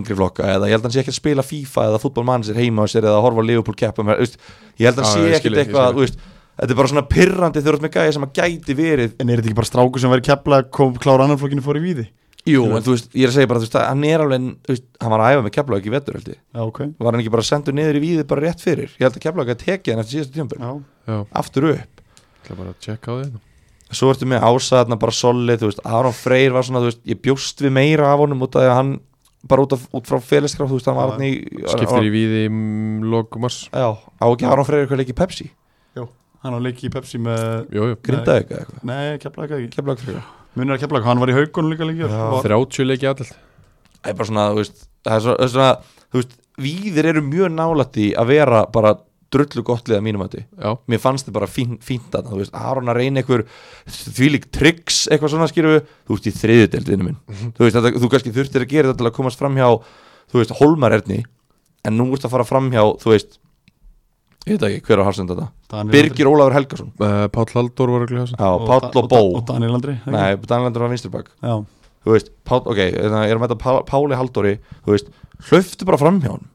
D: yngri flokka eða ég held hann sé ekki að spila FIFA eða fútbolmann sér heima á sér eða að horfa á Liverpool keppa með, veist, ég held hann
B: Já,
D: sé
B: ég skil
D: ekkit
B: þig, ég skil
D: eitthvað þú veist, þetta er bara svona pirrandi þurft með gæja sem að gæti verið
C: En er þetta ekki bara strákur sem verið kepla kom klára annan flokkinu fór í víði
D: Jú, en þú veist, ég er að segja bara þú veist, að hann er alveg, þú veist, hann var að æfa með kepla ekki vetur held ég,
C: Já, ok
D: var hann ekki bara sendur niður í víði bara rétt fyrir, ég held að kepla ekki að teki hann eftir síðasta tímpur,
C: Já,
B: já,
D: aftur upp
B: ætla bara að checka á því hérna.
D: svo ertu með ásaðna bara solid, þú veist, Aron Freyr var svona, þú veist, ég bjóst við meira af honum út af því að hann bara út, af, út frá félagskraf, þú veist, hann var
C: Já.
D: hann í
B: Skiptir í víði lokumars
D: Já, á ekki Aron Freyr eitthvað leikið Pepsi
C: hann á leiki í Pepsi með
B: Jú, jú,
D: Grindaði eitthvað eitthvað
C: Nei, kepla ekki
D: Keflag Freyr
C: Munir að kepla hann var í haugunum líka lengi
D: Já.
C: og-
B: 30 leiki alltaf
D: Það er bara svona, þú veist Það er svona, svona þú veist Víðir eru mjög nálætti að vera bara drullu gott liða mínum að því
B: Já,
D: Mér fannst þið bara fín, fínt að þú veist Aron að reyna einhver þvílík tricks eitthvað svona skýrðu Þú veist, í þriðudeldinu minn Þú veist, þetta, þú kannski þurftir að gera þetta til að komast framhjá Þú veist, Holmar erni En nú ert að fara framhjá, þú veist Ég veit ekki hver á hafsend þetta
C: Daniel Andri.
D: Birgir Ólafur Helgason
B: uh, Páll Halldór var ekki
D: Já,
C: Og
D: Páll
C: Da-
D: og Bó
C: og Daniel Andri ekki?
D: Nei, Danilandur var vinsturbak
C: já,
D: Þú veist, Páll, ok, þannig að ég er að mæta Pá- Páli Halldóri Þú veist, hlöftu bara fram hjá hann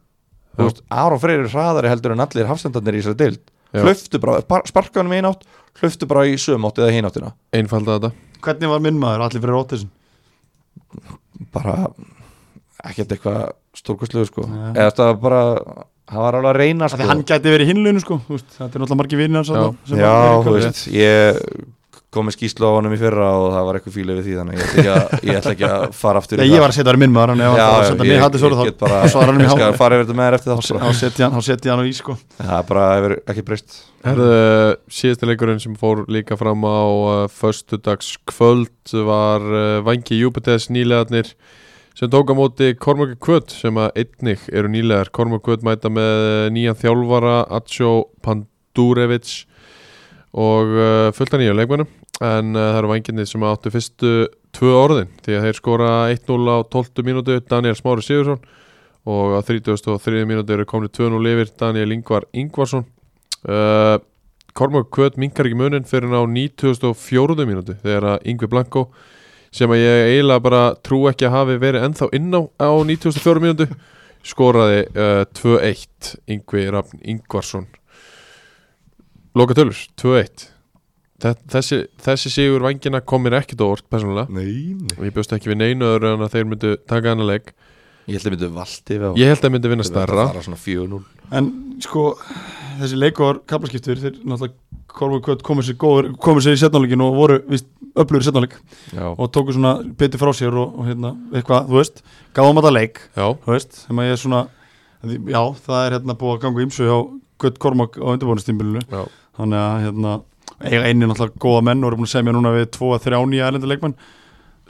D: Þú
B: Já.
D: veist, Aron Freyri hraðari heldur en allir hafsendarnir í þessari deild
B: Já.
D: Hlöftu bara, par- sparka hann með einn átt Hlöftu bara í söm átt eða hinn áttina
B: Einfalda þetta
C: hvernig var minn maður allir fyrir Óttisson
D: Bara, ekkert eitthvað stórkustlegu sko
C: Já.
D: Eða þetta var bara, hann var alveg að reyna
C: Þannig
D: sko
C: að hann gæti verið hinlun sko, þú veist, þetta er náttúrulega margir vinir hans
B: Já.
C: þarna sem
D: Já,
C: að-
D: þú veist, ég kom með skýslu á honum í fyrra og það var eitthvað fílið við því þannig ég ætla ekki að, ég ætla ekki að fara aftur
C: Nei, ég var að setja það í minn maður þannig að ef hann var að
D: já,
C: setja
D: ég,
C: mig hattis
D: ég,
C: orð þá
D: get bara,
C: þá svarar hann
D: ég
C: mér
D: skal
C: hátt.
D: fara yfir þetta með þér eftir sko.
C: þá
D: það bara.
C: setja hann- þá setja hann á í sko
D: það er bara hefur ekki breyst
B: Herðu, síðasta leikurinn sem fór líka fram á uh, föstudagskvöld var uh, Vangi Júpiters nýlegarnir sem tók á móti Kormaki Kvöt sem að einnig eru nýlegar Kormaki Kvöt mæta með uh, nýjan þjálfara Atsjó Pandurevic og uh, fullta nýja leikmennum en uh, það eru vanginni sem áttu fyrstu tvö orðin því að þeir skora 1-0 á 12 mínútu Daniel Smári Sigursson og á 33 mínútu eru komni 2-0 yfir Daniel Ingvar Ingvarsson uh, Kormák Kvöt minkar ekki munin fyrir hann á 94. mínútu þegar að Yngvi Blanko sem að ég eiginlega bara trú ekki að hafi verið ennþá inn á, á 94. mínútu skoraði uh, 2-1 Yngvi Rafn Yngvarsson Loka tölur 2-1 Þe- þessi, þessi sigur vangina kom mér ekkit á orð persónulega
D: Nei, nei.
B: og ég bjóst ekki við neinu öðru en að þeir myndu taka hana leik
D: Ég held að myndu valdi við á
B: ég held að þeir myndu vinna
D: Þetta var
B: starra
D: bara svona 4-0
C: en sko þessi leikur kaplaskiptur þeir náttúrulega Kolmur Kvöt komið sér góður komið sér í setnáleikin og voru vist öflugur setnáleik
D: Já,
C: og tóku svona betur frá sér og, og hérna eitthvað þú veist gáðum að það leik
B: já,
C: þú veist sem að ég er svona því- já það er hérna búið að ganga ímsu hjá Kvöt Kormak á undirbúinastímbilinu
B: já,
C: þannig að hérna eiga einni náttúrulega góða menn og eru búin að segja mér núna við tvo að þrjá nýja erlenda leikmenn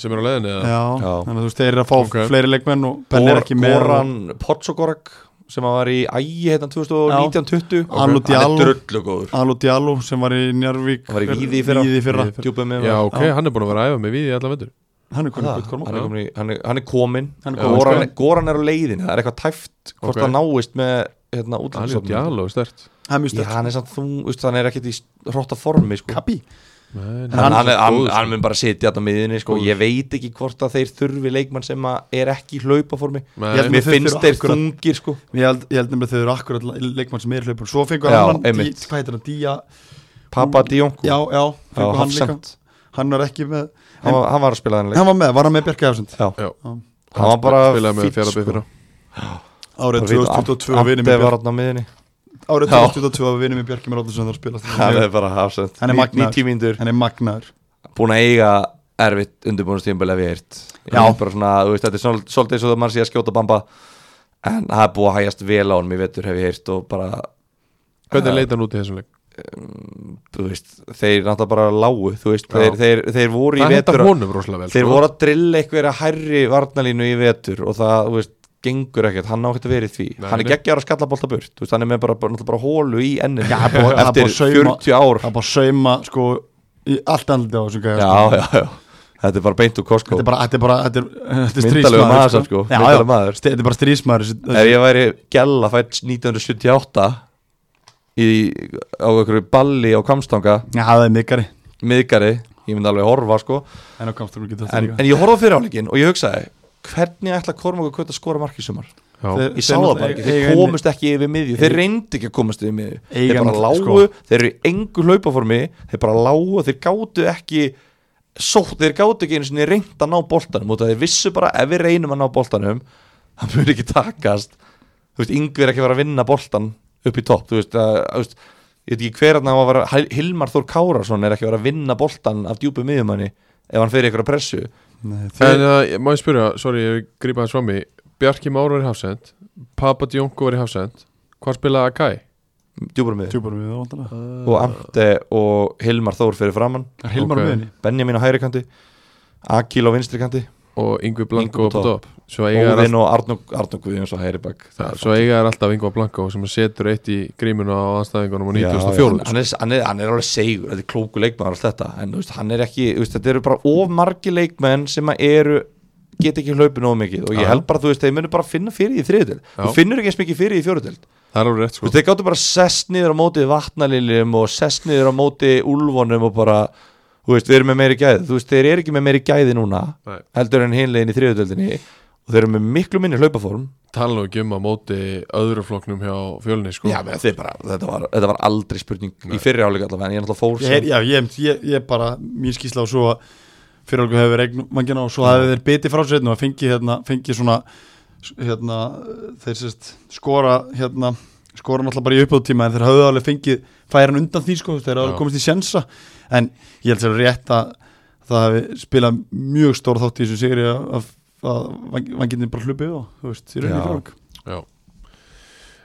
B: sem er á leiðinni
C: já.
B: eða?
D: Já.
C: þannig að þú veist þeir eru að fá
B: Ok.
C: fleiri leikmenn og Benn er ekki með
D: Goran Potsogorak sem að var í ægi hérna 2019-20
C: Hann og
D: Hann
C: Diallo.
D: er drullu góður
C: Alu Diallo sem var í Njarvík
D: Hann var í Víði í fyrra.
C: Víði í fyrra.
D: Djúpið með
B: já, ok,
C: Já.
B: hann er búin að vera að æfa með við í allan vendur
C: hann er
D: Hann
C: konið
D: er,
C: Kvöt
D: komin,
C: Kormak
D: hann, er komin, í- hann, er, hann er komin
C: Hann er komin,
D: Goran, Goran er á leiðin Það er eitthvað tæft hvort
B: Ok.
D: það náist með hérna,
B: Alíó
D: útlandsstofnun.
B: Diallo er stert
C: hann er mjög
D: Já,
C: stöld
D: hann er samt þú, veist, hann er ekkert í hrotta formi sko.
C: Kappi
B: Nei,
D: En hann, hann, er- hann,
B: góður,
D: hann mun bara sitja þetta miðinni sko.
B: Góður.
D: Ég veit ekki hvort að þeir þurfi leikmann sem að er ekki í hlaupaformi
B: Nei.
C: Ég held
D: Mér
C: þeir
D: finnst
C: þurfa
D: þeir
C: akkurat-
D: þungir sko.
C: ég held, ég held nefnilega þau eru akkurat leikmann sem er í hlaupun svo fengur
D: Já,
C: hann hvað
D: einmitt.
C: heitir hann Día
D: Papa Dionku
C: já já
D: Já,
C: fengur hann líka
D: Hafsend.
C: hann var ekki með
D: hann, var- hann var að spila þennan leik
C: hann var með var hann með Bjarki Hafsend
D: Já.
B: Já.
D: Hann var bara
B: spilaði með
D: fínn,
B: fjarabyr
D: sko.
B: fyrra
D: Bara
C: árið
D: veit að
C: 2022 var vinur
D: Abbe
C: minn
D: var
C: Bjarki-
D: hann á miðinni
C: árið
D: Já.
C: 2022 var vinur minn Bjarki með Róðarsson þar að
D: Hann
C: spila
D: er bara hafsend
C: Hann er magnaður.
D: tímindur
C: hann er magnaður
D: Búin að eiga erfitt undirbúinustíðanbili ef ég heirt
C: Já.
D: bara svona, þú veist, Þetta er svol- svolítið eins og það mann sé að skjóta bamba En það er búið að hægjast vel á hann Mér vetur hef ég heirt og bara
B: Hvernig leita hann út í þessum leik?
D: þú veist, þeir náttúrulega bara lágu þú veist,
B: Já.
D: þeir, þeir, þeir voru í
B: Það
D: vetur
B: hendar honum rosalega vel
D: þeir
B: sko.
D: voru að drilla einhverja hærri varnalínu í vetur og það, þú veist, gengur ekkert hann á ekkert að vera í því,
B: Nei,
D: hann er
B: nei.
D: geggjara skallabólta burt þú veist, hann er með bara, bara, náttúrulega bara hólu í enninu
C: Já, það er búið- það er
D: eftir
C: búið að sauma-
D: 40 ár
C: það er bara að sauma sko í allt andliti á þessum gæja
D: já,
C: sko.
D: já, já, þetta er bara beint úr Costco
C: þetta er bara þetta er bara þetta er þetta er
D: Myndarlegur maður
C: stríðsmaður
D: samt, sko.
C: Já,
D: Myndarlegur
C: já.
D: maður.
C: Ste- þetta er bara stríðsmaður þessi-
D: ef
C: þessi-
D: ég væri gæla fætt 1978 í, á einhverju balli á Kamstanga
C: já það er mikari
D: miðgari, ég myndi alveg horfa sko
C: en á kamstúrum getur þetta
D: en,
C: líka
D: en ég horfði á fyrirháleikinn og ég hugsaði hvernig ætla Kormáku Kvöt að skora mark í sumar
B: Já,
D: ég sá það bara ekki, þeir komust ekki yfir miðju þeir reyndu ekki að komast yfir miðju þeir
C: Eiga sko.
D: bara lágu,
C: náttúrulega,
D: þeir eru í engu hlaupaformi þeir bara lágu, þeir gátu ekki sótt, þeir gátu ekki einu sinni reynd að ná boltanum, út að þeir vissu bara ef við reynum að ná boltanum það mjög ekki takast þú veist, yngvi er ekki að fara að vinna boltan upp í topp, þú veist, að, þú veist ég veit ekki hver að það var að vera Hilmar Þór Kárasson er ekki að vera að vinna boltan af djúpu miðjumanni ef hann fyrir ykkur að pressu
C: Nei, þeir-
B: En uh, ég- má ég spyrja, sorry, ég grípa hans fram í Bjarki Már var í hafsend Papa Djonko var í hafsend Hvar spilaði Akai?
D: djúpur miðju
C: Tjúpar við vantanlega
D: og Amte og Hilmar Þór fyrir framann
C: Það er Hilmar
B: Ok.
C: okay. miðinni
D: Benjamin á hægri kanti Akil á vinstri kanti
B: Og Yngvi Blanko
D: Yngvi
B: og Top Svo eiga er
D: Óðinn og Arnó Arnó Guðjóns á hægri bak
B: alltaf, svo eiga er alltaf Yngva Blanko sem setur eitt í grímuna á anstæðingunum á 94
D: hann, er- hann, er- hann er alveg segur, þetta er klóku leikmaður og allt þetta, en þú veist, hann er ekki þú veist, þetta eru bara of margi leikmenn sem að eru get ekki hlaupið nógu mikið og
B: Já.
D: ég held bara, þú veist, þeir munir bara finna fyrir því í þriðutild
B: Já.
D: þú finnur ekki eins mikið fyrir því í fjóruðutild
B: það er alveg rétt
D: Þú
B: sko
D: veist, þeir gáttu bara sest niður á móti vatnaliljum og sest niður á móti úlfonum og bara, þú veist, við erum með meiri gæði þú veist, þeir eru ekki með meiri gæði núna
B: Nei.
D: heldur en hinlegin í þriðutöldinni og þeir eru með miklu minni hlaupaform
B: tala nú ekki um að móti öðru flokknum hjá fjölni sko
D: Já, menn, þeir bara, þetta var, þetta var aldrei spurning í fyrri áleika allavega, en ég er náttúrulega fór
C: Ég, heyr- já, ég, ég, ég bara, mín skýsla og svo að fyrir alveg hefur eign mangina og svo hefur þeir bitið frá sér hérna og fengið hérna, fengið svona hérna, þeir sérst skora hérna, skora náttúrulega bara í uppáðtíma en þeir höfðu alveg fengið færan undan því sko, þeir hafa alveg
B: Já.
C: komist í sjensa en ég held sér rétt að það hefði spilað mjög stór þátt í þessu sigri að, að, að vanginni bara hlupið og, þú veist, í rauninni
D: Já.
C: fyrir alveg
B: Já.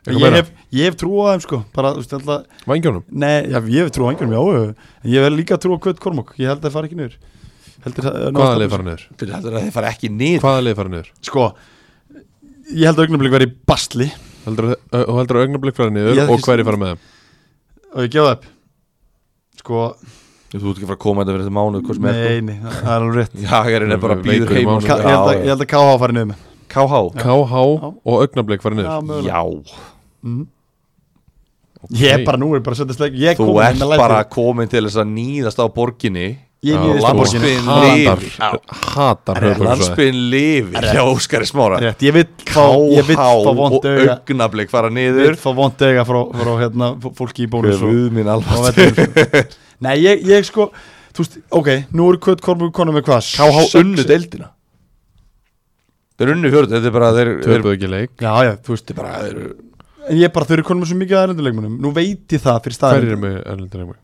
C: Ég hef, ég hef trú á þeim sko, bara, þú veist, alltaf
B: Vangjónum
C: Nei, já, ég hef trú á einhverjum, já já, já. En ég verð líka trú á Kvöt Kormok Ég held að það fari ekki niður Heldur,
B: Hvaða leið fara niður?
D: Fyrir heldur að þeir fara ekki niður
B: Hvaða leið fara niður?
C: Sko, ég held að augnablik verið í basli
B: Heldur, að- ö- þú heldur að augnablik fara niður
C: Ég-
B: og hverju fara með þeim?
C: Og ég gefa það upp Sko,
D: Þú ert ekki að fara að koma þetta fyrir þetta mánuð, hvað sem er sko.
C: nei, nei, það það er alveg rétt
D: Jagarinn er bara
B: Við
D: býður
B: veikum í
D: heim
B: mánuð.
C: Ka, ég, held að, ég held að KH fari niður með
D: KH
B: KH
C: Já.
B: og augnablik fara niður
C: mögulega.
D: Já,
C: Ég er bara, nú er bara að setja sleg Ég
D: þú
C: kom
D: ert
C: með
D: bara
C: læti
D: komin til þess að nýðast á borginni
C: Ég
B: Já,
C: nýðist á
B: og
C: borginni
D: landsbyggðin
B: Hatar
D: lifir. Já.
B: Hatar höfuborgarsvæði.
D: Landsbyrn lifi hjá Óskari Smára
C: Rétt, ég vill fá Ég vill
D: KH
C: fá
D: og
C: vond auga
D: augnablík fara
C: Vill
D: niður
C: fá vond auga frá, frá hérna, fó- fólki í bónus og-
D: Guð minn
C: á
D: alveg
C: vellinum. Nei, ég, ég sko Þú veist, ok, nú eru Kvöt Kormok konum með hvað
D: KH
C: Sex-
D: unnu deildina Þeir unnu fjörðu, þetta er bara þeir, þeir,
B: Töpuðu ekki leik
C: Já, já, þú veist,
D: þeir bara, þeir,
C: en ég er bara þau eru konum með svo mikið að erlenduleikmunum Nú veit ég það
B: Hverju
C: fyrir staðin
B: er með erlendur heim?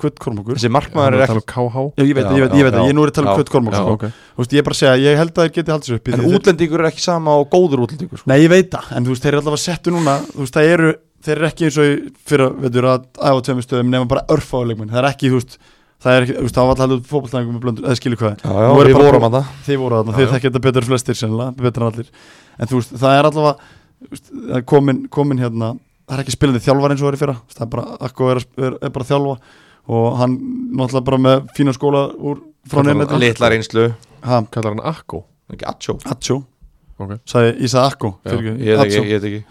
C: Kvöt Kormokur Já,
D: þessi markmaður
B: Það
D: er
B: er að
D: ekki
B: tala um KH
C: ég veit það, ég veit það, ég veit það, ég nú er að tala
D: Já,
C: um Kvöt Kormokur
B: Já,
C: sko.
B: ok
C: Þú veist, ég er bara að segja, ég held að þeir geti haldið sig upp í
D: En
C: því þeir-
D: útlendingur er ekki sama og góður útlendingur sko.
C: Nei, ég veit það, en þú veist, þeir eru allavega settu núna Þú veist, það eru, þeir eru ekki eins og í fyrra, veitur, að æfa tveimur stöðum nema bara örfáleikmun, það er ekki, þú veist Það er ekki, þú veist, það var alltaf fótballtæðingum með blöndur, eða skilu hvað
D: Já, já,
C: Nú er
D: við
C: bara-
D: vorum að það
C: Þið voru þarna,
B: Já,
C: þið
B: já.
C: þekkja þetta betur flestir sennilega, betur en allir En þú veist, það er allavega þú veist, það er komin, komin hérna Það er ekki spilandi þjálfar eins og verið fyrra þú veist, Það er bara, Akko er, að sp- er, er bara að þjálfa Og hann náttúrulega bara með fína skóla úr frá
B: Kallar hann
C: nefnir
D: Litla reynslu,
C: Hann,
B: Kallar hann Akko?
D: ekki atsjó
C: Hatsjó,
B: Ok
C: sagði, ég sagði Akko
B: Já,
D: Ég veit ekki,
C: Hatsjó,
D: ég veit ekki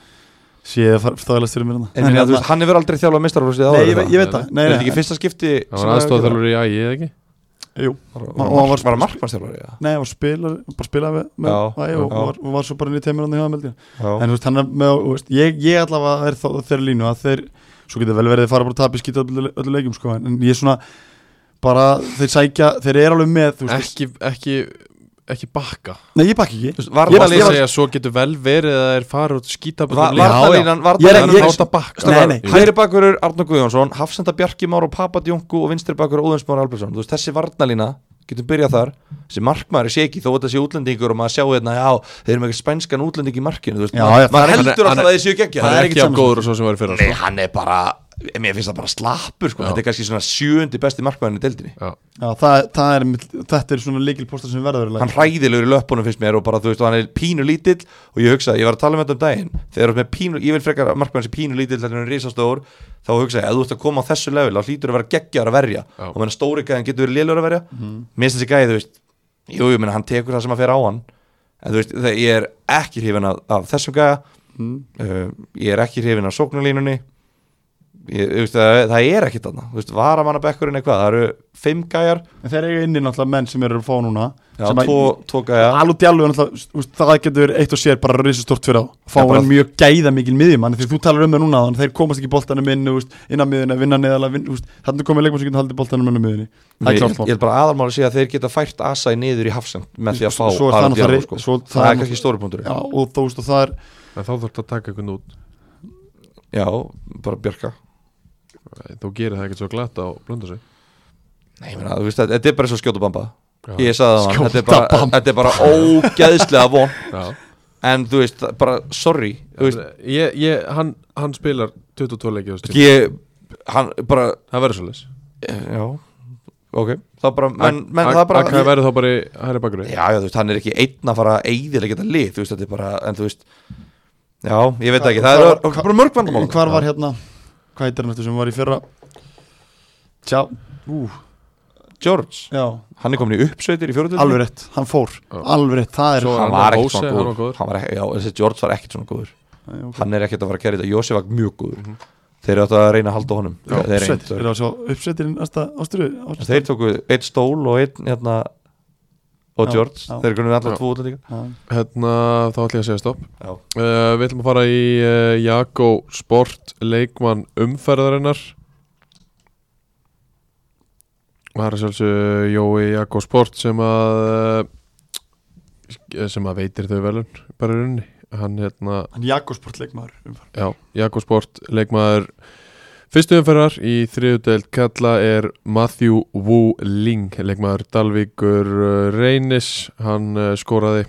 C: sé það þvægilast fyrir mér hérna
D: En, en, þú veist, hann hefur aldrei þjálfað mistarflósið
C: Nei, ég, ve- ég veit það, nei,
D: Er þetta
C: nei,
D: ekki fyrsta skipti
B: Það var aðstofþjálfur í ægi, eða ekki?
C: jú,
D: Og
C: og hann var-
D: var markmannstjálfari já.
C: nei, hann var spilar, bara spilaði með, með
D: Já,
C: æ, og,
D: já.
C: og, var, og var svo bara inn í teimur hann í hafðameldina
D: Já.
C: En þú veist, hann er með, þú veist, ég, ég allavega er þá þeirra línu að þeir, svo getur vel verið að fara bara að tapa í skýta öllu, öllu leikjum, sko, en en ég er svona, bara, þeir sækja, þeir eru alveg með, þú veist,
B: Ekki, ekki, ekki bakka
C: nei, ég bakk ekki,
D: Þú veist,
B: Ég var
D: varnarlið-
B: að segja svo getur vel verið að það er farið út skítaböld
D: Va-
C: Já, já.
D: Varnarlínan
C: Ég er- ég er-
D: Varnarlínan
B: Láta bakka
C: Nei, nei.
D: Hæri bakurur Arnur Guðjónsson Hafsenda Bjarki Már og Papadjónku og vinstri bakurur Óðinsmára Albersson Þú veist þessi varnalína getum byrjað þar þessi markmaður sé ekki þó að þessi útlendingur og maður sjá hérna já þeir eru með eitthvað spænskan útlending í markinu þú veist
C: Já,
D: maður,
C: já,
D: maður
B: hann er-
D: heldur alltaf
B: hann er-
D: að þessi ekki
B: Það er ekki af
C: sama.
B: góður og svo sem var í fyrra
D: Nei
B: sko.
D: hann er bara mér finnst það bara slappur sko
B: Já.
D: þetta er kannski svona sjöundi besti markmaðurinn í deildinni
B: Já.
C: já, það, það er, mitt- þetta er svona leikilpóstar sem verður,
D: hann hræðilegur í löpunum finnst mér og bara þú veist og hann er pínu lítill og ég hugsaði, ég var að tala um þetta um daginn þegar þú ert með pínu, ég vil frekar að markmann sem pínu lítill þegar hann er risastór, þá hugsaði að þú ert að koma á þessu level, þá hlýtur að vera geggjar að verja
B: Já.
D: og menn stóri gæðin getur verið lélur að verja mér finnst þessi gæði, þú veist jú, ég menna hann tekur það sem að fer á hann en þú veist, þegar ég er ekki hrifin af, af þessum gæða
C: Mm.
D: uh, ég er ekki hrifin af sóknarlínunni ég, þú veist, það, það er ekkit þarna, þú veist, varamannabekkurinn eitthvað, það eru fimm gæjar,
C: en þeir eiga inni náttúrulega menn sem eru að fá núna,
D: já,
C: sem að-
D: tvo, tvo gæja
C: alveg djálfur náttúrulega, þú veist, það getur verið eitt og sér bara risastort fyrir á, fá
D: Já, bara-
C: hann mjög gæða mikil miðjumann, því þú talar um það núna þannig þeir komast ekki boltanum inn, þú veist, innan miðjuna vinna neðala, vin, þú veist, þannig komið leikmann sem getur haldið boltanum inn á miðjunni,
D: Ég,
C: það er
D: ég
C: klárt mál.
D: held bara aðalmáli að segja að þeir geta fært Asai niður í hafsend með því að fá
C: Svo er það
D: Aron Diallo
C: náttúrulega-
D: sko.
C: svo-
D: það er
C: það er
D: kannski stóri punktur
C: Já, og þú veist, og það er
B: En þá þurft að taka einhvern út
D: já, bara Björka
B: Þú gerir það ekkert svo glatt á blönda sig
D: Nei, ég meina, þú veist, þetta þetta er bara svo skjóta bamba
B: Já.
D: ég sagði það, þetta er bara,
C: Skjótabamba.
D: þetta er bara ógeðslega von
B: Já.
D: en þú veist, það- bara sorry þú veist,
B: ég, ég, hann, hann spilar 22 leiki á þessu tíma.
D: ég, hann bara
B: Það verður svolítið
D: já, ok þá bara, menn, menn það er bara
B: Akka verður þá bara í hæri bakur
D: já, já, þú veist, hann er ekki einn að fara að eiðilega geta lið, þú veist, þetta er bara en þú veist, já, ég veit það ekki það er
C: Hvar-
D: bara mörg vandamál
C: En hvar var hérna Hvað heitir hann eftir sem var í fyrra Tjá Ú, hérna?
D: George,
C: já,
D: hann er komin í uppsveitir í fjóruðöldinni
C: alveg rétt, hann fór
B: Já.
C: Alveg rétt, það er
B: Svo-
D: hann
B: Hann var
D: var ekkert
B: Óse,
D: svona
B: hann var
D: góður,
B: góður.
D: Hann var ekki, já, þessi George var ekkert svona góður
C: Æ, ok.
D: hann er ekkert að fara að kæra þetta Jósef var mjög góður þeir eru að reyna að halda honum
C: Já,
D: þeir,
C: uppsveit,
D: reyndu.
C: er það svo uppsveitirinn næsta ásturu
D: En þeir tóku eitt stól og einn hérna, og
C: Já,
D: George,
C: já.
D: þeir grunum
B: Já.
D: alltaf tvo útlendinga
B: Hérna, þá ætlum ég að segja stopp
D: Já.
B: uh, Við ætlum að fara í uh, Jakko Sport leikmann umferðarinnar Og Það er sjálfsög Jói Jakko Sport sem að uh, sem að veitir þau velun bara í rauninni Hann hérna,
C: hann Jakobsport leikmaður umfram
B: já, Jakko Sport leikmaður Fyrstu umferðar í þriðudeld kalla er Matthew Wu Ling, leikmaður Dalvíkur uh, Reynis, hann uh, skoraði,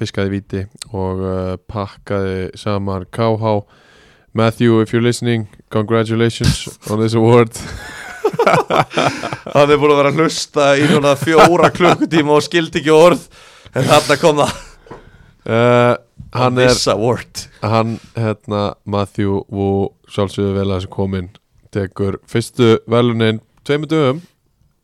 B: fiskaði viti og uh, pakkaði saman KH. Matthew, if you're listening, congratulations on this award.
D: Það er búin að vera að hlusta í núna fjóra klukkutíma og skildi ekki orð en þarna kom það
B: Uh, hann er,
D: This award
B: hann, hérna, Matthew Wu, sjálfsögðu vel að þessu komin, tekur fyrstu velunin tveimur dögum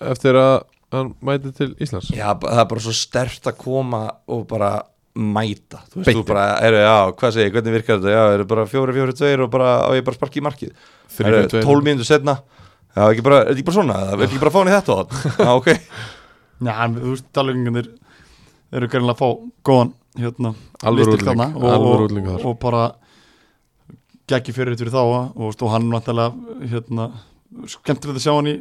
B: eftir að hann mæti til Íslands.
D: Já, b- það er bara svo stert að koma og bara mæta Þú veist,
B: Beinti.
D: þú bara, eru, já, hvað segi, ég, hvernig virkar þetta Já, eru bara fjóri, fjóri, tveir og bara á ég bara sparki í markið
B: Þrír
D: Eru,
B: og tveir.
D: 12 mínútur setna Já, ekki bara, er þetta ekki bara svona, er ekki bara að fá hann í þetta og það Já, ok
C: já, hann, þú veist, dalvíkingarnir eru gerinlega að fá góðan hérna,
B: Alvöru
C: listil
B: útling,
C: þarna og-
B: alvöru útling
C: og,
B: þar
C: og bara geggi fyrir fyrir þá og, og stó hann náttúrulega hérna, skemmtilegt að sjá hann í,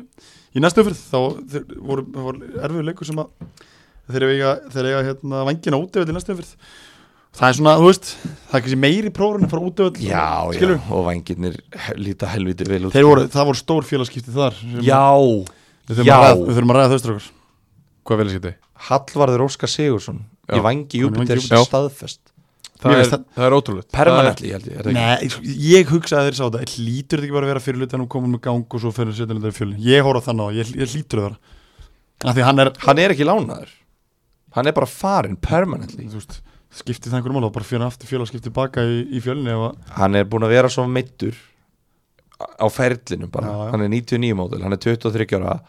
C: í næstu fyrir þá þeir voru, það voru erfiðu leikur sem að þeir eiga, þeir eiga hérna, vangina útöfell í næstu fyrir það er svona, þú veist, það er kannski meiri prófun að fara útöfell
D: Já, já,
C: skilur
D: og vangirnir líta helviti vel út sko.
C: Þeir voru, það voru stór félagskipti þar sem-
D: Já,
C: Við þurfum,
D: já
C: að ræða, við þurfum að ræða þau strókar
B: Hvað vel skipti?
D: Hallvarður Óskar Sigursson
B: Já.
D: í vangi Júpiter
B: Já.
D: staðfest
B: Það
C: Mér
B: er,
C: finnst það-
B: það er ótrúlegt
D: Permanently, held ég er það ekki?
C: Nei, sko, ég hugsaði að þeir sá þetta Ég Lítur þetta ekki bara að vera fyrir lutan og komum með gang og svo fyrir setja lutan í fjölin Ég horf á þannig á, ég, ég lítur það Af því hann er,
D: Hann er ekki lánaður Hann er bara farinn permanently
C: þú veist, skiptið það einhverjum mál og bara fyrir aftur fjöla skiptið baka í, í fjölinni eða
D: Hann er búin að vera svo meittur á ferlinum bara
C: Já, já.
D: Hann er 99 mótil, hann er 23 ára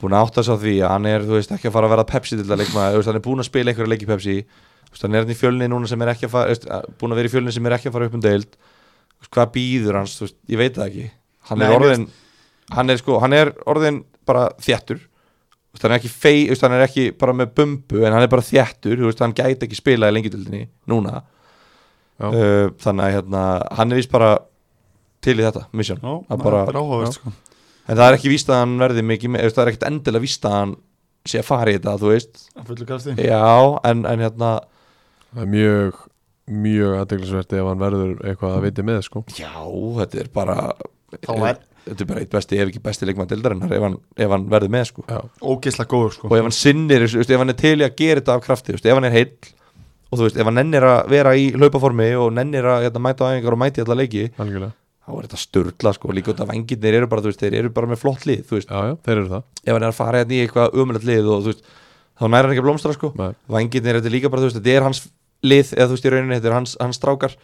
D: búin að átta sig á því að hann er þú veist, ekki að fara að vera Pepsi til að leikma veist, hann er búin að spila einhverja leiki Pepsi þú veist, hann er hann í fjölni núna sem er ekki að fara þú veist, að- búin að vera í fjölni sem er ekki að fara upp um deild Þú veist, hvað býður hans, þú veist, ég veit það ekki hann
C: Nei,
D: er orðin hann er, sko, hann er orðin bara þjættur Þú veist, hann er ekki fei, þú veist, hann er ekki bara með bumbu en hann er bara þjættur, þú veist, hann gæti ekki spilað í lengjutildinni núna
B: Já.
D: uh, þannig að hérna, hann er vist bara til í þetta, mission
C: Já,
D: Að
C: það
D: bara-
C: er áhugavert sko
D: en það er ekki víst að hann verði mikið með, þú veist, það er ekkert endilega víst að hann sé að fara í þetta, þú veist
C: Að fullu kasti
D: já, en, en hérna
B: Það er mjög, mjög aðdeglisvert ef hann verður eitthvað að viti með sko.
D: já, þetta er bara
C: Þá er-
D: þetta er bara eitt besti, ef ekki besti leikmann dildarinnar ef hann, ef hann verði með, sko
C: Ógeðslega góður sko
D: og ef hann sinnir, þú veist, ef hann er til í að gera þetta af krafti, þú veist, ef hann er heill og þú veist, ef hann nennir að vera í hlaupaformi og nennir að hérna, mæta á æfingar og mæti alla leiki
B: Algjörlega
D: þá er þetta sturla, sko, líka út af vengirnir eru bara, þú veist, þeir eru bara með flott lið, þú veist
B: Já, já, þeir eru það
D: ef hann er að fara hérna í eitthvað umhverfilegt lið og þú veist, þá næra hann ekki að blómstra, sko
B: Nei.
D: vengirnir, þetta er líka bara, þú veist, þetta er hans lið, eða þú veist, í rauninni, þetta er hans, hans strákar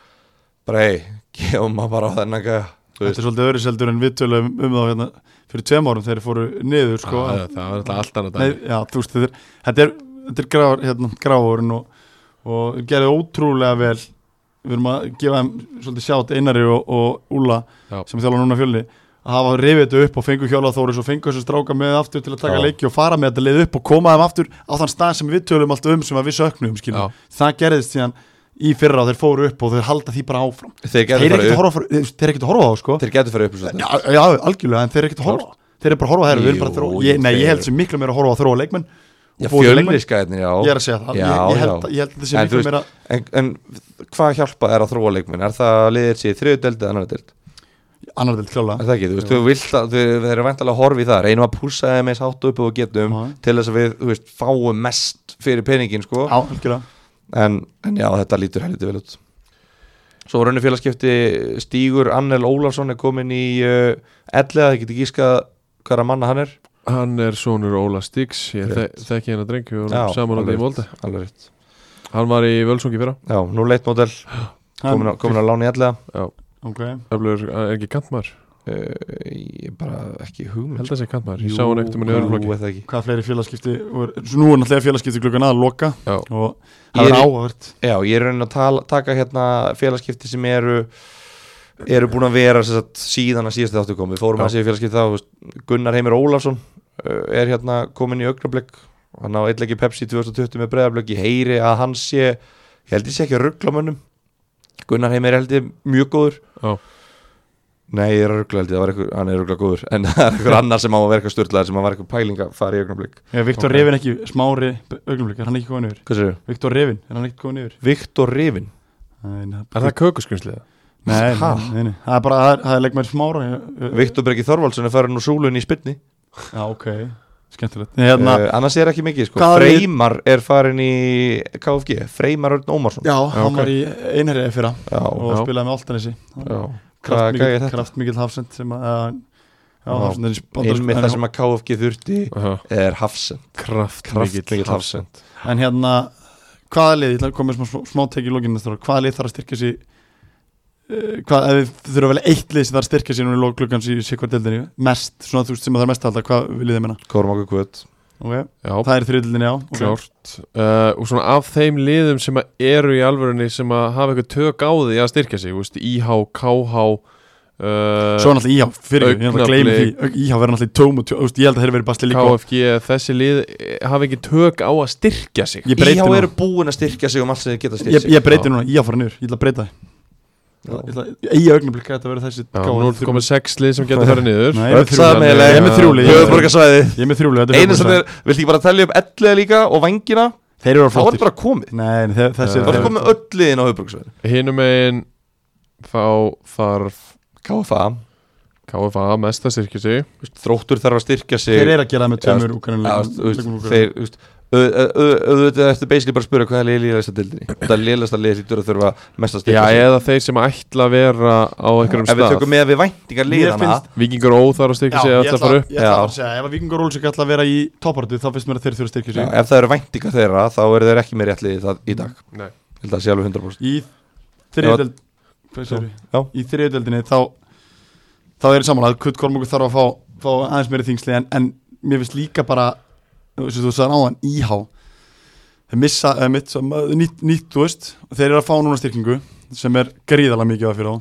D: bara, hei, gefum maður bara á þennan gæja, þú
C: Þetta
D: veist.
C: er svolítið öðru seldur en við tölum um þá hérna Fyrir tveim árum þegar þeir fóru niður sko
B: Það er- það er alltaf allt annað
C: Nei,
B: dæmi
C: já, þú veist, þetta er, þetta er, þetta er gráður, hérna, gráðurinn og, og gerði ótrúlega vel við erum að gefa þeim svolítið sjátt Einari og, og Úla
B: Já.
C: sem þjála núna fjölni að hafa rifið þetta upp og fengu hjóla þóris og fengu þessu stráka með aftur til að taka
B: Já.
C: leiki og fara með þetta leið upp og koma þeim aftur á þann stað sem við tölum alltaf um sem að við söknum
B: Já.
C: skilum. það gerðist síðan í fyrra og þeir fóru upp og þeir halda því bara áfram
D: þeir
C: þeir
D: getur
C: eru ekkert að
D: farið upp,
C: horfa, á- þeir þeir eru ekkert að horfa á það sko
D: þeir getur farið upp,
C: Já,
D: svolítið.
C: já, algjörlega, en þeir eru ekkert að horfa Þeir eru bara að horfa þær, við erum bara að
D: Jú,
C: þróa ég, Nei,
D: þeir-
C: ég held sem miklu meira að horfa að þróa leikmenn og
D: já,
C: búa til leikmenn.
D: fjölniskæðnir, já
C: Ég er að segja það,
D: Já,
C: ég, ég,
D: já.
C: held, ég held að þetta sé
D: En þú
C: miklu
D: veist-
C: meira
D: En, en hvað hjálpa er að þróa leikmenn? Er það að liðið sér í þriðu deild eða annar deild?
C: annar del
D: Er
C: klálega
D: það ekki? Þú veist, þú vilt að, þú, við erum vantalega að horfa í það reynum að púsa þeim eins hátt upp og við getum
C: Já.
D: til þess að við, þú veist, fáum mest fyrir peningin, sko
C: Já, algjörlega
D: en, en já, þetta lítur helviti vel út Svo raunir félagskipti Stígur Annel Ólafsson er komin í uh, ellega, það getur gískað hvaða manna hann er
B: Hann er sonur Óla Stíks Ég þe
D: Rétt.
B: þekki hennar dreng Við
D: Já,
B: vorum saman á því
D: alveg
B: í Molde
D: rétt, alveg rétt.
B: Hann var í Völsungi fyrra
D: Já, nú leitt mótel, komin, á- komin að lána í ellega
B: Já,
C: Ok,
B: öflur, er ekki kantmar
D: uh, ég er bara ekki hugmynd sko.
B: held að sé kantmaður, ég sá hann ekkert um hann í öðrum flokki
D: öðruflokki
C: Hvað fleiri félagskipti voru- Svo nú er náttúrulega félagskipti klukkan að loka
B: Já.
C: Og
D: Ég
C: það er
D: er-
C: áhvert
D: Já, ég er raunin að tala, taka hérna félagskipti sem eru eru búin að vera sem sagt, síðan að síðastu þáttu kom við fórum
B: Já.
D: að segja félagskipti þá þú veist, Gunnar Heimir Ólafsson uh, er hérna komin í augnablik hann á eitleiki Pepsi 2020 með breyðablik ég heyri að hann sé ég held ég sé ekki að ruggla mönnum Gunnar Heimir held ég mjög góður
B: Já.
D: Nei, ég er að ruggla held ég, það var einhver, hann er ruggla góður en það er einhver annar sem á að verka störtlaður sem að verka pælinga fara í augnablik
C: Er Viktor
B: Ok.
C: okay. Revin ekki smári augnumlik, er hann ekki komið niður?
D: Hvað sér þau?
C: Viktor Revin, er hann ekki komið niður?
D: Viktor Rifin
C: Nei, nei,
B: Er það kökuskrymslið?
C: nei,
D: Ha?
C: nei, nei, nei. Það er bara, það er, það er leikmæri smára
D: Viktor Breki Þorvaldsson er farin úr súlun í spynni
C: Já, ok, skemmtilegt Nei, hérna,
D: uh, annars er ekki mikið sko.
C: Hvaða lið-
D: Freymar er farin í KFG Freymar Örn Ómarsson
C: já, hann
B: ok.
C: var í einherja fyrra
D: já,
C: og
B: já.
C: spilaði með Altanesi
D: já. Hvað gæði
C: kraftmikil
D: þetta?
C: kraftmikil hafsend sem að uh, já,
D: Já.
C: hafsend er í bandarísku-
D: Einmitt það sem að KFG þurfti
B: Já,
D: er Hafsen
B: kraft
D: Kraftmikill Hafsend
C: en hérna, hvaða lið, ég ætla að koma með smá, smá teki í lokinn þessar, hvaða lið þarf að styrkja sig uh, hvað, ef þið þurfa vel eitt lið sem þarf að styrkja sig núna í lóklukkans í sikvar deildinni, mest, svona þú veist sem það er mest að halda, hvað viljið þið menna
D: Kormáku Kvöt
C: okay.
B: Já,
C: það er þriðildinni á ok.
B: klárt uh, Og svona af þeim liðum sem að eru í alvörunni sem að hafa eitthvað tök á því að styrkja sig þú veist, IH, KH
C: Svo
B: uh,
C: er náttúrulega íhá fyrir ykkur, ég ætla að gleyma því Auk- IH verður náttúrulega í tómu, tjó, úst, ég held að þeir verið bastli líka
B: KFG, þessi lið eh, hafa ekki tök á að styrkja sig
C: Ég breyti
D: Íhá eru
C: núna,
D: búin að styrkja sig um allt sem þið geta styrkja
C: ég,
D: sig
C: ég breyti núna, IH fara niður, ég ætla að breyta það Ég augnablik að þetta verður þessi
B: Já,
C: KF
B: nú er
C: þrjú-
B: komið sex lið sem getur farið niður Eh,
C: Nei,
D: Öll
C: ég er með þrjú lið.
D: sameiginleg.
C: Ég
D: Jöðborgarsvæði
C: er með þrjú lið, ég er með þrjú lið. Ég er með þrjú lið, þetta er
D: Einu sem
C: höfuborgarsvæði.
D: er, viltu ekki bara tellja upp ellega líka og vangina
C: Þeir eru
D: Þá er
C: flottir
D: bara komið
C: Nei, nei, þe- þessi
D: Þá er
B: Þeir-
D: komið öll liðin á höfbruksvæði
B: Hinum megin þá þarf
D: KFA
B: KFA mest að styrkja sig
D: þú veist, Þróttur þarf að styrkja sig
C: Þeir eru að gera það
D: Já,
C: með tveimur
D: Já, þú veist,
C: úkvæðanlega
D: þeir, þú veist au- au- au- auðvitað eftir basically bara að spura hvað er liðlægsta dildinni það er liðlægsta lið lítur að þurfa mest að
B: Já,
D: styrkja sig.
B: eða þeir sem ætla að vera á einhverjum
D: ef við
B: stað
D: tökum með að við væntingar liðana
C: finnst-
B: Víkingur Ó þarf að styrkja sig eða ætla að fara upp
C: ég ætla
D: Já.
C: bara að segja, ef að Víkingur Óls ekki ætla að vera í toppartu þá finnst mér að þeir þurfa að styrkja
D: já,
C: sig
D: ef það eru væntingar þeirra þá eru þeir ekki með rétt liði það, í dag
B: Nei.
D: Ég held að það sé alveg 100%
C: Í
D: Já.
C: þriðjöldeld
D: Já.
C: Í þriðjöldinni þá þá er samanlega að Kutt Kormungur þarf að fá, fá aðeins meiri þingsli en, en mér finnst líka bara sem þú sagði náðan, íhá þeir missa, eða mitt, sem, eh, nýtt, nýtt þú veist, og þeir eru að fá núna styrkingu sem er gríðalega mikið að fyrir á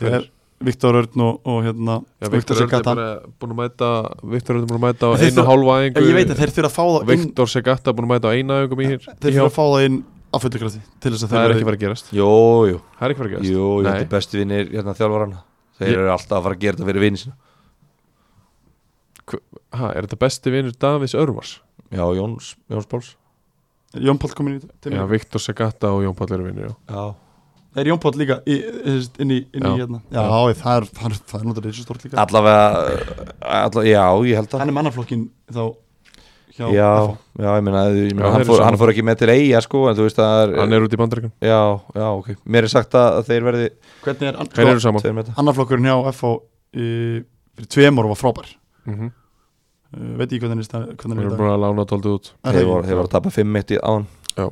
C: þeir
B: Hver?
C: er Viktor Örn og, og hérna
B: Já,
C: og
B: Viktor Örn er
C: Segata.
B: bara búin að mæta Viktor Örn er búin að mæta á
C: En þeir
B: einu
C: þurfa-
B: hálfa
C: En
B: æfingu
C: Eh, ég veit að þeir þurfa að fá það inn
B: Viktor Segata búin að mæta á eina æfingu mér
C: þeir þurfa að fá það inn á fullu krafti til þess að
B: Það
C: þeir
B: er
C: verði-
B: ekki verið að gerast
D: jú, jú,
B: Það er ekki verið að gerast
D: jú, jú
B: Nei.
D: þetta er bestu vinnir hérna þjálfarana þeir
B: Ég-
D: eru alltaf að fara að gera þetta fyrir vinni sína
B: ha, Er þetta besti vinur Davís Örvars?
D: já, Jóns, Jóns Páls
C: Jón Páll komin í til
B: Já,
C: mín.
B: Viktor Segata og Jón Páll eru vinir já.
D: já,
C: er Jón Páll líka í, þessist, inn í, inn í
B: Já.
C: hérna já,
B: Já.
C: já. það er, það er, það er náttúrulega þessu stort líka
D: allavega, allavega já, ég held að
C: hann er mannaflokkin þá hjá
D: já, já,
C: FH.
D: ég meina, ég meina
B: Já, þeir
D: hann,
B: eru
D: fór,
B: saman.
D: hann fór ekki með til eiga sko, en þú veist að það
B: Hann er út í bandaríkan
D: Já, já, ok Mér er sagt að, að þeir verði
C: hvernig er, an-
B: Þeir
C: sko,
B: eru saman
D: tveir með þetta
C: annaflokkurinn hjá FH í, fyrir tveim ára var frábær
B: Mhm.
C: uh, veit ég hvernig hann er í stað-
B: Þeir
C: hvernig hann
B: eru
C: er í dag
B: búin að lána tóldu út
C: Er það
D: Þeir
C: ekki?
D: voru, þeir voru að tapa 5-1 í án
C: Já.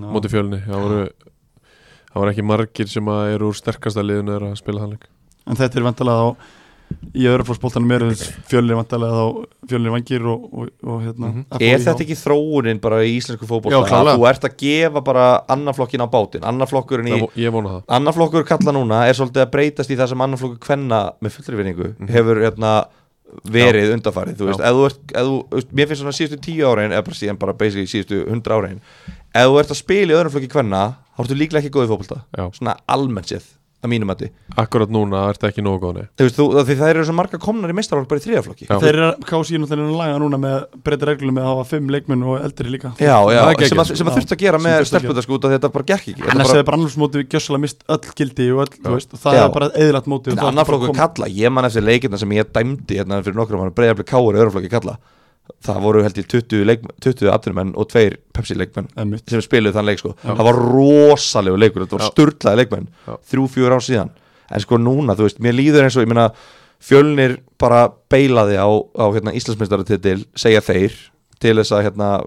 B: Móti fjölni Það voru Það var ekki margir sem að eru úr sterkasta liðinu er að spila hann leik
C: en þetta er vantalega á í öðruflóksbóltanum eru þess fjölnir vantalega þá fjölnir vangir og, og, og hérna
B: Mhm.
C: FH
D: Er
C: í
D: þetta
C: þá.
D: ekki þróunin bara í íslensku fótbolta
C: Já, klárlega.
D: Þú ert að gefa bara annarflokkin á bátinn Annarflokkurinn í
B: Það vo- Ég vona það
D: Annarflokkur kalla núna er svolítið að breytast í það sem annarflokkur kvenna með fullri vinningu
B: Mhm.
D: hefur hérna verið undarfarið þú veist,
B: Já.
D: ef þú ert, ef þú, þú veist, mér finnst svona síðustu tíu árein eða bara síðan bara basically síðustu hundra árein ef þú ert að spila í öðrum flokki kvenna þá ertu líklega ekki góðið fótbolta
B: Já.
D: svona almennt séð, að mínum að
B: Akkurat núna er þetta ekki nógu góð nei
D: Þú veist, þú, af því það eru svo marga komnar í meistarálg bara í þriðaflokki
B: Já.
C: þeir eru að kási í náttúrulega að laga núna með breyta reglum með að hafa fimm leikmenn og eldri líka
D: Já, já,
B: Það er
D: sem að,
B: geggjað.
D: sem að
C: Já.
D: þurfti að gera
C: Sem
D: með
C: þurfti að
D: stelpunar sko út af því að þetta bara gekk ekki Þetta
C: annars
D: bara,
C: hefur brannlúfsmótið gjössalega mist öll gildi og öll, þú veist, og það
D: Já.
C: er bara eðlætt mótið
D: en annar flokkur kalla, ég man eftir leikirna sem ég dæmdi hérna fyrir nokkrum hann breyðarblið káur í öðrum flokki kalla það voru held ég 20, leik, 20 atvinnumenn og tveir Pepsi leikmenn
C: Einmitt.
D: sem spiluðu þann leik sko það var rosalegu leikur, þetta var
B: Já.
D: sturlaði leikmenn
B: Já.
D: þrjú, fjör ár síðan en sko núna, þú veist, mér líður eins og ég meina fjölnir bara beilaði á, á hérna, Íslandsmeistaratitil, segja þeir til þess að hérna,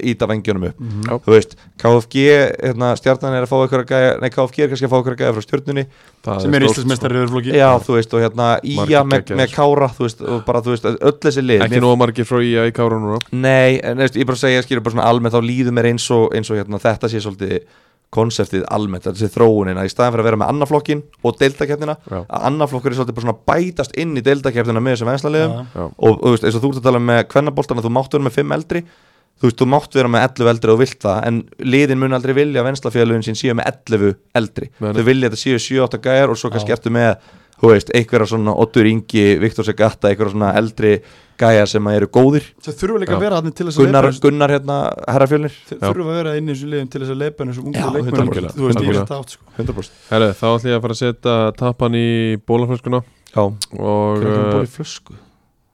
D: íta vengjunum upp
C: Mhm.
B: Já.
D: þú veist, KFG, hérna, stjarnan er að fá ykkur að gæja, nei KFG er kannski að fá ykkur að gæja frá stjörnunni,
B: Það
C: sem er
B: stórt,
C: íslensmestari yfir flokki
D: sko. já, þú veist, og hérna
B: Margir
D: Ía með,
B: geggjaðir.
D: með Kára, þú veist, og bara, þú veist, öll þessi
B: sko.
D: lið
B: Ekki nóg margir frá IA í kárun núna
D: Nei, en veist, ég bara segja, skilur bara svona almennt þá líður mér eins og, eins og hérna, þetta sé svolítið konseptið almennt, þetta sé þróunin að í staðan fyrir að vera með annaflokkin og deildakefnina
B: Já.
D: að annaflokkur er svolítið bara svona bætast inn í deildakefnina með þessum venslalegum
C: Já.
B: Já.
D: og, og þú veist, eins og þú ert að tala með kvennaboltana, þú mátt vera með 5 eldri þú veist, þú mátt vera með 11 eldri og þú vilt það en liðin mun aldrei vilja að venslafélagin sín séu með 11 eldri
B: Nei, nei.
D: þau vilja að þetta séu 7-8 gæjar og svo kannski ertu með þú veist, einhverja svona Oddur Ingi, Viktor Segata, einhverja svona eldri gæja sem að eru góðir
C: það þurfa líka
B: Já.
C: að vera hann til þess að
D: Gunnar,
C: leipa þessu-
D: Gunnar hérna, herrafjölnir
C: þau þurfa að vera inn í þessu liðum til þess að leipa þessu ungu
D: Já,
C: leikmenn
B: algjörlega,
C: þú veist, ég
B: algjörlega.
C: rétt átt sko
D: 100%
B: Herru, þá ætlum ég að fara að setja tappan í bólaflöskuna
D: Já,
B: og uh,
D: í flösku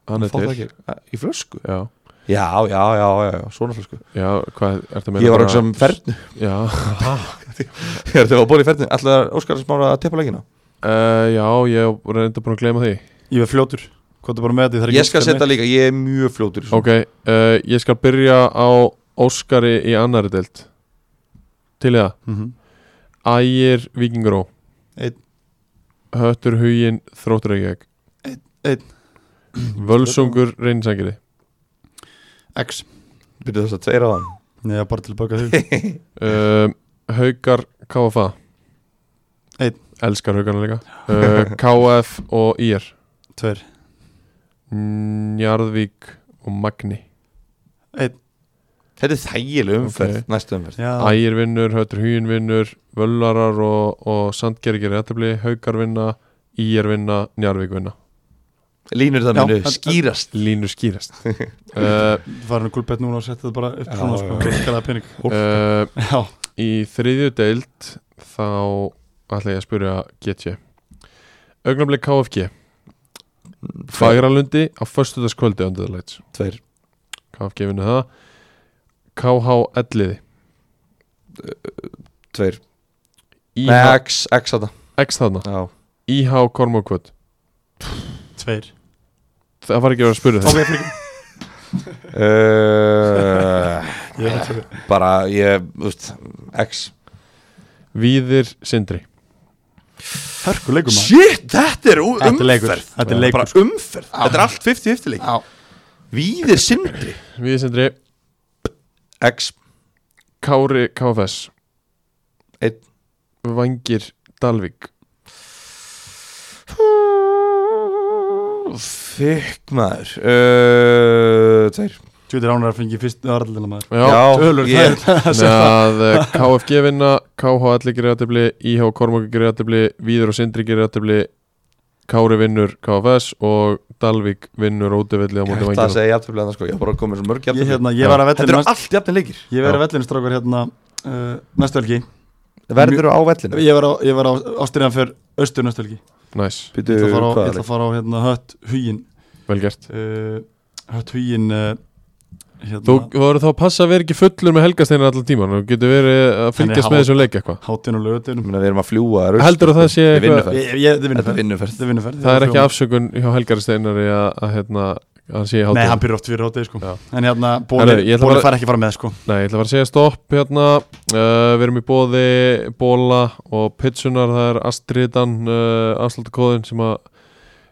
B: hann er
D: Fá það
B: til
D: ekki Í flösku?
B: Já, já,
D: Já, já, já, já, já svona flösku
B: hvað er það meina?
D: Ég var um
B: bara-
D: okkur sem fernu
B: Já,
D: Ég er þegar að bóla í fernu Alltaf Óskar smára að teppa leikina
B: uh, já, ég var reynda búin að gleyma því
C: ég var fljótur hvað er bara með því það er
D: Ég skal setja líka, ég er mjög fljótur í svona.
B: Ok, uh, ég skal byrja á Óskari í annari deild Til í það
C: Mhm.
B: Ægir Víkinguró
C: Einn.
B: Höttur Hugin Þróttur Reykjavík
C: Einn, einn.
B: Völsungur Reynsangiri
C: x
D: Byrjuð þess að tveira þann
C: neða bara til að baka þig
B: um, Haukar KFA
C: Einn.
B: Elskar Haukarna líka uh, KF og IR
C: tver
B: Njarðvík og Magni
D: Þetta er þægileg umferð,
B: Ok.
D: næstu umferð
C: já
B: Ægir vinnur, Höttur Hugin vinnur Völlarar og, og Sandgergir Jættabli, Haukar vinna IR vinna, Njarðvík vinna
D: Línur það
C: Já,
D: minu
C: en-
D: skýrast
B: Línur skýrast uh,
C: farin að gulbett núna og setja það bara upp
D: Já,
C: svona
D: já. Eh,
C: sko skalaða pening
B: uh,
C: já
B: Í þriðju deild þá ætla ég að spyrja GT Augnablik KFG Fagralundi á föstudagskvöldi under the lights
D: Tveir
B: KFG vinnur það KH Elliði
D: Eh, Tveir Nei,
B: IH
D: X, X þetta
B: X þarna
D: Já
B: IH Kormokvöld
C: tveir
B: Það var ekki að vera að spyrja
C: ok
B: þetta
C: fyrir
D: uh,
C: ég er tveir
D: Bara, ég, þú veist, X
B: Víðir Sindri
C: hörku leikum maður
D: Shit, þetta er u-
C: Þetta er leikur.
D: umferð
C: Þetta er leikur,
D: Bara umferð, þetta er allt 50-50 leik
C: Já.
D: Víðir sindri
B: Víðir Sindri
D: X,
B: Kári KFS
D: Einn.
B: Vangir Dalvik
D: þykk maður uh, Tveir
C: Tjóðir ánægðar að fengi fyrst aðraldina maður
D: tölur ég,
B: Með að eh, KFG vinna, KH allir greiðatefli, IH Kormokur greiðatefli, Víður og Sindri greiðatefli, Kári vinnur KFS og Dalvik vinnur Rótevelli á
D: Ég
B: móti
D: ætla að
B: vangjum.
D: segja jafntöflega það sko Ég var bara komið svo mörg
C: ég,
D: jafntöflega
C: hérna, ég var að
D: Þetta
C: vellinu
D: eru allt jafnir leikir
C: ég var að vellinu strákar hérna uh, næstu helgi
D: Verður á
B: Hérna.
D: vellinu
C: ég var á, ég var á ástriðan fyrr austur næstu helgi
B: Næs,
D: Býtu,
C: ég
D: hvað er
C: ætla að fara á, ég ætla
D: leik?
C: að fara á hérna, hött hugin
B: vel gert.
C: uh, hött hugin uh, hérna,
B: Þú voru þá að passa að vera ekki fullur með helgasteinar allan tíman og getur verið að fylgjast
C: Hann er
B: með þessum leik eitthvað.
C: hátinn
D: Ég
C: og lögutinum
D: meina, Við erum að fljúa
B: Heldur það sé
D: Við
B: eitthvað,
D: vinnuferð.
C: þetta er
D: Þetta er
C: vinnuferð
D: vinnuferð
C: þetta er vinnuferð
B: það er ekki afsökun hjá helgarasteinari að, að hérna, hann sé í
C: Nei, hann
B: hátum.
C: pyrir oft fyrir hátið sko
B: Já.
C: En hérna,
B: Herru,
C: bóli,
B: ég ætla
C: bóli
B: bara-
C: fær ekki að fara með sko
B: Nei, ég ætla bara að segja stopp hérna uh, Við erum í bóði Bóla og Pitsunar Það er Astridan uh, afsláttakóðin sem að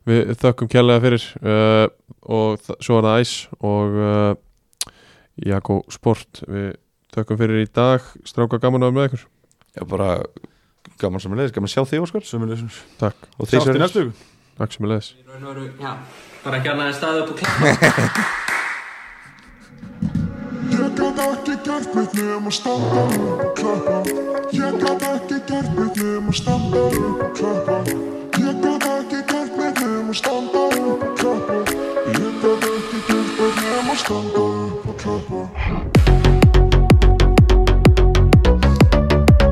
B: við þökkum kjærlega fyrir uh, og þa- svo er það Æs og uh, Jakko Sport Við þökkum fyrir í dag Stráka gaman að vera með ykkur
D: Ég er bara gaman sem Gaman að sjá þig sko. Óskar
C: Sömulegis
B: Takk,
D: Og þig
C: Sátt í
D: Sverrir.
C: næstu viku
B: takk sem ég leðis
A: Í raun og veru, já, bara ekki annað en staðið upp og klappa
E: Ég gat ekki gert mitt nefn að standa upp og klappa Ég gat ekki gert mitt nefn að standa upp og klappa Ég gat ekki gert mitt nefn að standa